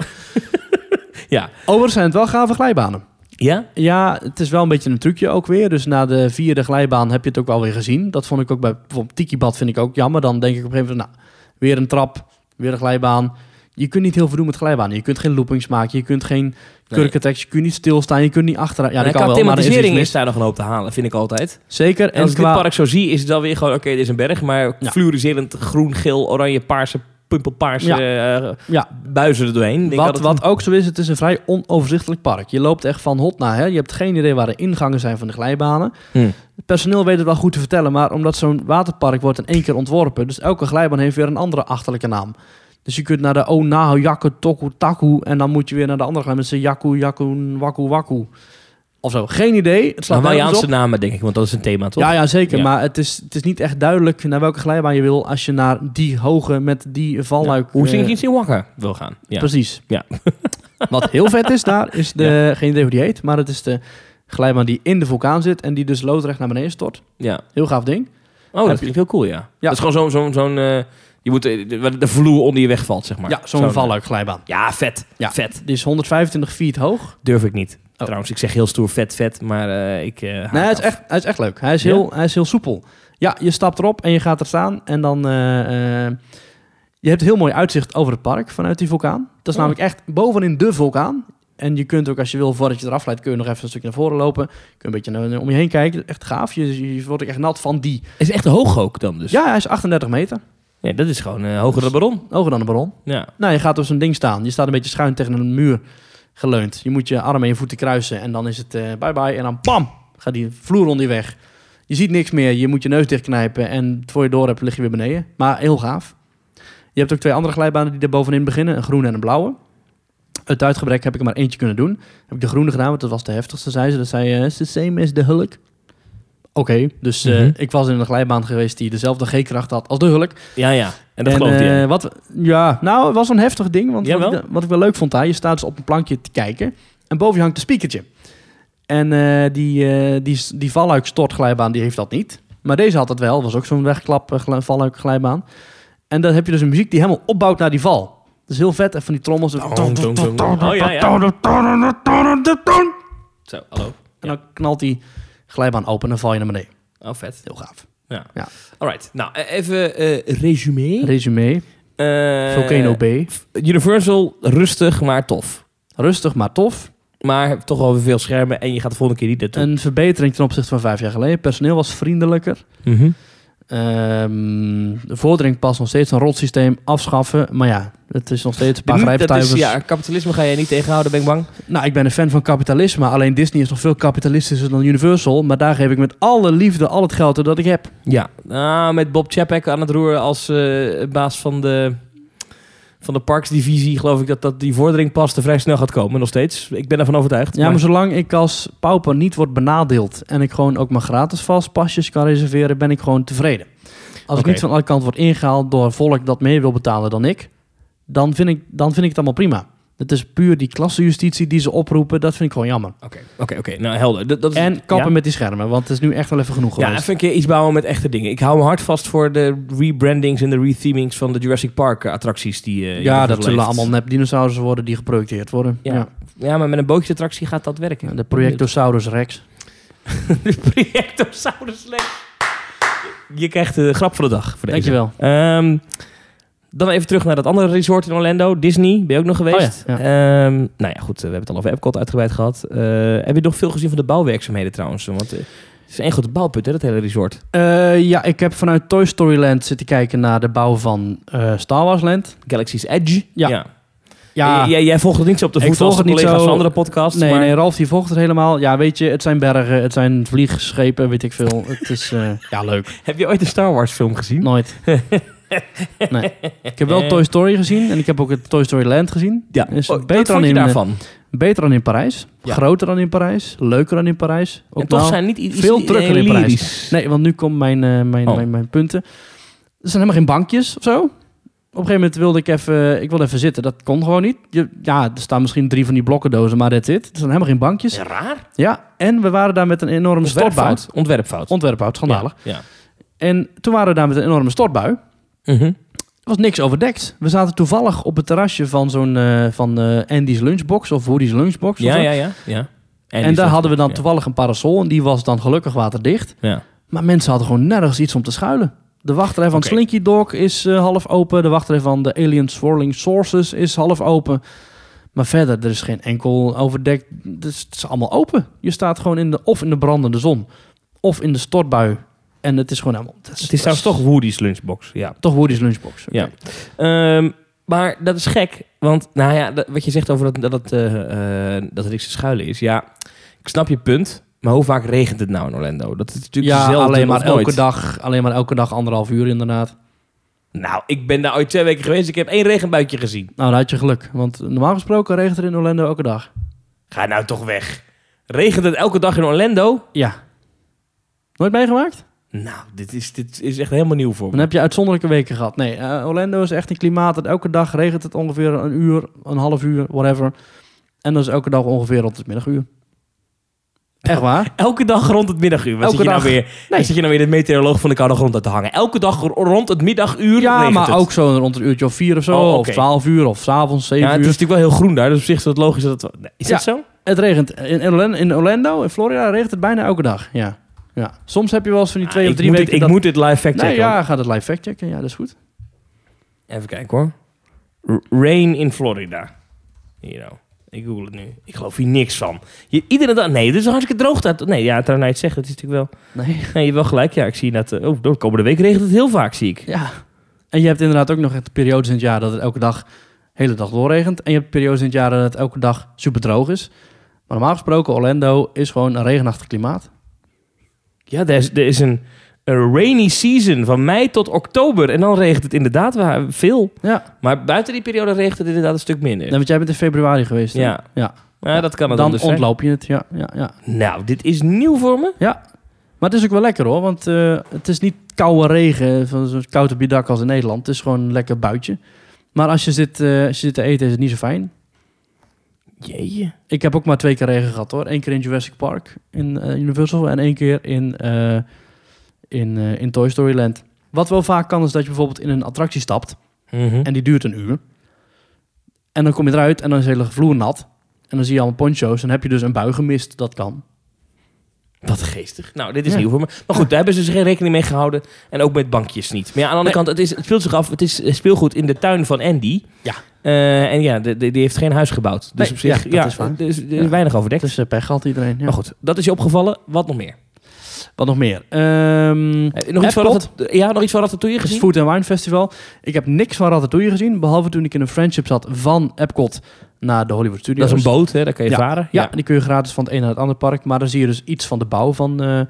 Speaker 2: ja.
Speaker 1: overigens zijn het wel gave glijbanen.
Speaker 2: ja?
Speaker 1: Ja, het is wel een beetje een trucje ook weer. Dus na de vierde glijbaan heb je het ook wel weer gezien. Dat vond ik ook bij bijvoorbeeld Tikibad vind ik ook jammer. Dan denk ik op een gegeven moment, nou, weer een trap, weer een glijbaan. Je kunt niet heel veel doen met glijbanen. Je kunt geen loopings maken, je kunt geen kurkentekst, je kunt niet stilstaan, je kunt niet achteruit. Ja,
Speaker 2: Ja,
Speaker 1: dat
Speaker 2: de
Speaker 1: kan wel, maar er is iets
Speaker 2: Nou, thematisering is,
Speaker 1: mis.
Speaker 2: daar nog een hoop te halen, vind ik altijd.
Speaker 1: Zeker.
Speaker 2: En als
Speaker 1: En
Speaker 2: ik dit
Speaker 1: qua
Speaker 2: park zo zie, is het dan weer gewoon... Oké, dit is een berg, maar
Speaker 1: Ja.
Speaker 2: fluoriserend groen, geel, oranje, paarse pimpelpaarse eh,
Speaker 1: Ja.
Speaker 2: buizen er doorheen. Ik denk
Speaker 1: Wat,
Speaker 2: altijd,
Speaker 1: wat ook zo is, het is een vrij onoverzichtelijk park. Je loopt echt van hot naar her. Je hebt geen idee waar de ingangen zijn van de glijbanen.
Speaker 2: Hmm.
Speaker 1: Het personeel weet het wel goed te vertellen, maar omdat zo'n waterpark wordt in één keer ontworpen, dus elke glijbaan heeft weer een andere achterlijke naam. Dus je kunt naar de Onaho, Yaku, Toku, Taku en dan moet je weer naar de andere glijbaan met Yaku, Yaku, Waku, Waku. Of zo. Geen idee. Het
Speaker 2: Maar
Speaker 1: slaat nergens
Speaker 2: Hawaiiaanse
Speaker 1: op.
Speaker 2: namen, denk ik, want dat is een thema, toch?
Speaker 1: Ja, ja, zeker.
Speaker 2: Ja.
Speaker 1: Maar het is, het is niet echt duidelijk naar welke glijbaan je wil als je naar die hoge met die valluik...
Speaker 2: Hoe
Speaker 1: eh,
Speaker 2: zing je iets in Wakka wil gaan? Ja.
Speaker 1: Precies.
Speaker 2: Ja.
Speaker 1: <laughs> Wat heel vet is daar, is de, geen idee hoe die heet, maar het is de glijbaan die in de vulkaan zit en die dus loodrecht naar beneden stort.
Speaker 2: ja.
Speaker 1: Heel gaaf ding.
Speaker 2: Oh,
Speaker 1: Heb
Speaker 2: dat klinkt heel cool, ja. Dat is gewoon zo'n... zo'n zo'n eh, je moet eh, de, waar de vloer onder je weg valt, zeg maar. eh,
Speaker 1: ja, zo'n valluikglijbaan.
Speaker 2: Ja, vet.
Speaker 1: Ja.
Speaker 2: Vet.
Speaker 1: Die is 125 feet hoog.
Speaker 2: Durf ik niet. Trouwens, ik zeg heel stoer vet, vet, maar eh, ik... eh, haak
Speaker 1: Nee, hij is,
Speaker 2: af.
Speaker 1: echt, hij is echt leuk. Hij is,
Speaker 2: Ja?
Speaker 1: heel, hij is heel soepel. Ja, je stapt erop en je gaat er staan en dan... eh, eh, je hebt heel mooi uitzicht over het park vanuit die vulkaan. Dat is
Speaker 2: Oh.
Speaker 1: namelijk echt bovenin de vulkaan. En je kunt ook als je wil, voordat je eraf glijdt, kun je nog even een stukje naar voren lopen. Kun je een beetje naar- om je heen kijken. Echt gaaf. Je, je wordt ook echt nat van die
Speaker 2: Is echt hoog ook dan dus?
Speaker 1: Ja, hij is 38 meter.
Speaker 2: Nee, dat is gewoon eh, hoger dan de baron.
Speaker 1: Hoger dan de baron.
Speaker 2: Ja.
Speaker 1: Nou, je gaat op zo'n ding staan. Je staat een beetje schuin tegen een muur geleund. Je moet je armen en je voeten kruisen. En dan is het bye-bye. En dan bam! Gaat die vloer onder je weg. Je ziet niks meer. Je moet je neus dichtknijpen. En voor je door hebt, lig je weer beneden. Maar heel gaaf. Je hebt ook twee andere glijbanen die daar bovenin beginnen. Een groene en een blauwe. Uit uitgebrek heb ik er maar eentje kunnen doen. Heb ik de groene gedaan, want dat was de heftigste, zei ze. Dat zei eh, "It's the same as de Hulk. Oké, dus eh,
Speaker 2: Mhm.
Speaker 1: ik was in een glijbaan geweest die dezelfde G-kracht had als de Hulk.
Speaker 2: Ja, ja. En dat gelooft
Speaker 1: eh,
Speaker 2: hij. hè?
Speaker 1: wat, ja, nou, het was een heftig ding. Want wat
Speaker 2: Jawel.
Speaker 1: ik, wat ik wel leuk vond daar, je staat dus op een plankje te kijken. En boven je hangt een spiekertje. En eh, die, eh die, die valluikstortglijbaan, die heeft dat niet. Maar deze had het wel. was ook zo'n wegklap eh, glij- valluikglijbaan. En dan heb je dus een muziek die helemaal opbouwt naar die val. Dat is heel vet. En van die trommels.
Speaker 2: Tong, tong, tong, tong. Oh, ja, ja. Zo, hallo.
Speaker 1: En dan knalt die glijbaan open en dan val je naar beneden.
Speaker 2: Oh, vet.
Speaker 1: Heel gaaf.
Speaker 2: Alright. Nou, eh, even eh resume.
Speaker 1: Resume.
Speaker 2: Eh,
Speaker 1: Volcano B.
Speaker 2: Universal, rustig, maar tof.
Speaker 1: Rustig, maar tof.
Speaker 2: Maar toch over veel schermen en je gaat de volgende keer niet naartoe.
Speaker 1: Een verbetering ten opzichte van vijf jaar geleden. Personeel was vriendelijker.
Speaker 2: Mhm.
Speaker 1: Ehm, de vordering past nog steeds een rotsysteem afschaffen. Maar ja, het is nog steeds een paar
Speaker 2: Benieuwd, dat is,
Speaker 1: grijpstuivers.
Speaker 2: ja, kapitalisme ga je niet tegenhouden, ben ik bang.
Speaker 1: Nou, ik ben een fan van kapitalisme. Alleen Disney is nog veel kapitalistischer dan Universal. Maar daar geef ik met alle liefde al het geld dat ik heb.
Speaker 2: Ja, ah, met Bob Chapek aan het roer als eh, baas van de, van de parksdivisie... geloof ik dat, dat die vordering pas te vrij snel gaat komen, nog steeds. Ik ben ervan overtuigd.
Speaker 1: Ja, maar zolang ik als pauper niet word benadeeld... en ik gewoon ook mijn gratis vastpasjes kan reserveren... ben ik gewoon tevreden. Als ik
Speaker 2: Oké.
Speaker 1: niet van alle kanten word ingehaald door volk dat meer wil betalen dan ik... dan vind ik, dan vind ik het allemaal prima. Het is puur die klassenjustitie die ze oproepen. Dat vind ik gewoon jammer.
Speaker 2: Oké, oké, oké. Nou, helder. Dat, dat is,
Speaker 1: En kappen
Speaker 2: ja?
Speaker 1: met die schermen, want het is nu echt wel even genoeg geweest.
Speaker 2: Ja, even een keer iets bouwen met echte dingen. Ik hou me hard vast voor de rebrandings en de rethemings van de Jurassic Park eh, attracties. Die, eh,
Speaker 1: ja,
Speaker 2: Universal
Speaker 1: dat zullen
Speaker 2: heeft.
Speaker 1: allemaal nep dinosaurussen worden die geprojecteerd worden.
Speaker 2: Ja.
Speaker 1: Ja.
Speaker 2: Ja, maar met een bootjesattractie gaat dat werken.
Speaker 1: De Projectosaurus Rex.
Speaker 2: <laughs> De projectosaurus Rex. Je krijgt de grap van de dag. Voor deze.
Speaker 1: Dankjewel.
Speaker 2: Ehm, dan even terug naar dat andere resort in Orlando. Disney, ben je ook nog geweest?
Speaker 1: Oh ja,
Speaker 2: Ehm, nou ja, goed, eh, we hebben het al over Epcot uitgebreid gehad. Eh, heb je nog veel gezien van de bouwwerkzaamheden trouwens? Want eh, het is één grote bouwput, hè, dat hele resort.
Speaker 1: Eh, ja, ik heb vanuit Toy Story Land zitten kijken naar de bouw van eh, Star Wars Land.
Speaker 2: Galaxy's Edge.
Speaker 1: Ja. Ja,
Speaker 2: J- jij, jij volgt het niet zo op de
Speaker 1: Ik
Speaker 2: voet
Speaker 1: volg
Speaker 2: als de
Speaker 1: het niet
Speaker 2: collega's
Speaker 1: zo-
Speaker 2: van andere podcasts.
Speaker 1: nee,
Speaker 2: maar...
Speaker 1: nee, Ralf die volgt het helemaal. Ja, weet je, het zijn bergen, het zijn vliegschepen, weet ik veel. Het is,
Speaker 2: <laughs>
Speaker 1: eh, ja, leuk.
Speaker 2: Heb je ooit een Star Wars film gezien? <laughs>
Speaker 1: Nooit. Nee. Ik heb wel Toy Story gezien en ik heb ook het Toy Story Land gezien.
Speaker 2: Ja,
Speaker 1: Is
Speaker 2: Oh,
Speaker 1: beter
Speaker 2: wat
Speaker 1: dan
Speaker 2: vond je
Speaker 1: in, eh,
Speaker 2: daarvan?
Speaker 1: Beter dan in Parijs,
Speaker 2: Ja.
Speaker 1: groter dan in Parijs, leuker dan in Parijs. Ook
Speaker 2: En toch
Speaker 1: wel-
Speaker 2: zijn niet iets
Speaker 1: nou, veel drukker in Parijs.
Speaker 2: lyrisch.
Speaker 1: Nee, want nu komt mijn, eh, mijn,
Speaker 2: Oh.
Speaker 1: mijn, mijn punten. Er zijn helemaal geen bankjes of zo. Op een gegeven moment wilde ik even, ik wilde even zitten. Dat kon gewoon niet. Je, ja, er staan misschien drie van die blokkendozen, maar dat zit. Er zijn helemaal geen bankjes.
Speaker 2: Is
Speaker 1: Ja.
Speaker 2: dat raar?
Speaker 1: en we waren daar met een enorme stortbui.
Speaker 2: Ontwerpfout. Ontwerpfout.
Speaker 1: Ontwerphout, schandalig.
Speaker 2: Ja. ja.
Speaker 1: En toen waren we daar met een enorme stortbui.
Speaker 2: Mhm.
Speaker 1: Er was niks overdekt. We zaten toevallig op het terrasje van zo'n eh, van eh, Andy's Lunchbox of Woody's Lunchbox. of
Speaker 2: ja,
Speaker 1: zo.
Speaker 2: ja, ja. ja.
Speaker 1: En,
Speaker 2: die
Speaker 1: daar
Speaker 2: zat-
Speaker 1: hadden we dan
Speaker 2: ja.
Speaker 1: toevallig een parasol en die was dan gelukkig waterdicht.
Speaker 2: Ja.
Speaker 1: Maar mensen hadden gewoon nergens iets om te schuilen. De wachtrij van
Speaker 2: Oké.
Speaker 1: Slinky Dog is eh, half open. De wachtrij van de Alien Swirling Sources is half open. Maar verder, er is geen enkel overdekt. Dus het is allemaal open. Je staat gewoon in de, of in de brandende zon. Of in de stortbui. En het is gewoon helemaal... dat
Speaker 2: Het is
Speaker 1: dat
Speaker 2: trouwens toch Woody's lunchbox. Ja.
Speaker 1: Toch Woody's Lunchbox. Oké.
Speaker 2: Ja. Ehm, maar dat is gek. Want nou ja, dat- wat je zegt over dat, dat, het, eh, eh, dat Rickse schuilen is. Ja, ik snap je punt. Maar hoe vaak regent het nou in Orlando? Dat is natuurlijk
Speaker 1: Ja,
Speaker 2: zelden
Speaker 1: alleen maar,
Speaker 2: of nooit.
Speaker 1: elke dag, alleen maar elke dag anderhalf uur inderdaad.
Speaker 2: Nou, ik ben daar ooit twee weken geweest. Ik heb één regenbuitje gezien.
Speaker 1: Nou, dan had je geluk. Want normaal gesproken regent er in Orlando elke dag.
Speaker 2: Ga nou toch weg. Regent het elke dag in Orlando?
Speaker 1: Ja. Nooit meegemaakt?
Speaker 2: Nou, dit is, dit is echt helemaal nieuw voor me.
Speaker 1: Dan heb je uitzonderlijke weken gehad. Nee, eh, Orlando is echt een klimaat. Dat elke dag regent het ongeveer een uur, een half uur, whatever. En dat is elke dag ongeveer rond het middaguur. Echt waar?
Speaker 2: Elke dag rond het middaguur. Wat
Speaker 1: Elke
Speaker 2: zit je, nou
Speaker 1: dag.
Speaker 2: weer, wat zit je nou weer de meteoroloog van de koude grond uit te hangen? Elke dag r- rond het middaguur
Speaker 1: Ja,
Speaker 2: regent
Speaker 1: maar
Speaker 2: het.
Speaker 1: ook zo rond een uurtje of vier of zo.
Speaker 2: Oh, oké.
Speaker 1: Of twaalf uur of s'avonds zeven
Speaker 2: Ja, het is
Speaker 1: uur.
Speaker 2: natuurlijk wel heel groen daar. Dus op zich is het logisch dat het... Nee, Is
Speaker 1: Ja.
Speaker 2: dat zo?
Speaker 1: Het regent in Orlando, in Orlando, in Florida, regent het bijna elke dag. Ja. ja. Soms heb je wel eens van die twee
Speaker 2: Ah,
Speaker 1: of drie
Speaker 2: ik
Speaker 1: weken.
Speaker 2: moet dit,
Speaker 1: dat-
Speaker 2: ik moet dit live fact
Speaker 1: nee,
Speaker 2: checken.
Speaker 1: ja, gaat het live factchecken. Ja, dat is goed.
Speaker 2: Even kijken hoor. R- Rain in Florida. Hier nou. Ik google het nu. Ik geloof hier niks van. Je, iedere dag... Nee, dit is hartstikke droog. Dat, nee, ja, terwijl hij het zegt, dat is natuurlijk wel...
Speaker 1: Nee.
Speaker 2: Nee, je hebt wel gelijk. Ja, ik zie dat... eh, oh, de komende week regent het heel vaak, zie ik.
Speaker 1: Ja. En je hebt inderdaad ook nog echt periodes in het jaar dat het elke dag, hele dag doorregent. En je hebt periodes in het jaar dat het elke dag super droog is. Maar normaal gesproken, Orlando is gewoon een regenachtig klimaat.
Speaker 2: Ja, er is, er is een, een rainy season van mei tot oktober. En dan regent het inderdaad wa- veel.
Speaker 1: Ja.
Speaker 2: Maar buiten die periode regent het inderdaad een stuk minder.
Speaker 1: Nee, want jij bent in februari geweest. hè?
Speaker 2: ja.
Speaker 1: Ja.
Speaker 2: Ja, dat kan het
Speaker 1: Dan
Speaker 2: anders zijn.
Speaker 1: ontloop je het. Ja, ja, ja.
Speaker 2: Nou, dit is nieuw voor me.
Speaker 1: Maar het is ook wel lekker hoor, want eh, het is niet koude regen van zo'n koude biedak als in Nederland. Het is gewoon een lekker buitje. Maar als je zit, eh, als je zit te eten is het niet zo fijn.
Speaker 2: Jeetje.
Speaker 1: Ik heb ook maar twee keer regen gehad hoor. Eén keer in Jurassic Park in eh, Universal en één keer in, eh, in, eh, in Toy Story Land. Wat wel vaak kan is dat je bijvoorbeeld in een attractie stapt
Speaker 2: Mhm.
Speaker 1: en die duurt een uur. En dan kom je eruit en dan is de hele vloer nat. En dan zie je allemaal poncho's en heb je dus een bui gemist. Dat kan.
Speaker 2: Wat geestig. Nou, dit is
Speaker 1: Ja.
Speaker 2: nieuw voor me. Maar goed, daar hebben ze dus geen rekening mee gehouden. En ook met bankjes niet. Maar ja, aan de andere
Speaker 1: Nee.
Speaker 2: kant, het, is, het speelt zich af. Het is eh, speelgoed in de tuin van Andy.
Speaker 1: Ja.
Speaker 2: Eh, en ja, de, de- die heeft geen huis gebouwd. Dus
Speaker 1: Nee,
Speaker 2: op zich,
Speaker 1: ja,
Speaker 2: ja,
Speaker 1: dat is waar.
Speaker 2: er is, er is
Speaker 1: Ja.
Speaker 2: weinig overdekt.
Speaker 1: Het is eh, pech gehad iedereen. Ja.
Speaker 2: Maar goed, dat is je opgevallen. Wat nog meer?
Speaker 1: Wat nog meer? Ehm,
Speaker 2: Eh, Nog iets, van
Speaker 1: Epcot.
Speaker 2: Ratat- ja, nog iets van Ratatouille
Speaker 1: Het is
Speaker 2: gezien?
Speaker 1: Food and Wine Festival. Ik heb niks van Ratatouille gezien, behalve toen ik in een friendship zat van Epcot naar de Hollywood Studios.
Speaker 2: Dat is een boot, hè? daar kan je varen.
Speaker 1: Ja, die kun je gratis van het een naar het andere park. Maar dan zie je dus iets van de bouw van, eh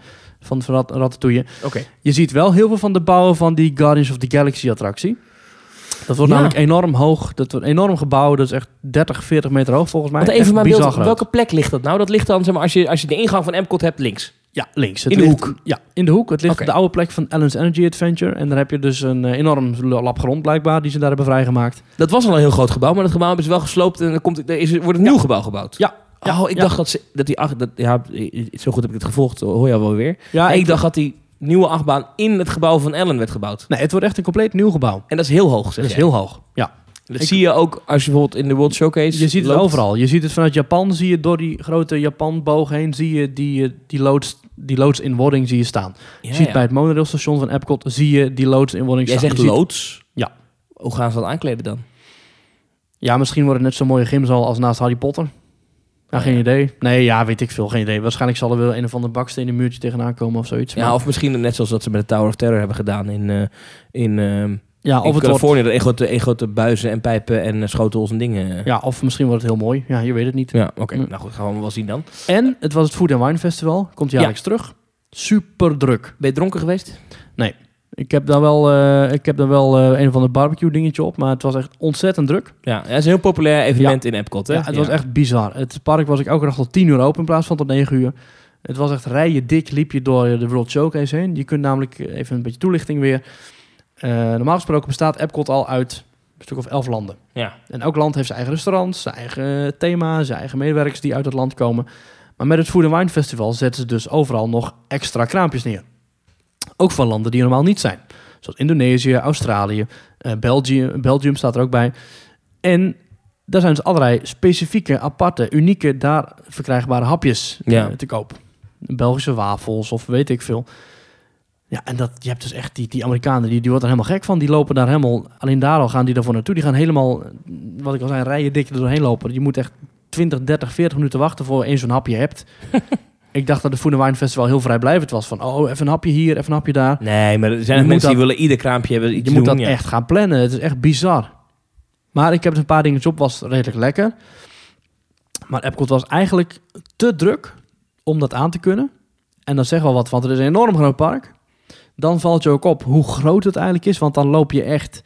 Speaker 1: van Rat- Ratatouille.
Speaker 2: oké.
Speaker 1: Je ziet wel heel veel van de bouwen van die Guardians of the Galaxy attractie. Dat wordt
Speaker 2: Ja.
Speaker 1: namelijk enorm hoog. Dat wordt een enorm gebouw. Dat is echt 30, 40 meter hoog volgens mij.
Speaker 2: Want even
Speaker 1: Echt
Speaker 2: maar
Speaker 1: bizar
Speaker 2: beeld, op
Speaker 1: groot.
Speaker 2: welke plek ligt dat nou? Dat ligt dan, zeg maar, als je, als je de ingang van Epcot hebt, links.
Speaker 1: Ja, links. Het
Speaker 2: In de
Speaker 1: ligt-
Speaker 2: hoek.
Speaker 1: Ja, in de hoek. Het ligt
Speaker 2: Oké.
Speaker 1: op de oude plek van Ellen's Energy Adventure. En daar heb je dus een eh, enorm lap grond blijkbaar die ze daar hebben vrijgemaakt.
Speaker 2: Dat was al een heel groot gebouw, maar dat gebouw hebben ze wel gesloopt en er, komt, er, is, er wordt een nieuw gebouw gebouwd.
Speaker 1: Ja. Ja,
Speaker 2: Oh, ik
Speaker 1: ja.
Speaker 2: dacht dat, ze, dat die acht... Dat, ja, zo goed heb ik het gevolgd, hoor je al wel weer.
Speaker 1: Ja,
Speaker 2: ik dacht dat die nieuwe achtbaan in het gebouw van Ellen werd gebouwd.
Speaker 1: Nee, het wordt echt een compleet nieuw gebouw.
Speaker 2: En dat is heel hoog, zeg
Speaker 1: Dat is
Speaker 2: jij.
Speaker 1: heel hoog. Ja.
Speaker 2: Dat
Speaker 1: ik-
Speaker 2: zie je ook als je bijvoorbeeld in de World Showcase
Speaker 1: Je ziet het
Speaker 2: loopt.
Speaker 1: overal. Je ziet het vanuit Japan, zie je door die grote Japanboog heen, zie je die, eh, die, loods, die loods in wording zie je staan.
Speaker 2: Ja,
Speaker 1: je ziet
Speaker 2: ja.
Speaker 1: bij het monorailstation van Epcot, zie je die loods in wording
Speaker 2: Jij
Speaker 1: staan.
Speaker 2: zegt
Speaker 1: Je ziet-
Speaker 2: loods.
Speaker 1: Ja.
Speaker 2: Hoe gaan ze dat aankleden dan?
Speaker 1: Ja, misschien wordt het net zo'n mooie gymzaal als naast Harry Potter. Ja,
Speaker 2: Oh,
Speaker 1: geen
Speaker 2: ja.
Speaker 1: idee. Nee, ja, weet ik veel. Geen idee. Waarschijnlijk zal er wel een of ander baksteen in een muurtje tegenaan komen of zoiets.
Speaker 2: Ja,
Speaker 1: Maar-
Speaker 2: of misschien net zoals dat ze met de Tower of Terror hebben gedaan in, eh, in, ehm,
Speaker 1: ja,
Speaker 2: in
Speaker 1: of het wordt,
Speaker 2: Californië. Dat één grote, één grote buizen en pijpen en eh, schotels en dingen. Ja,
Speaker 1: ja, of misschien wordt het heel mooi. Ja, je weet het niet.
Speaker 2: oké.
Speaker 1: Hm.
Speaker 2: Nou goed, gaan we wel zien dan.
Speaker 1: En het was het Food and Wine Festival. Komt jaarlijks terug. Super druk.
Speaker 2: Ben je dronken geweest?
Speaker 1: Ik heb daar wel, eh, ik heb daar wel eh, een van de barbecue dingetje op, maar het was echt ontzettend druk.
Speaker 2: Ja, dat is een heel populair evenement in Epcot. Hè?
Speaker 1: Ja, het was echt bizar. Het park was ik elke dag tot 10 uur open in plaats van tot 9 uur. Het was echt rijen dik, liep je door eh, de World Showcase heen. Je kunt namelijk, eh, even een beetje toelichting weer. Eh, normaal gesproken bestaat Epcot al uit een stuk of elf landen.
Speaker 2: Ja.
Speaker 1: En elk land heeft zijn eigen restaurants, zijn eigen thema, zijn eigen medewerkers die uit het land komen. Maar met het Food and Wine Festival zetten ze dus overal nog extra kraampjes neer. Ook van landen die er normaal niet zijn. Zoals Indonesië, Australië, eh, België, Belgium staat er ook bij. En daar zijn dus allerlei specifieke, aparte, unieke, daar verkrijgbare hapjes eh,
Speaker 2: Ja.
Speaker 1: te koop. Belgische wafels of weet ik veel. Ja, en dat, je hebt dus echt die, die Amerikanen, die, die worden er helemaal gek van. Die lopen daar helemaal, alleen daar al gaan die daarvoor naartoe. Die gaan helemaal, wat ik al zei,
Speaker 2: <laughs>
Speaker 1: rijen dik er doorheen lopen. Je moet echt 20, 30, 40 minuten wachten voor je eens zo'n hapje hebt. Ik dacht dat het Food and Wine Festival heel vrijblijvend was. Van, oh, even een hapje hier, even een hapje daar.
Speaker 2: Nee, maar er zijn
Speaker 1: Je
Speaker 2: ook
Speaker 1: moet
Speaker 2: mensen die
Speaker 1: dat-
Speaker 2: willen ieder kraampje hebben. Iets
Speaker 1: Je moet
Speaker 2: doen,
Speaker 1: dat
Speaker 2: ja.
Speaker 1: echt gaan plannen. Het is echt bizar. Maar ik heb het een paar dingetjes op, was redelijk lekker. Maar Epcot was eigenlijk te druk om dat aan te kunnen. En dat zegt wel wat, want er is een enorm groot park. Dan valt je ook op hoe groot het eigenlijk is. Want dan loop je echt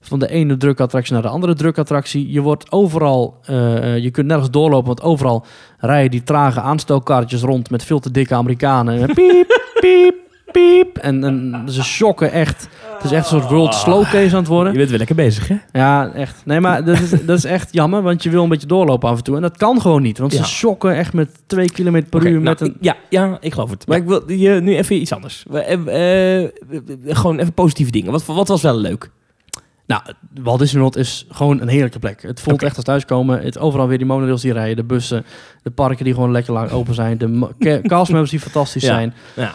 Speaker 1: van de ene drukattractie naar de andere drukattractie. Je wordt overal, eh, je kunt nergens doorlopen, want overal rijden die trage aanstookkarretjes rond met veel te dikke Amerikanen. En piep, piep, piep. En, en ze shocken echt. Het is echt een soort world slowcase aan het
Speaker 2: Je
Speaker 1: worden.
Speaker 2: bent weer lekker bezig, hè?
Speaker 1: Ja, echt. Nee, maar dat is, dat is echt jammer, want je wil een beetje doorlopen af en toe. En dat kan gewoon niet, want
Speaker 2: Ja.
Speaker 1: ze shocken echt met 2 km per
Speaker 2: Oké,
Speaker 1: uur.
Speaker 2: nou,
Speaker 1: Met een...
Speaker 2: ik- ja, ja, ik geloof het. Maar ik wil je nu even iets anders. We- eh, eh, gewoon even positieve dingen. Wat, wat was wel leuk?
Speaker 1: Nou, Walt Disney World is gewoon een heerlijke plek. Het voelt
Speaker 2: Oké.
Speaker 1: echt als thuiskomen. Het, overal weer die monorails die rijden, de bussen, de parken die gewoon lekker lang open zijn, de
Speaker 2: <laughs>
Speaker 1: ma- ca- castmembers die fantastisch
Speaker 2: Ja,
Speaker 1: zijn.
Speaker 2: ja.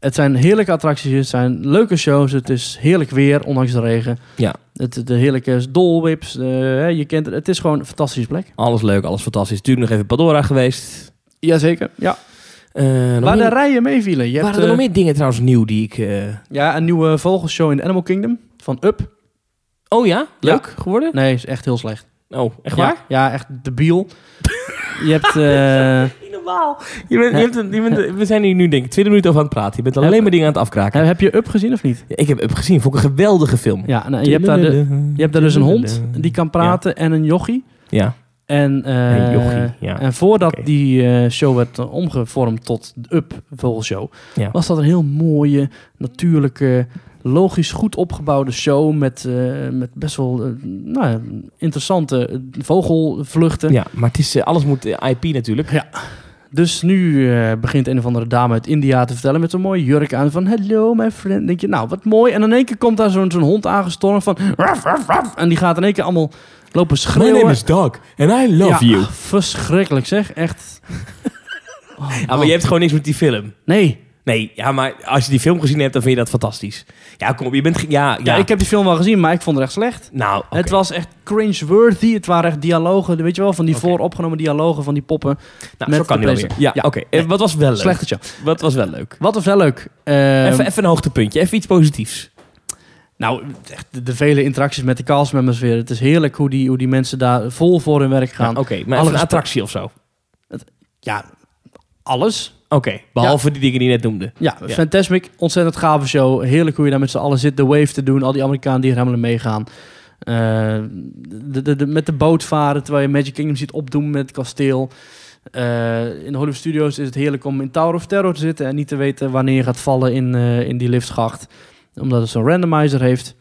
Speaker 1: Het zijn heerlijke attracties, het zijn leuke shows, het is heerlijk weer, ondanks de regen.
Speaker 2: Ja.
Speaker 1: Het, de heerlijke dolwips, eh, je kent het. Het is gewoon een fantastische plek.
Speaker 2: Alles leuk, alles fantastisch. Natuurlijk nog even Pandora geweest.
Speaker 1: Jazeker, ja.
Speaker 2: Eh, nog
Speaker 1: Waar de
Speaker 2: meer-
Speaker 1: rijen mee vielen. Je
Speaker 2: waren
Speaker 1: hebt,
Speaker 2: er nog
Speaker 1: eh,
Speaker 2: meer dingen trouwens nieuw die ik... eh,
Speaker 1: Ja, een nieuwe vogelshow in de Animal Kingdom van Up.
Speaker 2: Oh ja? Leuk geworden?
Speaker 1: Nee, is echt heel slecht.
Speaker 2: Oh, echt
Speaker 1: Ja.
Speaker 2: waar?
Speaker 1: Ja, echt
Speaker 2: <laughs>
Speaker 1: debiel. je hebt... eh,
Speaker 2: Niet normaal. Je bent, je hebt een- je bent, we zijn hier nu denk ik 20 minuten over aan het praten. Je bent alleen maar dingen aan het afkraken.
Speaker 1: heb je Up gezien of niet?
Speaker 2: Ik heb het gezien. Vond ik een geweldige film.
Speaker 1: Ja, nou, je, hebt daar de, je hebt daar dus een hond die kan praten en een jochie.
Speaker 2: Ja.
Speaker 1: En, eh,
Speaker 2: Een jochie, ja.
Speaker 1: en voordat
Speaker 2: Oké.
Speaker 1: die eh, show werd eh, omgevormd tot de Up Vogelshow,
Speaker 2: Ja.
Speaker 1: was dat een heel mooie, natuurlijke, logisch goed opgebouwde show met, eh, met best wel eh, nou, ja, interessante eh, vogelvluchten.
Speaker 2: ja, maar het is, eh, alles moet eh, IP natuurlijk.
Speaker 1: Dus nu eh, begint een of andere dame uit India te vertellen met zo'n mooie jurk aan van hello my friend. denk je, nou wat mooi. En in één keer komt daar zo'n zo'n hond aangestormd van "Ruff, ruff, ruff." en die gaat in één keer allemaal lopen schreeuwen.
Speaker 2: Doug and I
Speaker 1: Ja, <laughs> Verschrikkelijk zeg,
Speaker 2: <laughs>
Speaker 1: echt. Oh,
Speaker 2: Ja, Ah, maar
Speaker 1: man.
Speaker 2: je hebt gewoon niks met die film.
Speaker 1: Nee,
Speaker 2: Nee, ja, maar als je die film gezien hebt, dan vind je dat fantastisch. Ja, kom op, je bent... ge- Ja,
Speaker 1: ja.
Speaker 2: ja.
Speaker 1: ik heb die film wel gezien, maar ik vond het echt slecht.
Speaker 2: Nou, oké.
Speaker 1: Het was echt cringe-worthy. Het waren echt dialogen, weet je wel, van die
Speaker 2: Oké.
Speaker 1: vooropgenomen dialogen van die poppen.
Speaker 2: nou,
Speaker 1: met
Speaker 2: zo kan
Speaker 1: de
Speaker 2: die wel
Speaker 1: pres-
Speaker 2: weer. Ja,
Speaker 1: Ja.
Speaker 2: oké. Eh, Wat was wel leuk?
Speaker 1: Slechte show.
Speaker 2: Wat was wel leuk?
Speaker 1: Wat was wel leuk. Ehm,
Speaker 2: even, even een hoogtepuntje. Even iets positiefs.
Speaker 1: Nou, echt de, de vele interacties met de castmembers weer. Het is heerlijk hoe die, hoe die mensen daar vol voor hun werk
Speaker 2: Ja,
Speaker 1: gaan.
Speaker 2: oké,
Speaker 1: Ja,
Speaker 2: maar
Speaker 1: Alle
Speaker 2: even een
Speaker 1: gesprek-
Speaker 2: attractie of zo. Oké,
Speaker 1: alles.
Speaker 2: behalve die dingen die je net noemde.
Speaker 1: Ja,
Speaker 2: Ja.
Speaker 1: Fantasmic, ontzettend gave show. Heerlijk hoe je daar met z'n allen zit, de wave te doen. Al die Amerikanen die er helemaal in meegaan. Eh, de, de, de- met de boot varen, terwijl je Magic Kingdom ziet opdoen met het kasteel. Eh, in de Hollywood Studios is het heerlijk om in Tower of Terror te zitten... en niet te weten wanneer je gaat vallen in, eh, in die liftschacht. Omdat het zo'n randomizer heeft.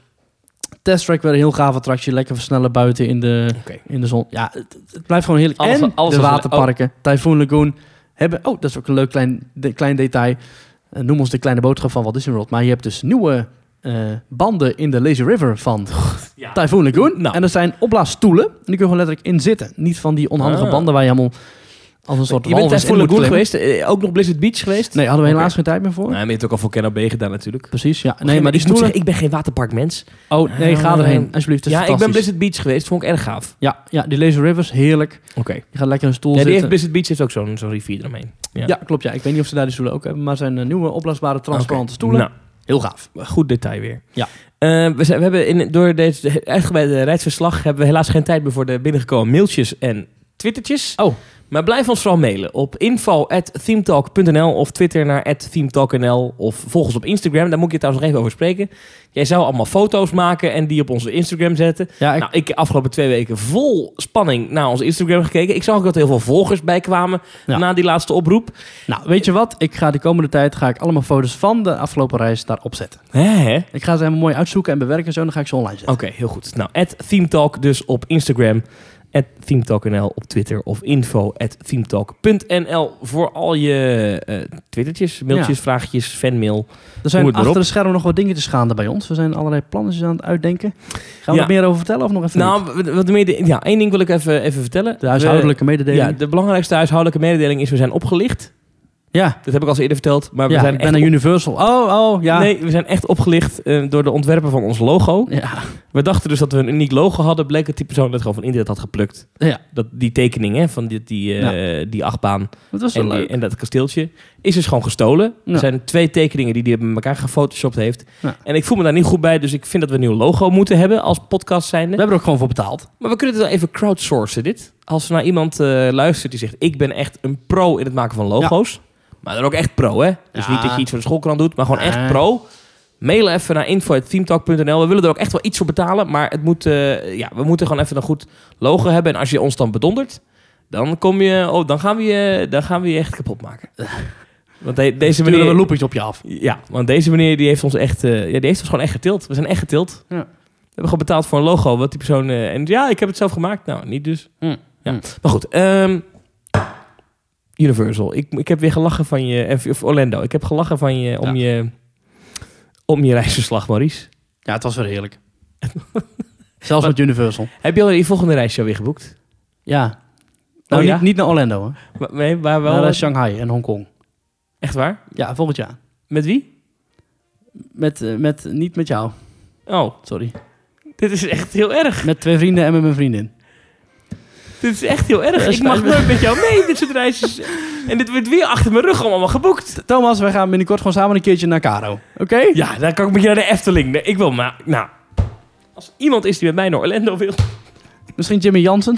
Speaker 1: Test Track weer een heel gaaf attractie. Lekker versnellen buiten in de,
Speaker 2: Oké.
Speaker 1: in de zon. Ja, het, het blijft gewoon heerlijk.
Speaker 2: Alles-
Speaker 1: en
Speaker 2: alles oh.
Speaker 1: de
Speaker 2: was-
Speaker 1: waterparken, Typhoon Lagoon, hebben... Oh, dat is ook een leuk klein, de- klein detail. Eh, noem ons de kleine boodschap van Walt Disney World. Maar je hebt dus nieuwe eh, banden in de Lazy River van
Speaker 2: <laughs> Ja.
Speaker 1: Typhoon Lagoon.
Speaker 2: Nou.
Speaker 1: En dat zijn opblaasstoelen. En die kun je gewoon letterlijk in zitten. Niet van die onhandige
Speaker 2: Ah.
Speaker 1: banden waar je helemaal als een soort
Speaker 2: je bent
Speaker 1: walvis
Speaker 2: Typhoon
Speaker 1: in moet
Speaker 2: Lagoon
Speaker 1: klimmen.
Speaker 2: geweest, eh, ook nog Blizzard Beach geweest.
Speaker 1: Nee, hadden we
Speaker 2: Oké.
Speaker 1: helaas geen tijd meer voor.
Speaker 2: Nee, maar je hebt ook al Volcano B gedaan natuurlijk.
Speaker 1: Precies, ja. Nee, maar die
Speaker 2: ik, moet
Speaker 1: stoelen...
Speaker 2: zeggen, ik ben geen waterparkmens.
Speaker 1: Oh, nee, ga
Speaker 2: Eh,
Speaker 1: erheen. Alsjeblieft, het is
Speaker 2: Ja, ik ben
Speaker 1: fantastisch.
Speaker 2: Blizzard Beach geweest. Vond ik erg gaaf.
Speaker 1: Ja, ja, die Lazy Rivers, heerlijk.
Speaker 2: Oké.
Speaker 1: Je gaat lekker in een stoel
Speaker 2: Ja, die heeft
Speaker 1: zitten.
Speaker 2: Blizzard eh, Beach heeft ook zo'n zo'n rivier eromheen.
Speaker 1: Ja. klopt. Ja. Ik weet niet of ze daar die stoelen ook hebben, maar het zijn eh, nieuwe opblaasbare transparante stoelen.
Speaker 2: Nou,
Speaker 1: Heel gaaf.
Speaker 2: goed detail weer.
Speaker 1: Ja.
Speaker 2: Eh, we, zijn, we hebben in, door deze uitgebreide reisverslag hebben we helaas geen tijd meer voor de binnengekomen mailtjes en twittertjes.
Speaker 1: Oh.
Speaker 2: Maar blijf ons vooral mailen op info.themetalk.nl of twitter naar themetalk.nl of volg ons op Instagram. Daar moet ik je trouwens nog even over spreken. Jij zou allemaal foto's maken en die op onze Instagram zetten.
Speaker 1: Ja, ik,
Speaker 2: Nou, ik heb afgelopen twee weken vol spanning naar onze Instagram gekeken. Ik zag ook dat er heel veel volgers bij kwamen
Speaker 1: Ja.
Speaker 2: na die laatste oproep.
Speaker 1: nou, weet je wat? Ik ga de komende tijd ga ik allemaal foto's van de afgelopen reis daarop zetten.
Speaker 2: Hè, hè?
Speaker 1: Ik ga ze helemaal mooi uitzoeken en bewerken en zo. En dan ga ik ze online zetten.
Speaker 2: Oké, heel goed. Nou, themetalk dus op Instagram. themetalk.nl op Twitter of info themetalk.nl voor al je eh twittertjes, mailtjes, vraagjes, fanmail.
Speaker 1: er zijn
Speaker 2: moet maar
Speaker 1: achter
Speaker 2: op.
Speaker 1: de schermen nog wat dingetjes gaande bij ons. We zijn allerlei plannetjes aan het uitdenken. Gaan we
Speaker 2: Ja.
Speaker 1: er meer over vertellen of nog even niet?
Speaker 2: Nou, wat- wat meer de- ja, één ding wil ik even, even vertellen.
Speaker 1: De huishoudelijke mededeling.
Speaker 2: Ja, de belangrijkste huishoudelijke mededeling is we zijn opgelicht.
Speaker 1: Ja,
Speaker 2: Dat heb ik al eens eerder verteld. Maar we
Speaker 1: ja
Speaker 2: zijn
Speaker 1: ik
Speaker 2: echt
Speaker 1: ben naar Universal. Oh, oh, ja.
Speaker 2: Nee, we zijn echt opgelicht eh, door de ontwerpen van ons logo.
Speaker 1: Ja,
Speaker 2: We dachten dus dat we een uniek logo hadden. Bleek dat die persoon dat gewoon van internet had geplukt.
Speaker 1: Ja.
Speaker 2: Dat, die tekening hè, van die, die, eh, die achtbaan
Speaker 1: dat was wel
Speaker 2: en, die-
Speaker 1: leuk.
Speaker 2: en dat kasteeltje. Is dus gewoon gestolen.
Speaker 1: Ja.
Speaker 2: Er zijn twee tekeningen die hij met elkaar gefotoshopt heeft.
Speaker 1: Ja.
Speaker 2: En ik voel me daar niet goed bij. Dus ik vind dat we een nieuw logo moeten hebben als podcast zijnde.
Speaker 1: We hebben er ook gewoon voor betaald.
Speaker 2: Maar we kunnen het wel even crowdsourcen, dit. Als er naar iemand eh, luistert die zegt... ik ben echt een pro in het maken van logo's. Maar dan ook echt pro, hè? Dus
Speaker 1: Ja.
Speaker 2: niet dat je iets voor de schoolkrant doet, maar gewoon echt
Speaker 1: Nee.
Speaker 2: pro. Mail even naar info.teamtalk.nl. We willen er ook echt wel iets voor betalen, maar het moet, eh, ja, we moeten gewoon even een goed logo hebben. En als je ons dan bedondert, dan, kom je, oh, dan, gaan, we je, dan gaan we je echt
Speaker 1: <laughs>
Speaker 2: kapot maken. Want de- deze
Speaker 1: Ze willen
Speaker 2: meneer...
Speaker 1: een loopetje op je af.
Speaker 2: Ja, want deze meneer die heeft ons echt, eh, ja, die heeft ons gewoon echt getild. We zijn echt getild.
Speaker 1: Ja.
Speaker 2: We hebben gewoon betaald voor een logo. Wat die persoon. eh, en ja, ik heb het zelf gemaakt. Nou, niet dus.
Speaker 1: Hm.
Speaker 2: Ja.
Speaker 1: Hm.
Speaker 2: Maar goed. ehm, Universal. Ik, ik heb weer gelachen van je. Of, of Orlando. Ik heb gelachen van je om je. Om je reisverslag, Maurice.
Speaker 1: Ja, het was weer heerlijk. <laughs> Zelfs met Universal.
Speaker 2: Heb je al je volgende reisje alweer geboekt?
Speaker 1: Ja. Nou,
Speaker 2: ja?
Speaker 1: niet, niet naar Orlando, hè.
Speaker 2: Wa- Nee, waar wel?
Speaker 1: naar eh, Shanghai en Hongkong.
Speaker 2: echt waar?
Speaker 1: Ja, volgend jaar.
Speaker 2: Met wie?
Speaker 1: Met, eh, met, niet met jou,
Speaker 2: Oh,
Speaker 1: sorry.
Speaker 2: dit is echt heel erg.
Speaker 1: Met twee vrienden en met mijn vriendin.
Speaker 2: Dit is echt heel erg.
Speaker 1: Ja,
Speaker 2: Ik
Speaker 1: spijt
Speaker 2: mag
Speaker 1: me.
Speaker 2: nooit met jou mee, dit soort reisjes. en dit wordt weer achter mijn rug allemaal geboekt.
Speaker 1: Thomas, wij gaan binnenkort gewoon samen een keertje naar Caro. Oké?
Speaker 2: Ja, dan kan ik met je naar de Efteling. Nee, ik wil maar... Nou, als iemand is die met mij naar Orlando wil... <laughs>
Speaker 1: Misschien Jimmy Jansen?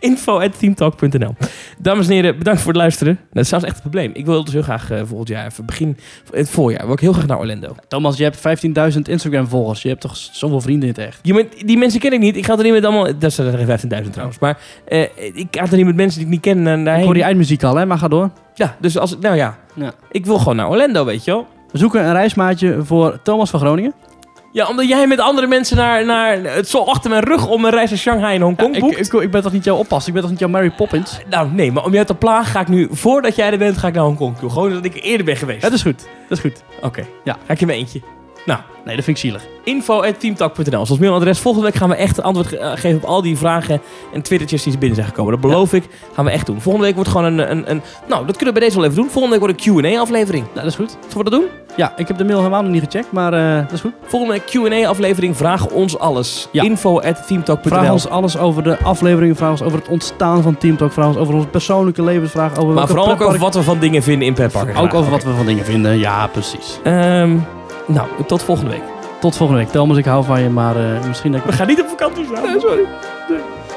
Speaker 2: info at teamtalk.nl Dames en heren, bedankt voor het luisteren. Nou, dat is zelfs echt een probleem. Ik wil dus heel graag eh, volgend jaar, even begin het voorjaar, wil ik heel graag naar Orlando.
Speaker 1: Thomas, je hebt 15.000 Instagram-volgers. Je hebt toch zoveel vrienden in het echt?
Speaker 2: Je bent- die mensen ken ik niet. Ik ga er niet met allemaal... Dat zijn er geen 15.000 trouwens. Maar eh, ik ga er niet met mensen die ik niet ken eh, naar
Speaker 1: Oh. Ik
Speaker 2: daarheen.
Speaker 1: hoor die eindmuziek al, hè? Maar ga door.
Speaker 2: Ja, dus als... Nou ja.
Speaker 1: Ja.
Speaker 2: Ik wil gewoon naar Orlando, weet je wel.
Speaker 1: We zoeken een reismaatje voor Thomas van Groningen.
Speaker 2: Ja, omdat jij met andere mensen naar... naar het zo achter mijn rug om een reis naar Shanghai en Hongkong
Speaker 1: ik, ik,
Speaker 2: boekt.
Speaker 1: ik ben toch niet jouw oppas? Ik ben toch niet jouw Mary Poppins?
Speaker 2: Nou, nee, maar om jou te plagen ga ik nu, voordat jij er bent, ga ik naar Hongkong toe. Gewoon dat ik eerder ben geweest.
Speaker 1: Ja, dat is goed. Dat is goed.
Speaker 2: Oké,
Speaker 1: Ja.
Speaker 2: ga ik in mijn eentje.
Speaker 1: Nee, dat vind ik zielig.
Speaker 2: Info at teamtalk.nl is ons mailadres. Volgende week gaan we echt een antwoord ge- eh, geven op al die vragen en twittertjes die binnen zijn gekomen. Dat beloof ik. Gaan we echt doen. Volgende week wordt gewoon een, een, een... Nou, dat kunnen we bij deze wel even doen. Volgende week wordt een Q&A aflevering.
Speaker 1: Nou, dat is goed.
Speaker 2: Zullen we dat doen?
Speaker 1: Ja, ik heb de mail helemaal nog niet gecheckt, maar eh, dat is goed.
Speaker 2: Volgende week Q&A aflevering. Vraag ons alles.
Speaker 1: Ja.
Speaker 2: Info at teamtalk.nl
Speaker 1: Vraag ons alles over de afleveringen. Vraag ons over het ontstaan van Team Talk. Vraag ons over ons persoonlijke levensvraag. Over
Speaker 2: Maar
Speaker 1: welke
Speaker 2: vooral ook over
Speaker 1: pretpark-
Speaker 2: wat we van dingen vinden in pretparken.
Speaker 1: Ook over wat we van dingen vinden. Ja, precies.
Speaker 2: Ehm, nou, tot volgende week.
Speaker 1: Tot volgende week. Thomas, ik hou van je, maar eh, misschien dat ik...
Speaker 2: We gaan niet op vakantie samen. sorry.